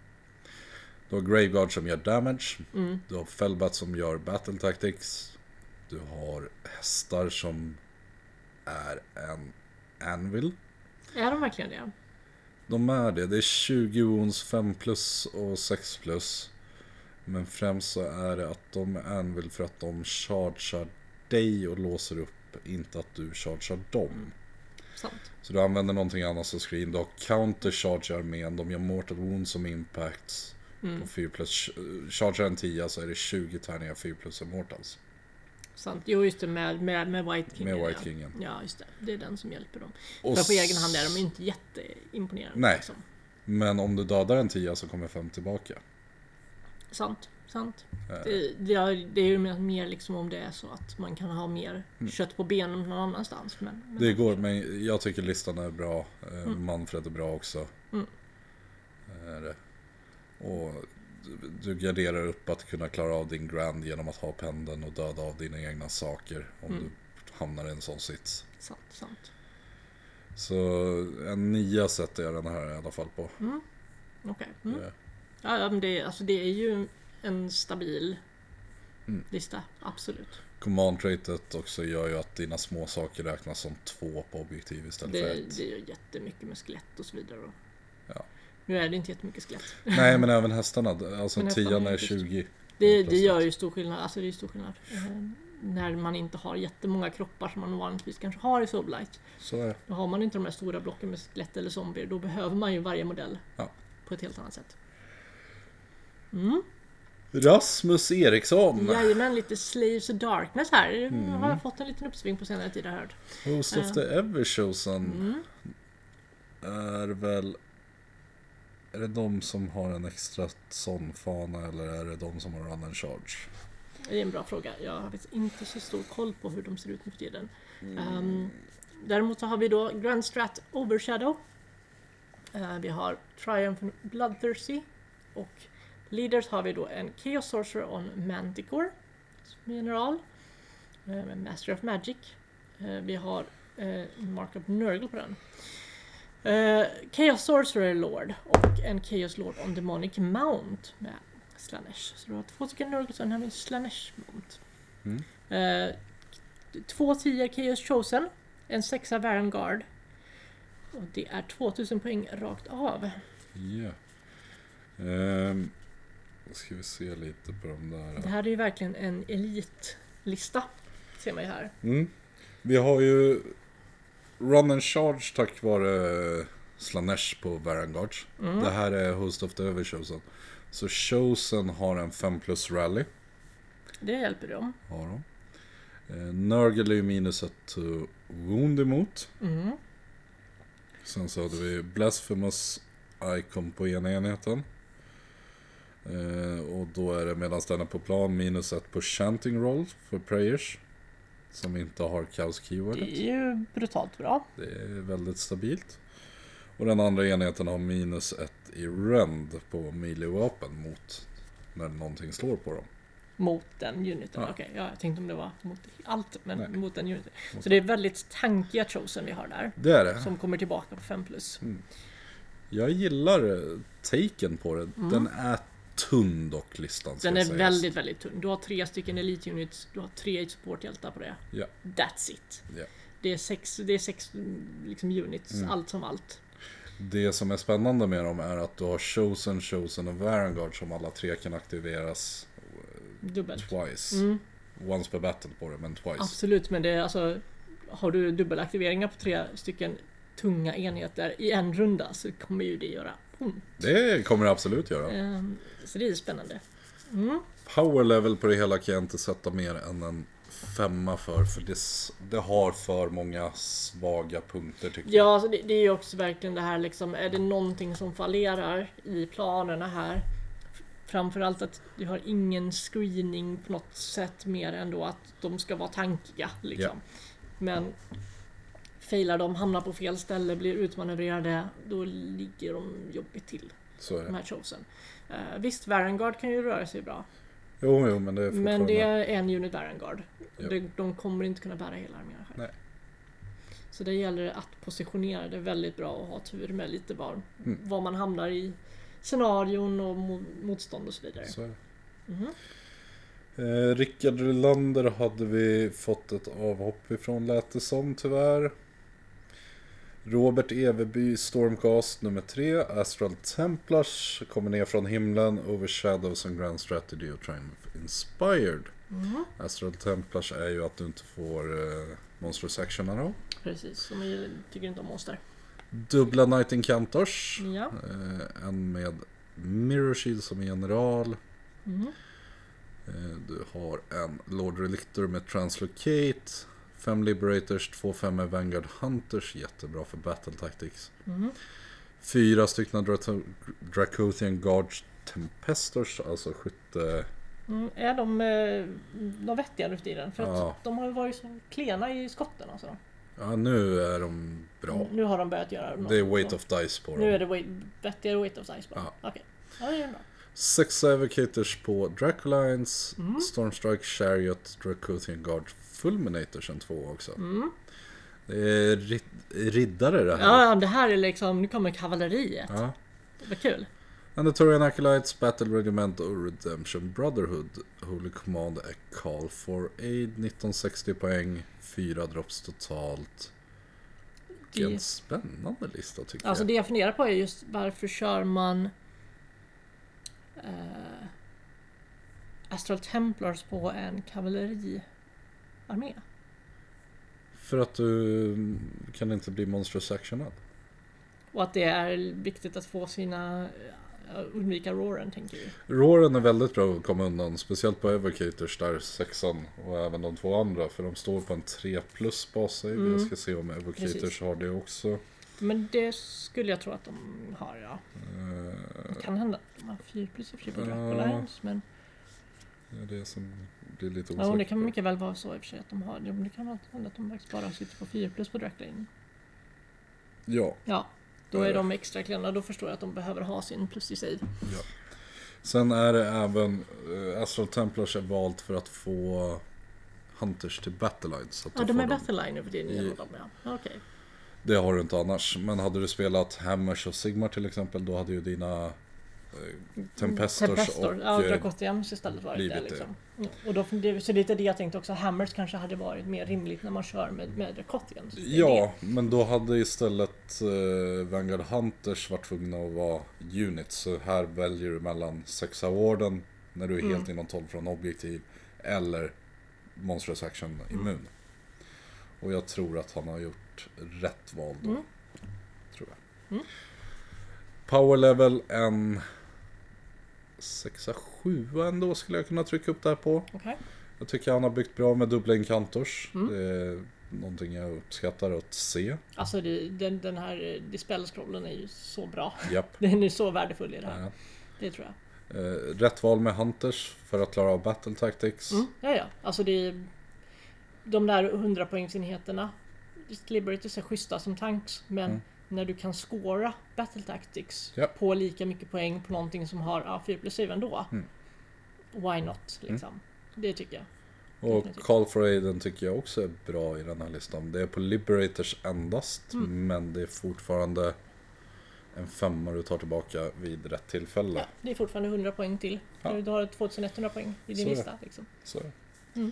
S1: Du har Graveguard som gör damage.
S2: Mm.
S1: Du har Felbat som gör battle tactics. Du har hästar som är en anvil.
S2: Är de verkligen det?
S1: De är det. Det är 20 wounds, 5 plus och 6 plus. Men främst så är det att de är anvil för att de chargear dig och låser upp, inte att du chargear dem.
S2: Sant.
S1: Så du använder någonting annat som screen. Du har counter charge armén, de gör mortal wounds som impacts. På 4 plus, eh, chargear en 10 så är det 20 tärningar 4 plus och mortals.
S2: Sant. Jo, just det med, med, med White Kingen.
S1: Med White
S2: ja.
S1: Kingen.
S2: Ja, just det. Det är den som hjälper dem.
S1: Och
S2: För på
S1: s-
S2: egen hand är de inte jätteimponerande.
S1: Nej.
S2: Liksom.
S1: Men om du dödar en 10 så kommer 5 tillbaka.
S2: Mm. Sant, sant.
S1: Eh.
S2: Det, det, är, det är ju mer- mer liksom om det är så att man kan ha mer
S1: Mm.
S2: kött på benen någon annanstans. Men, men Mm.
S1: Det går, men jag tycker listan är bra. Eh, Manfred är bra också. Är det. Och du- du garderar upp att kunna klara av din grand genom att ha pendeln och döda av dina egna saker om
S2: Mm.
S1: du hamnar i en sån sits.
S2: Sant, sant.
S1: Så en nia sätter jag den här i alla fall på. Eh,
S2: Okej. Mm.
S1: Det-
S2: Ja, ja, men det, alltså det är ju en stabil
S1: Mm.
S2: lista. Absolut.
S1: Command traitet också gör ju att dina små saker räknas som två på objektiv istället
S2: Det,
S1: för ett.
S2: det är ju jättemycket med skelett och så vidare. då.
S1: Ja.
S2: Nu är det inte jättemycket skelett.
S1: Nej men även hästarna, alltså
S2: Men hästarna
S1: tian
S2: är
S1: är
S2: just-
S1: 20.
S2: Det, det
S1: plötsligt.
S2: gör ju stor skillnad. Alltså det är ju stor skillnad. Eh, När man inte har jättemånga kroppar som man vanligtvis kanske har i Soulblight.
S1: Så är det.
S2: Då har man inte de här stora blocken med skelett eller zombier. Då behöver man ju varje modell
S1: Ja.
S2: på ett helt annat sätt.
S1: Rasmus Eriksson!
S2: Jajamän, lite Slaves of Darkness här.
S1: Mm.
S2: Har jag fått en liten uppsving på senare tid har jag hört. Mm.
S1: Host of the Everchosen är väl... Är det de som har en extra sonfana eller är det de som har run and charge?
S2: Det är en bra fråga. Jag har faktiskt inte så stor koll på hur de ser ut nu för tiden. Ehm, däremot så har vi då Grand Strat Overshadow. Eh, vi har Triumph Bloodthirsty. Och Leaders har vi då en Chaos Sorcerer on Manticore. Som general. eh, med Master of Magic. Eh, vi har eh, Mark of Nurgle på den. Eh, Chaos Sorcerer Lord och en Chaos Lord on Demonic Mount med Slanesh. Så du har två stycken Nurgles och den här med Slanesh Mount.
S1: Mm.
S2: Eh, två tior Chaos Chosen, en sexa Varangard. Och det är 2000 poäng rakt av.
S1: Ja. Ehm, Då ska vi se lite på de
S2: Det
S1: där.
S2: här är ju verkligen en elitlista. Ser man ju här.
S1: Mm. Vi har ju run and charge tack vare Slanesh på Varangards.
S2: Mm,
S1: Det här är Host of the Everchosen. Så Chosen har en 5 plus rally.
S2: Det hjälper dem.
S1: har de. Eh, Nurgle är ju minuset to Wound emot.
S2: Mm.
S1: Sen så hade vi Blasphemous Icon på ena enheten. Eh, och då är det medan den är på plan minus ett på Chanting Roll för Prayers. Som inte har Chaos
S2: Det
S1: Keywordet.
S2: är ju brutalt bra.
S1: Det är väldigt stabilt. Och den andra enheten har minus ett i Rend på melee-vapen mot när någonting slår på dem.
S2: Mot den uniten.
S1: Ja.
S2: Okej, ja, jag tänkte om det var mot allt, men
S1: Nej.
S2: mot den uniten. Så det är väldigt tankiga chosen vi har där.
S1: Det är det.
S2: Som kommer tillbaka på 5 plus.
S1: Jag gillar eh, taken på den. Den är tunn dock, listan. ska
S2: Mm. Den är
S1: sägas.
S2: väldigt, väldigt tunn. Du har tre stycken Elite Units, du har tre supporthjältar på det.
S1: Ja,
S2: That's it.
S1: ja.
S2: Det är sex, det är sex mm, liksom, units, allt som allt.
S1: Det som är spännande med dem är att du har Chosen, Chosen och Vanguard som alla tre kan aktiveras
S2: Dubbelt. Mm,
S1: twice. Once per battle på det, men twice.
S2: Absolut, men det är alltså... Har du dubbelaktiveringar på tre stycken tunga enheter i en runda så kommer ju det göra ont.
S1: Det kommer det absolut göra.
S2: Ehm, Så det är spännande.
S1: Power level på det hela kan jag inte sätta mer än en femma för, för det, s- det har för många svaga punkter tycker jag.
S2: Ja, alltså det, det är ju också verkligen det här liksom, är det någonting som fallerar i planerna här? F- Framförallt att du har ingen screening på något sätt mer än då att de ska vara tankiga. Liksom. Men failar de, hamnar på fel ställe, blir utmanövrerade, då ligger de jobbigt till,
S1: Så är
S2: de
S1: det.
S2: här chosen. Eh, visst, Varangard kan ju röra sig bra,
S1: Jo, jo, men det är fortfarande...
S2: men det är en unit Varangard.
S1: Ja.
S2: De, de kommer inte kunna bära hela armén själv.
S1: Nej.
S2: Så det gäller det att positionera det väldigt bra och ha tur med lite var,
S1: Mm.
S2: var man hamnar i scenarion och mo- motstånd och så vidare.
S1: Så är det.
S2: Mhm.
S1: Eh, Rickard Rylander hade vi fått ett avhopp ifrån lät det som tyvärr. Robert Eveby Stormcast nummer 3 Astral Templars kommer ner från himlen Over Shadows and Grand Strategy och Triumph Inspired. Astral Templars är ju att du inte får eh, Monstrous Action Arrow.
S2: Precis, de är, tycker inte om monster.
S1: Dubbla Night Incantors.
S2: Ja.
S1: Eh, en med Mirror Shield som general.
S2: Mm.
S1: Eh, du har en Lord Relictor med Translocate. Fem Liberators, två femmor Vanguard Hunters. Jättebra för Battle Tactics.
S2: Mm.
S1: Fyra stycken Draco- Dracothian Guards Tempestors, alltså skytte...
S2: Mm, är de, eh, de vettiga nu för tiden? För
S1: Ja.
S2: att de har ju varit så klena i skotten alltså.
S1: Ja, nu är de bra.
S2: Nu har de börjat göra något
S1: Det är Weight
S2: så.
S1: of Dice på
S2: Mm, Nu är
S1: dem.
S2: det weight, vettigare Weight of Size bara. Okej. Ja, det är bra.
S1: Sex Advocators på Dracolines,
S2: Mm.
S1: Stormstrike, Chariot, Dracuthian Guard, Fulminator sen två också. Det är rid- riddare det här.
S2: Ja, ja, det här är liksom, nu kommer kavalleriet.
S1: Ja.
S2: Vad kul.
S1: Andatorian Acolytes, Battle Regiment och Redemption Brotherhood. Holy Command är Call for Aid, 1960 poäng, 4 drops totalt. Vilken
S2: Det-
S1: spännande lista tycker
S2: Alltså
S1: jag.
S2: det jag funderar på är just varför kör man eh, Astral Templars på en kavalleriarmé?
S1: För att du mm, kan inte bli monstrous actionad.
S2: Och att det är viktigt att få sina eh, undvika roaren tänker vi.
S1: Roaren är väldigt bra att komma undan, speciellt på Evocators där sexan och även de två andra för de står på en 3 plus bas
S2: Mm.
S1: Jag ska se om Evocators
S2: Precis.
S1: har det också.
S2: Men det skulle jag tro att de har ja.
S1: Eh,
S2: Det kan hända att de har fyrplus i och för sig på
S1: Ja.
S2: Dracolines. Men
S1: det är det som blir lite osäkert.
S2: ja, och det kan mycket väl vara så i och för sig att de har. Det kan hända att de faktiskt bara sitter på fyrplus på Dracolines.
S1: Ja.
S2: Ja, då
S1: Ja,
S2: är
S1: ja.
S2: de extra klena. Då förstår jag att de behöver ha sin plus i sig.
S1: Sen är det även eh, Astral Templars är valt för att få Hunters till Battlelines. så att
S2: Ja,
S1: du
S2: de
S1: får
S2: är
S1: dem.
S2: Battleline nu för tiden.
S1: I-
S2: I... Dem, ja. Okej.
S1: Det har du inte annars. Men hade du spelat Hammers och Sigmar till exempel då hade ju dina eh, Tempestors,
S2: Tempestor.
S1: och...
S2: Ja,
S1: eh,
S2: Dracotiums istället varit
S1: blivit
S2: det.
S1: det.
S2: Liksom. Mm. Och då, det- så lite det jag tänkte också. Hammers kanske hade varit mer rimligt när man kör med, med Dracotium. så det är det.
S1: Ja, men då hade istället eh, Vanguard Hunters varit tvungna att vara units. Så här väljer du mellan sexa warden när du är helt inom 12 från objektiv eller Monstrous Action immun. Och jag tror att han har gjort rätt val då.
S2: Mm.
S1: Tror jag. Power level en sexa sjua ändå skulle jag kunna trycka upp det här på.
S2: Okej.
S1: Jag tycker han har byggt bra med dubbla inkantors.
S2: Mm.
S1: Det är någonting jag uppskattar att se.
S2: Alltså det, den, den här eh, dispel-scrollen är ju så bra.
S1: Japp.
S2: Den är så värdefull i det här.
S1: Ja.
S2: Det tror jag.
S1: Eh, Rätt val med Hunters för att klara av Battle Tactics.
S2: Mm. Ja, ja. Alltså det är, de där 100-poängsenheterna, Liberators är schyssta som tanks, men
S1: Mm.
S2: när du kan scora Battle Tactics
S1: Ja.
S2: på lika mycket poäng på någonting som har ja, 4 plus 7 ändå,
S1: Mm.
S2: why not? Liksom. Det tycker jag.
S1: Och
S2: definitivt.
S1: Call for Aiden tycker jag också är bra i den här listan. Det är på Liberators endast,
S2: Mm.
S1: men det är fortfarande en femma du tar tillbaka vid rätt tillfälle.
S2: Ja, det är fortfarande 100 poäng till.
S1: Ja.
S2: Du har 2100 poäng i din
S1: Så är det.
S2: lista. Liksom.
S1: Så.
S2: Mm.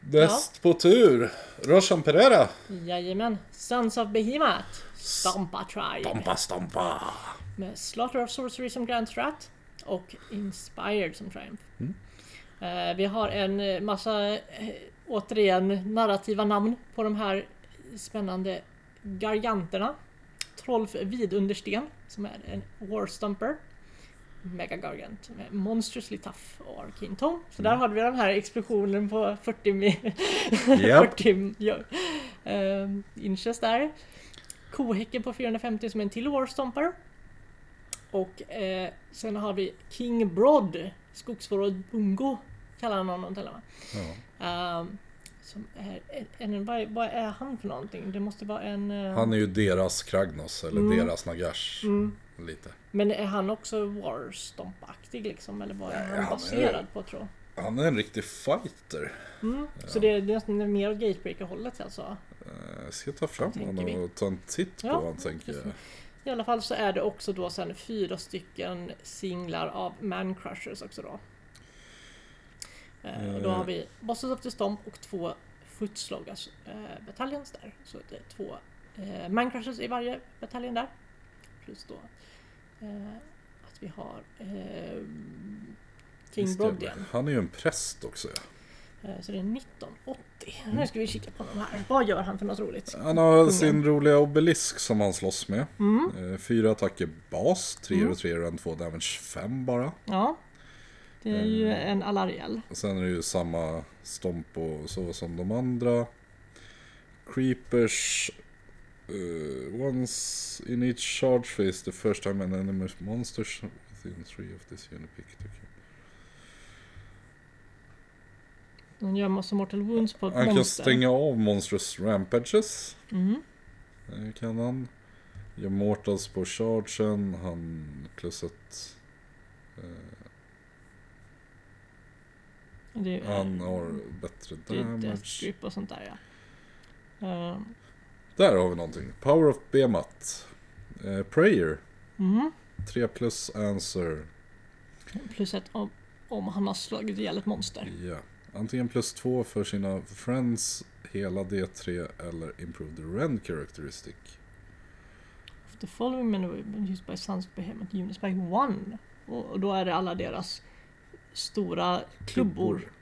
S1: Näst på tur, Roshan Pereira.
S2: Jajamän. Sons of Behemoth, Stampa Tribe.
S1: Stampa, stampa.
S2: med Slaughter of Sorcery som Grand Strat och Inspired som Triumph. Eh, vi har en eh, massa, eh, återigen, narrativa namn på de här spännande garganterna. Trolf Vidundersten som är en War Stomper. Mega Gargant med Monstrously Tough och Arcane Tome. Så där hade vi den här explosionen på 40, mi-
S1: Japp.
S2: 40 ja, eh, inches där. Kohäcken på 450 som är en till War Stomper. Och eh, sen har vi King Broad, skogsförråd Bungo kallar han honom till och med.
S1: Ja.
S2: Ehm, som är, en, en, vad, är- vad är han för någonting? Det måste vara en... eh,
S1: Han är ju deras Kragnos, eller
S2: Mm.
S1: deras Nagash. Lite.
S2: Men är han också Warstomp-aktig liksom? Eller vad är
S1: Nej,
S2: han
S1: han är-
S2: baserad på tror jag?
S1: Han är en riktig fighter.
S2: Så det är, det är nästan mer åt Gatebreaker-hållet alltså?
S1: Eh, Jag ska ta fram
S2: Tänker
S1: honom
S2: vi.
S1: och ta en titt på
S2: Ja,
S1: vad han tänker
S2: just
S1: göra.
S2: det. I alla fall så är det också då sen fyra stycken singlar av Man Crushers också då. Eh, och då
S1: Eh.
S2: har vi Bosses of the Stomp och två Footsloggas eh, bataljons där. Så det är två eh, Man Crushers i varje bataljon där. Plus då eh, att vi har eh, King
S1: Just det.
S2: Brod igen.
S1: Han är ju en präst också. ja.
S2: Eh, så det är 1980.
S1: Mm.
S2: Nu ska vi kika på honom här. Vad gör han för något roligt?
S1: Han har sin roliga obelisk som han slåss med.
S2: Mm.
S1: Eh, Fyra attacker bas, tre och tre och en två damage, fem bara.
S2: Ja. Det är ju
S1: Eh.
S2: en Alariel.
S1: Och sen är det ju samma stomp och så som de andra. Creepers. eh, once in each charge phase the first time an enemy monsters within three of this unit pick. to kill.
S2: Den gör massa Mortal Wounds på ett
S1: Han kan
S2: monster.
S1: stänga av Monstrous Rampages.
S2: Mm.
S1: Det kan han. Gör Mortals på chargen. Han eh, plus ett.
S2: Det är,
S1: Han har bättre
S2: det är death
S1: damage.
S2: grip och sånt där ja. Ehm,
S1: Där har vi någonting. Power of Bemat. Eh, prayer.
S2: mhm.
S1: 3 plus answer.
S2: Plus att om, om han har slagit ihjäl ett monster.
S1: Ja. Antingen plus 2 för sina friends, hela D3 eller improve the rend characteristic.
S2: The following menu used by Sons Behemoth Units by One. Och, och då är det alla deras stora klubbor.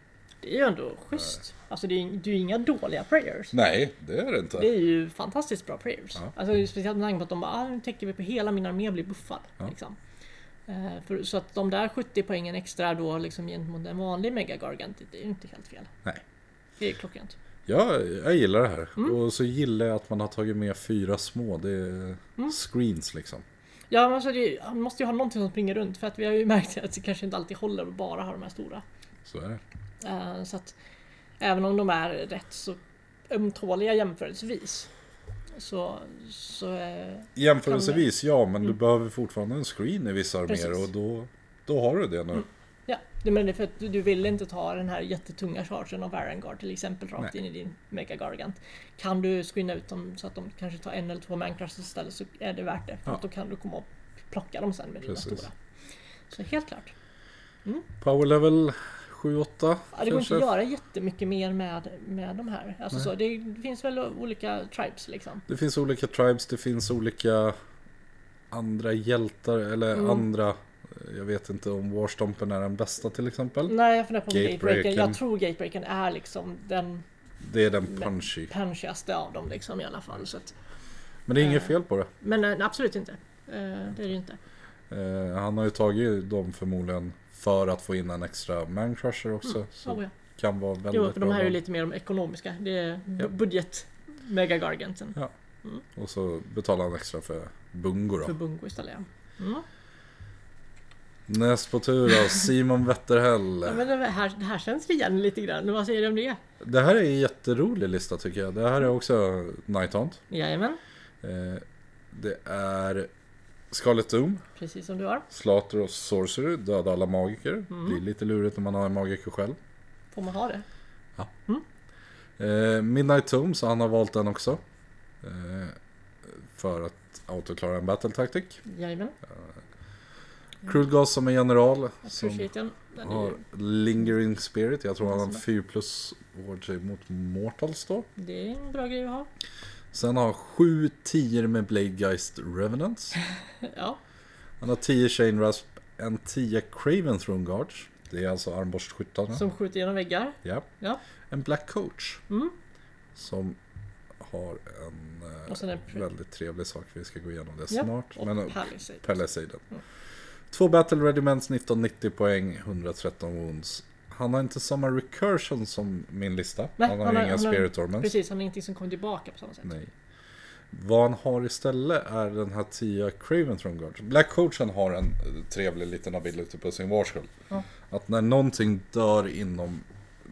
S2: Det är ju ändå schysst. Alltså det är, ju- det är ju inga dåliga prayers.
S1: Nej, det är det inte.
S2: Det är ju fantastiskt bra prayers.
S1: Ja.
S2: Alltså, speciellt med tanke på att de bara, ah, nu täcker vi på hela min armé blir buffad.
S1: Ja.
S2: Liksom. Eh, för, så att de där 70 poängen extra då liksom gentemot en vanlig Mega Gargant, det är ju inte helt fel.
S1: Nej.
S2: Det är klockrent.
S1: Ja, jag gillar det här.
S2: Mm.
S1: Och så gillar jag att man har tagit med fyra små. Det är
S2: Mm.
S1: screens liksom.
S2: Ja, men alltså det, han måste ju ha någonting som springer runt för att vi har ju märkt att det kanske inte alltid håller att bara ha de här stora.
S1: Så är det.
S2: Eh, så att även om de är rätt så ömtåliga jämförelsevis så, så eh,
S1: Jämförelsevis ja, men du behöver fortfarande en screen i vissa arméer
S2: Mm. Precis. Mm.
S1: och då, då har du det nu.
S2: Ja, det menar det för att du, du vill inte ta den här jättetunga chargen av Varangard till exempel rakt
S1: Nej.
S2: in i din Mega Gargant. Kan du screena ut dem så att de kanske tar en eller två mancrushes istället så är det värt det. För
S1: Ja.
S2: att då kan du komma och plocka dem sen med dina
S1: Precis.
S2: stora. Så helt klart.
S1: Power level 7-8
S2: Ja, det går inte att göra jättemycket mer med, med de här. Alltså så, det, det finns väl olika tribes liksom.
S1: Det finns olika tribes, det finns olika andra hjältar eller
S2: Mm.
S1: andra. eh, Jag vet inte om Warstompen är den bästa till exempel.
S2: Nej, jag funderar på om
S1: Gatebreaker.
S2: Gatebreaker. Jag tror Gatebreaker är liksom den
S1: Det är den punchy.
S2: punchigaste av dem liksom i alla fall. Så att,
S1: Men det är inget
S2: Eh.
S1: fel på det.
S2: men eh, absolut inte. Eh, Det är det ju inte.
S1: Eh, han har ju tagit dem förmodligen för att få in en extra mancrusher också. Så
S2: Oh, ja.
S1: kan vara väldigt
S2: Jo, för de här är ju
S1: bra.
S2: lite mer de ekonomiska. Det är bu-
S1: Ja.
S2: budget mega garganten
S1: Och så betalar han extra för Bungo då.
S2: för Bungo istället. ja. Mm.
S1: Näst på tur då, Simon Wetterhäll.
S2: Ja, men det här, det här känns igen lite grann. Vad säger du om det?
S1: Det här är en jätterolig lista tycker jag. Det här är också Night Hunt.
S2: Jajamän,
S1: Eh, det är Scarlet Doom,
S2: precis som du har.
S1: Slater och Sorcery, döda alla magiker. Blir lite lurigt när man har en magiker själv.
S2: Får man ha det?
S1: Eh, Midnight Tomb, så han har valt den också. Eh, för att autoklara en battle tactic.
S2: Jajamän,
S1: Krulgas som är general. Som
S2: appreciaten. Den är,
S1: har
S2: ju-
S1: lingering spirit. Jag tror han har en
S2: Som är-
S1: 4 plus ward save mot mortals då.
S2: det är en bra grej att ha.
S1: Sen har han 7 10 med Blade Geist Revenants.
S2: Ja,
S1: Han har 10 Shane Rasp, en 10 Craven Throne Guards. Det är alltså armborstskyttarna.
S2: som skjuter genom väggar.
S1: Ja.
S2: Ja.
S1: En Black Coach.
S2: Mm.
S1: Som har en eh,
S2: Och sen en pr-
S1: väldigt trevlig sak. Vi ska gå igenom det
S2: Ja,
S1: snart.
S2: och uh,
S1: Men eh,
S2: Palisade.
S1: Palissaden.
S2: Mm.
S1: Två Battle Regiments, 1990 poäng, 113 wounds. Han har inte samma recursion som min lista.
S2: Nej,
S1: han har
S2: han
S1: ju
S2: har-
S1: inga
S2: han har-
S1: Spirit Ormans.
S2: Precis, han är ingenting som kommer tillbaka på samma sätt.
S1: Nej. Vad han har istället är den här 10 Craven Throne Guards. Black Coachen har en eh, trevlig liten ability på sin Warskull.
S2: Ja.
S1: Att när någonting dör inom,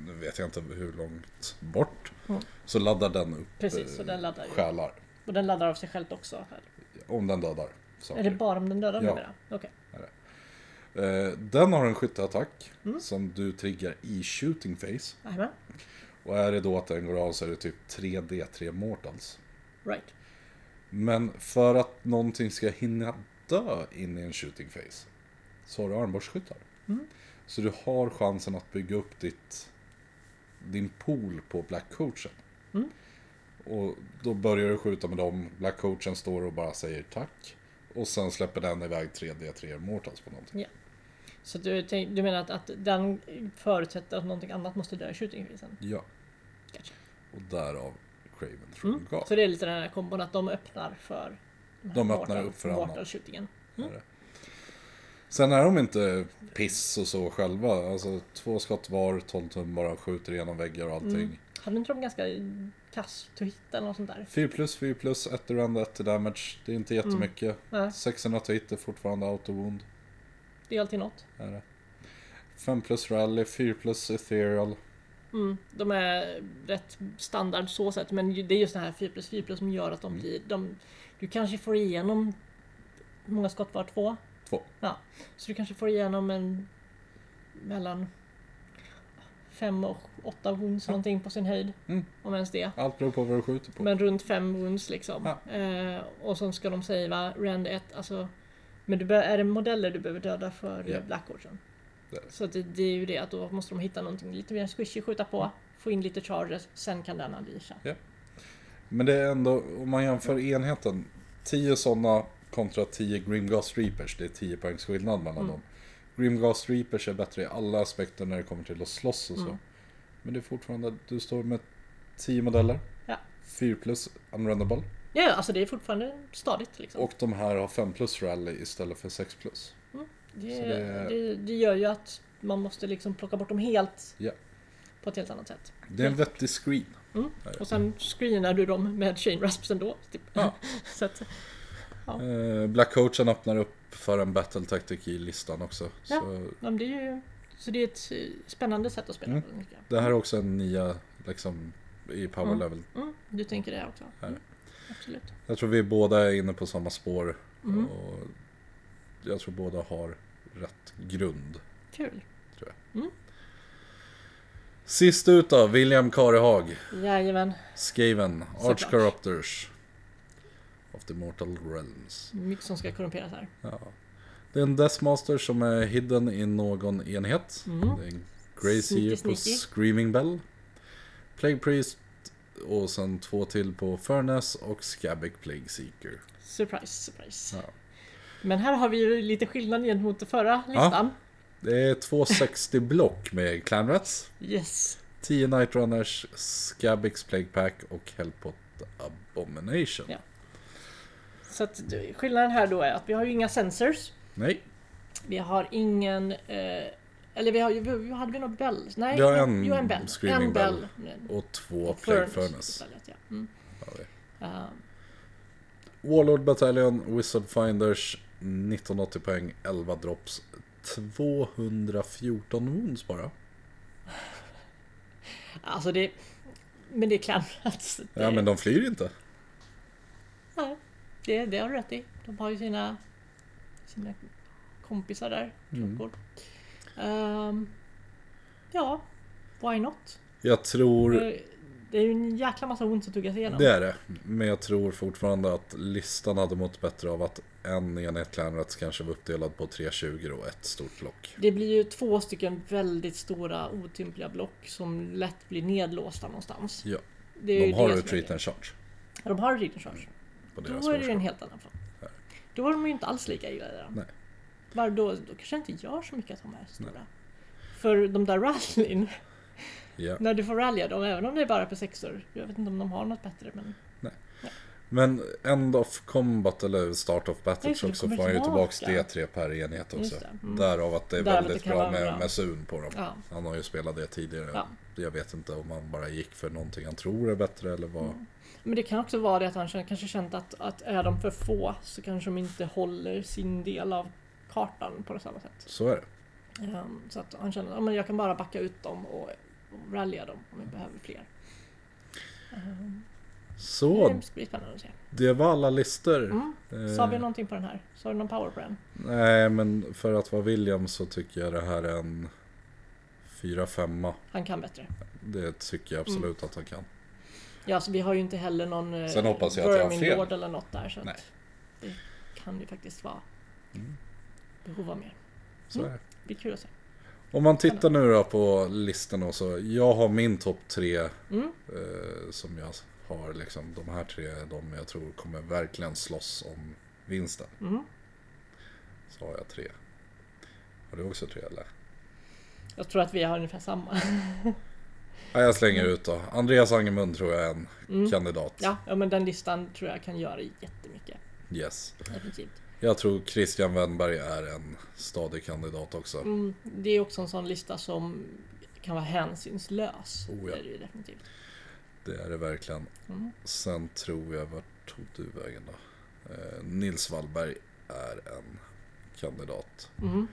S1: nu vet jag inte hur långt bort,
S2: Mm.
S1: så laddar den upp
S2: Precis, så
S1: eh,
S2: den laddar ju.
S1: själar.
S2: Och den laddar av sig själv också. Här.
S1: Om den dödar saker.
S2: Är det bara om den dödar
S1: Ja.
S2: numera? Okej.
S1: Eh, Den har en skytteattack
S2: Mm.
S1: som du triggar i shooting phase.
S2: Jajamän,
S1: Och är det då att den går av så är det typ 3D3 Mortals.
S2: right.
S1: Men för att någonting ska hinna dö in i en shooting phase så har du armborstskyttar. Så du har chansen att bygga upp ditt, din pool på black coachen. Och då börjar du skjuta med dem, black coachen står och bara säger tack. Och sen släpper den iväg 3D3 Mortals på någonting.
S2: Så du, tänk, du menar att, att den förutsätter att någonting annat måste dö i shootingfisen?
S1: Ja.
S2: Gotcha.
S1: Och därav Craven Throne mm.
S2: Så det är lite den här kombon att de öppnar för här
S1: De öppnar
S2: mortal-
S1: upp för
S2: mortal
S1: annat.
S2: shootingen.
S1: Sen är de inte piss och så själva. Alltså två skott var, 12 tum bara, skjuter igenom väggar och allting.
S2: Hade inte de ganska kass to hit eller något sånt där?
S1: 4 plus, 4 plus, 1 till rand, 1 till damage. Det är inte
S2: Mm.
S1: jättemycket.
S2: Nej,
S1: 600 till hit är fortfarande auto-wound.
S2: det är alltid något.
S1: Är det. 5 plus rally, 4 plus ethereal.
S2: Mm, de är rätt standard så sätt men ju- det är just det här 4 plus 4 plus som gör att
S1: Mm.
S2: de blir... De, du kanske får igenom... Hur många skott var? Två?
S1: Två.
S2: Ja. Så du kanske får igenom en... Mellan... Fem och åtta wounds någonting på sin höjd.
S1: Mm.
S2: Om ens det.
S1: Allt beror på vad du skjuter på.
S2: Men runt fem wounds liksom.
S1: Ja.
S2: Eh, och sen ska de säga rend 1, alltså... Men du bör, är det modeller du behöver döda för
S1: Ja.
S2: yeah. Blackwatchen?
S1: Det är det.
S2: Så att det, det är ju det att då måste de hitta någonting lite mer squishy att skjuta på, få in lite charges, sen kan den unleasha.
S1: Men det är ändå, om man jämför enheten, 10 sådana kontra 10 Grimgas Reapers, det är 10 poängs skillnad mellan
S2: Mm.
S1: dem. Grimgas Reapers är bättre i alla aspekter när det kommer till att slåss och så.
S2: Mm.
S1: Men det är fortfarande, du står med 10 modeller,
S2: Ja.
S1: 4 plus unrunnable
S2: Ja, ja, alltså det är fortfarande stadigt liksom.
S1: och de här har 5 plus rally istället för 6 plus.
S2: det,
S1: så
S2: det...
S1: det-
S2: Det, gör ju att man måste liksom plocka bort dem helt
S1: Ja.
S2: på ett helt annat sätt.
S1: Det är en vettig screen.
S2: Och sen screenar du dem med chain rasps ändå. Typ.
S1: Ja.
S2: så att,
S1: Eh, Black Coachen öppnar upp för en battle tactic i listan också.
S2: Ja.
S1: Så
S2: ja, men det är ju, så det är ett eh, spännande sätt att spela
S1: Mm.
S2: på. Tycker jag.
S1: det här är också en nia liksom, i power
S2: Mm.
S1: level
S2: Mm, du tänker det också? Mm, absolut.
S1: Jag tror vi båda är inne på samma spår.
S2: Mm.
S1: Och jag tror båda har rätt grund.
S2: Kul.
S1: Sist ut då, William Karehag,
S2: Jajamän.
S1: Skaven,
S2: Såklart.
S1: Arch Corruptors of the Mortal Realms.
S2: Mycket som ska korrumperas här.
S1: Ja. Det är en Deathmaster som är hidden i någon enhet.
S2: Mm.
S1: Det är en Grey
S2: Sneaky,
S1: Seer på
S2: sneaky.
S1: Screaming Bell. Plague Priest och sen två till på Furnace och Scabic Plague Seeker.
S2: Surprise, surprise.
S1: Ja.
S2: Men här har vi ju lite skillnad gentemot den förra listan.
S1: Det är 260 block med Clanrats.
S2: Yes.
S1: 10 Night Runners, Scabix Plague Pack och Hellpot Abomination.
S2: Ja. Så att det- skillnaden här då är att vi har ju inga sensors.
S1: Nej,
S2: Vi har ingen... Eh, eller vi har ju... vi- Hade vi någon bell? Nej,
S1: Vi har en
S2: jo, en bell.
S1: screaming
S2: en bell.
S1: och två
S2: Och
S1: Plague
S2: furnace
S1: Furnace.
S2: istället, ja. Mm.
S1: har vi.
S2: Eh,
S1: Warlord Battalion, Wizard Finders, 1980 poäng, 11 drops, 214 wounds bara.
S2: alltså det... Men det är klandrat.
S1: Ja men de flyr inte.
S2: Nej, det, det har du rätt i. De har ju sina, sina kompisar där. Klockor. Ehm, ja, why not?
S1: Jag tror,
S2: Det det är ju en jäkla massa ont som tuggar sig igenom.
S1: det är det. Men jag tror fortfarande att listan hade mått bättre av att en enhet Clanrats kanske var uppdelad på 320 och ett stort block.
S2: Det blir ju två stycken väldigt stora otympliga block som lätt blir nedlåsta någonstans.
S1: Ja,
S2: Det är
S1: de
S2: ju
S1: har
S2: det som är
S1: retreat
S2: grejen.
S1: and charge.
S2: Ja, De har retreat charge.
S1: På deras
S2: Då är det ju
S1: årsgång.
S2: en helt annan fråga. Då är de ju inte alls lika illa där.
S1: Nej.
S2: Bara då, då kanske det inte gör så mycket att de är stora. För de där rallyn,
S1: Ja.
S2: när du får rallya dem, även om det är bara på sexor. Jag vet inte om de har något bättre men...
S1: Men End of Combat eller Start of
S2: Just
S1: Battles
S2: det,
S1: också
S2: det kommer
S1: får han ju tillbaks
S2: tillbaka.
S1: D3 per enhet också.
S2: Just det, mm.
S1: Därav att det är
S2: Därav att
S1: väldigt
S2: det kan
S1: bra
S2: vara
S1: med,
S2: bra.
S1: med sun på dem.
S2: Ja.
S1: Han har ju spelat det tidigare.
S2: Ja.
S1: Jag vet inte om han bara gick för någonting han tror är bättre eller vad.
S2: Mm. Men det kan också vara det att han kän- kanske känt att, att är de för få så kanske de inte håller sin del av kartan på samma sätt.
S1: Så är det.
S2: Ehm, Så att han känner att "Ja, men jag kan bara backa ut dem och och rallya dem om jag behöver fler.
S1: Så,
S2: Det blir spännande att se.
S1: det var alla listor.
S2: Mm.
S1: Eh.
S2: Sa vi någonting på den här? Sa du någon power brand?
S1: Nej, men för att vara William så tycker jag det här är en 4-5.
S2: Han kan bättre.
S1: Det tycker jag
S2: Mm.
S1: absolut att han kan.
S2: Ja, så vi har ju inte heller någon eh,
S1: Sen hoppas jag att jag har
S2: Vermin Lord
S1: fel.
S2: eller något där. Så
S1: Nej. Mm.
S2: att det kan ju faktiskt vara behov av mer.
S1: Så är det.
S2: Det blir kul att se.
S1: Om man tittar nu då på listorna och så. Jag har min topp tre
S2: Mm.
S1: eh, som jag har liksom. De här tre är de jag tror kommer verkligen slåss om vinsten.
S2: Mm.
S1: Så har jag tre. Har du också tre eller?
S2: Jag tror att vi har ungefär samma.
S1: Ja, jag slänger ut då. Andreas Angemund tror jag är en kandidat.
S2: Mm. Ja, ja, men den listan tror jag kan göra jättemycket.
S1: Yes.
S2: Definitivt.
S1: Jag tror Christian Wennberg är en stadig kandidat också.
S2: Mm, det är också en sån lista som kan vara hänsynslös.
S1: Oh, ja.
S2: Det är det ju definitivt.
S1: Det är det verkligen.
S2: Mm.
S1: Sen tror jag, vart tog du vägen då? Eh, Nils Wallberg är en kandidat.
S2: Mm.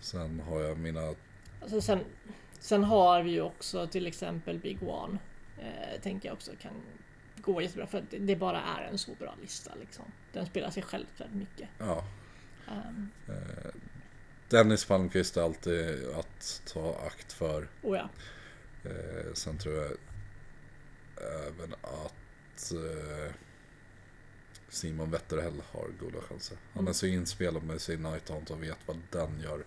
S1: Sen har jag mina...
S2: Alltså sen, Sen har vi ju också till exempel Big One. Eh, tänker jag också kan gå jättebra för att det- det bara är en så bra lista liksom. Den spelar sig själv väldigt mycket.
S1: Ja. eh,
S2: Ehm,
S1: Dennis Palmqvist är alltid att ta akt för.
S2: och ja,
S1: Eh, sen tror jag även att eh, Simon Wetterhäll har goda chanser. Han är
S2: Mm.
S1: så inspelad med sin Nighthaunt och vet vad den gör.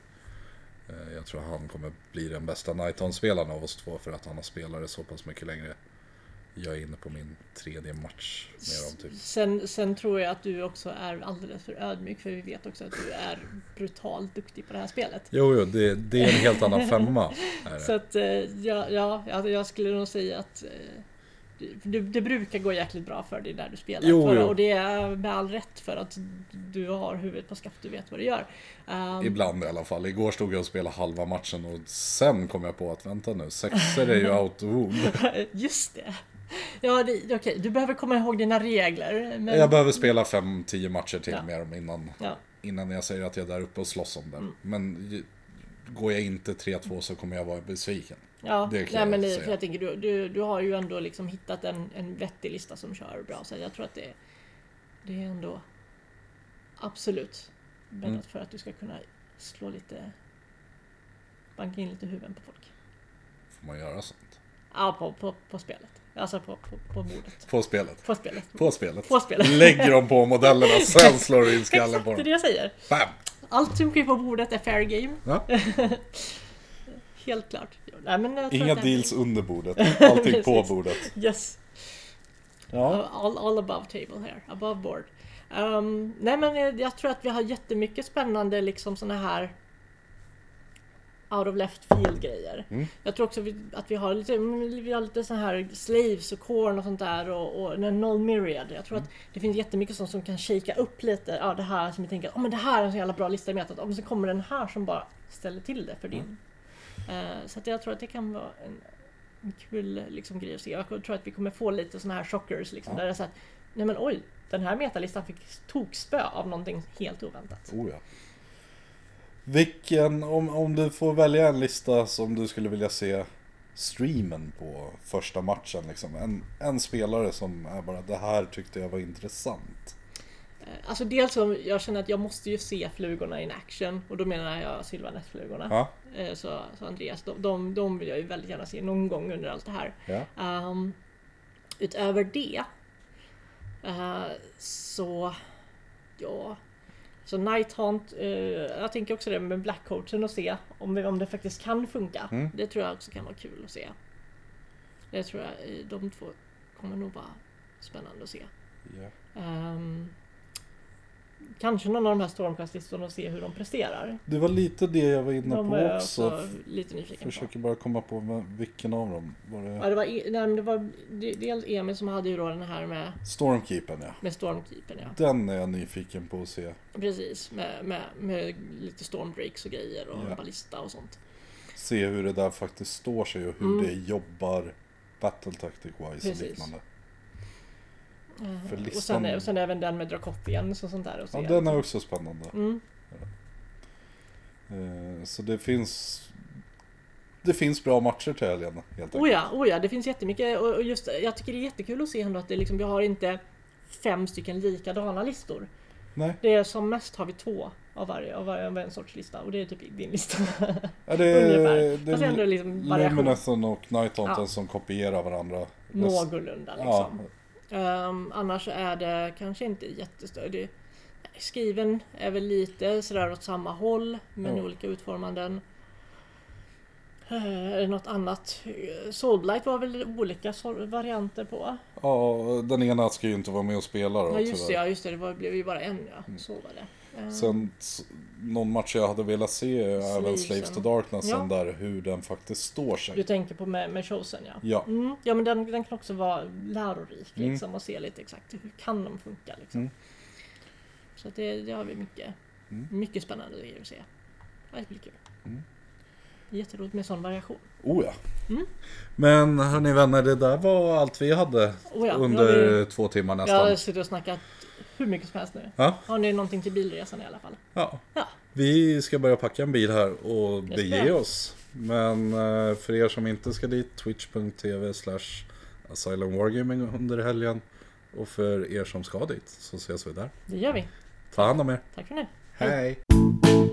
S1: Eh, jag tror han kommer bli den bästa Nighthaunt-spelaren av oss två för att han har spelare så pass mycket längre. Jag är inne på min tredje match med dem typ.
S2: Sen, sen tror jag att du också är alldeles för ödmjuk för vi vet också att du är brutalt duktig på det här spelet.
S1: Jo, jo, det, det är en helt annan femma. Är
S2: Så
S1: det.
S2: att eh, ja, ja, jag- jag skulle nog säga att eh, du- du, det brukar gå jäkligt bra för dig där du spelar.
S1: Jo,
S2: för,
S1: jo.
S2: Och det är med all rätt för att du har huvudet på skaft, du vet vad du gör. Ehm,
S1: Ibland i alla fall. Igår stod jag och spelade halva matchen och sen kom jag på att vänta nu, sexer är ju out-wound.
S2: Just det. Ja, det, okej, du behöver komma ihåg dina regler. Men,
S1: Jag behöver spela 5-10 matcher till
S2: Ja.
S1: med dem innan,
S2: ja, Mm.
S1: innan jag säger att jag är där uppe och slåss om det. Men ju- går jag inte 3-2 så kommer jag vara besviken.
S2: ja,
S1: det kan
S2: nej,
S1: jag
S2: men det,
S1: säga.
S2: för jag tänker, du, du, du har ju ändå liksom hittat en, en vettig lista som kör bra, så jag tror att det, det är ändå absolut bäddat
S1: Mm.
S2: för att du ska kunna slå lite, banka in lite huvuden på folk.
S1: Får man göra sånt?
S2: Ja, på, på, på spelet. Alltså på, på, på bordet.
S1: På spelet.
S2: På spelet.
S1: På spelet.
S2: På spelet.
S1: Lägger dem på modellerna, sen slår du in skallen
S2: Exakt
S1: på
S2: det är det
S1: dem.
S2: jag säger.
S1: Bam!
S2: Allt som sker på bordet är fair game.
S1: Ja.
S2: Helt klart. Nej, men jag tror
S1: Inga
S2: att det-
S1: deals under bordet, allting på
S2: Precis.
S1: bordet.
S2: Yes.
S1: Ja.
S2: All, all above table här, above board. Ehm, nej men jag, jag tror att vi har jättemycket spännande liksom såna här out of left field grejer.
S1: Mm.
S2: Jag tror också vi, att vi har lite, mm, vi har lite så här slaves och corn och sånt där och, och en noll myriad. Jag tror att det finns jättemycket sånt som kan shakea upp lite. Ja, det här som vi tänker, oh, men det här är en så jävla bra lista i metat. Oh, men så kommer den här som bara ställer till det för din. Eh, så att jag tror att det kan vara en, en kul liksom, grej att se. Jag tror att vi kommer få lite såna här chockers liksom,
S1: Ja.
S2: där det är så att, nej men oj, den här metalistan fick tokspö av någonting helt oväntat.
S1: Oh ja. Vilken, om, om du får välja en lista som du skulle vilja se streamen på första matchen liksom. En, en spelare som är bara det här tyckte jag var intressant.
S2: Eh, Alltså dels så jag känner att jag måste ju se flugorna in action och då menar jag Sylvanessflugorna.
S1: Ja,
S2: Eh, Så, så Andreas, de, de, de vill jag ju väldigt gärna se någon gång under allt det här.
S1: ja.
S2: Ehm, utöver det eh, så ja, så Night Hunt, eh, jag tänker också det med Black Coachen och se om, vi- om det faktiskt kan funka.
S1: Mm.
S2: Det tror jag också kan vara kul att se. Det tror jag, eh, de två kommer nog vara spännande att se.
S1: ja.
S2: Ehm, kanske någon av de här Stormcast-listorna och se hur de presterar.
S1: Det var lite det jag var inne
S2: De
S1: på
S2: är alltså jag
S1: också.
S2: också lite nyfiken på.
S1: Försöker bara komma på vem- vilken av dem. Var
S2: Ja,
S1: det
S2: det var, E- nej, men det var det- dels Emil som hade ju då den här med
S1: Stormkeepern ja.
S2: Med stormkeepern ja.
S1: Den är jag nyfiken på att se.
S2: Precis, med, med, med lite stormbreaks och grejer och
S1: Ja.
S2: ballista och sånt.
S1: Se hur det där faktiskt står sig och hur
S2: Mm.
S1: det jobbar battle tactic wise och
S2: Precis.
S1: liknande.
S2: Eh,
S1: För
S2: Och, sen,
S1: listan-
S2: och sen även den med Dracotians och sånt där. Och
S1: Ja,
S2: så
S1: den är också spännande.
S2: mm,
S1: Eh, Så det finns Det finns bra matcher till helgen helt
S2: oh, ja, oh ja, det finns jättemycket och och just jag tycker det är jättekul att se ändå att det liksom, vi har inte fem stycken likadana listor.
S1: Nej,
S2: Det är som mest har vi två av varje, av varje av en sorts lista och det är typ din lista.
S1: ja, det är,
S2: Ungefär.
S1: Eh, det
S2: Fast ändå
S1: är
S2: liksom variation.
S1: Luminathan och Nighthaunten
S2: Ja.
S1: som kopierar varandra. Rest-
S2: Någorlunda liksom.
S1: alltså- ja,
S2: Ehm, annars är det kanske inte jättestörd. Det- Skriven är väl lite sådär åt samma håll men
S1: Ja.
S2: olika utformanden. Eh, Är det något annat? Eh, Soulblight var väl olika sor- varianter på?
S1: ja, den ena ska ju inte vara med och spela då
S2: Ja just det,
S1: tyvärr. Mm.
S2: ja, just det, det var, blev ju bara en ja. Så var det. Ehm,
S1: Sen s- någon match jag hade velat se är även
S2: Sleeves
S1: Slaves to
S2: and-
S1: Darknessen
S2: liksom. Ja.
S1: där hur den faktiskt står
S2: Du
S1: sig.
S2: tänker på med, med Chosen ja.
S1: Ja,
S2: Mm, ja men den, den kan också vara lärorik
S1: Mm.
S2: liksom och se lite exakt hur kan de funka liksom.
S1: Mm.
S2: Så att det, det har vi mycket,
S1: Mm.
S2: mycket spännande grejer att se. Ja, det blir kul.
S1: Mm.
S2: Jätteroligt med sån variation.
S1: oh ja.
S2: Mm.
S1: Men hörni vänner, det där var allt vi hade
S2: Oh ja, nu
S1: under
S2: har
S1: två timmar
S2: Jag har
S1: nästan.
S2: suttit och snackat hur mycket som helst nu.
S1: Ja,
S2: Har ni någonting till bilresan i alla fall?
S1: ja.
S2: Ja.
S1: Vi ska börja packa en bil här och
S2: ska
S1: bege
S2: jag.
S1: oss. Men eh, för er som inte ska dit, twitch.tv slash Asylum Wargaming under helgen. Och för er som ska dit så ses vi där.
S2: Det gör vi.
S1: Ta hand om er.
S2: Tack för nu.
S1: Hej!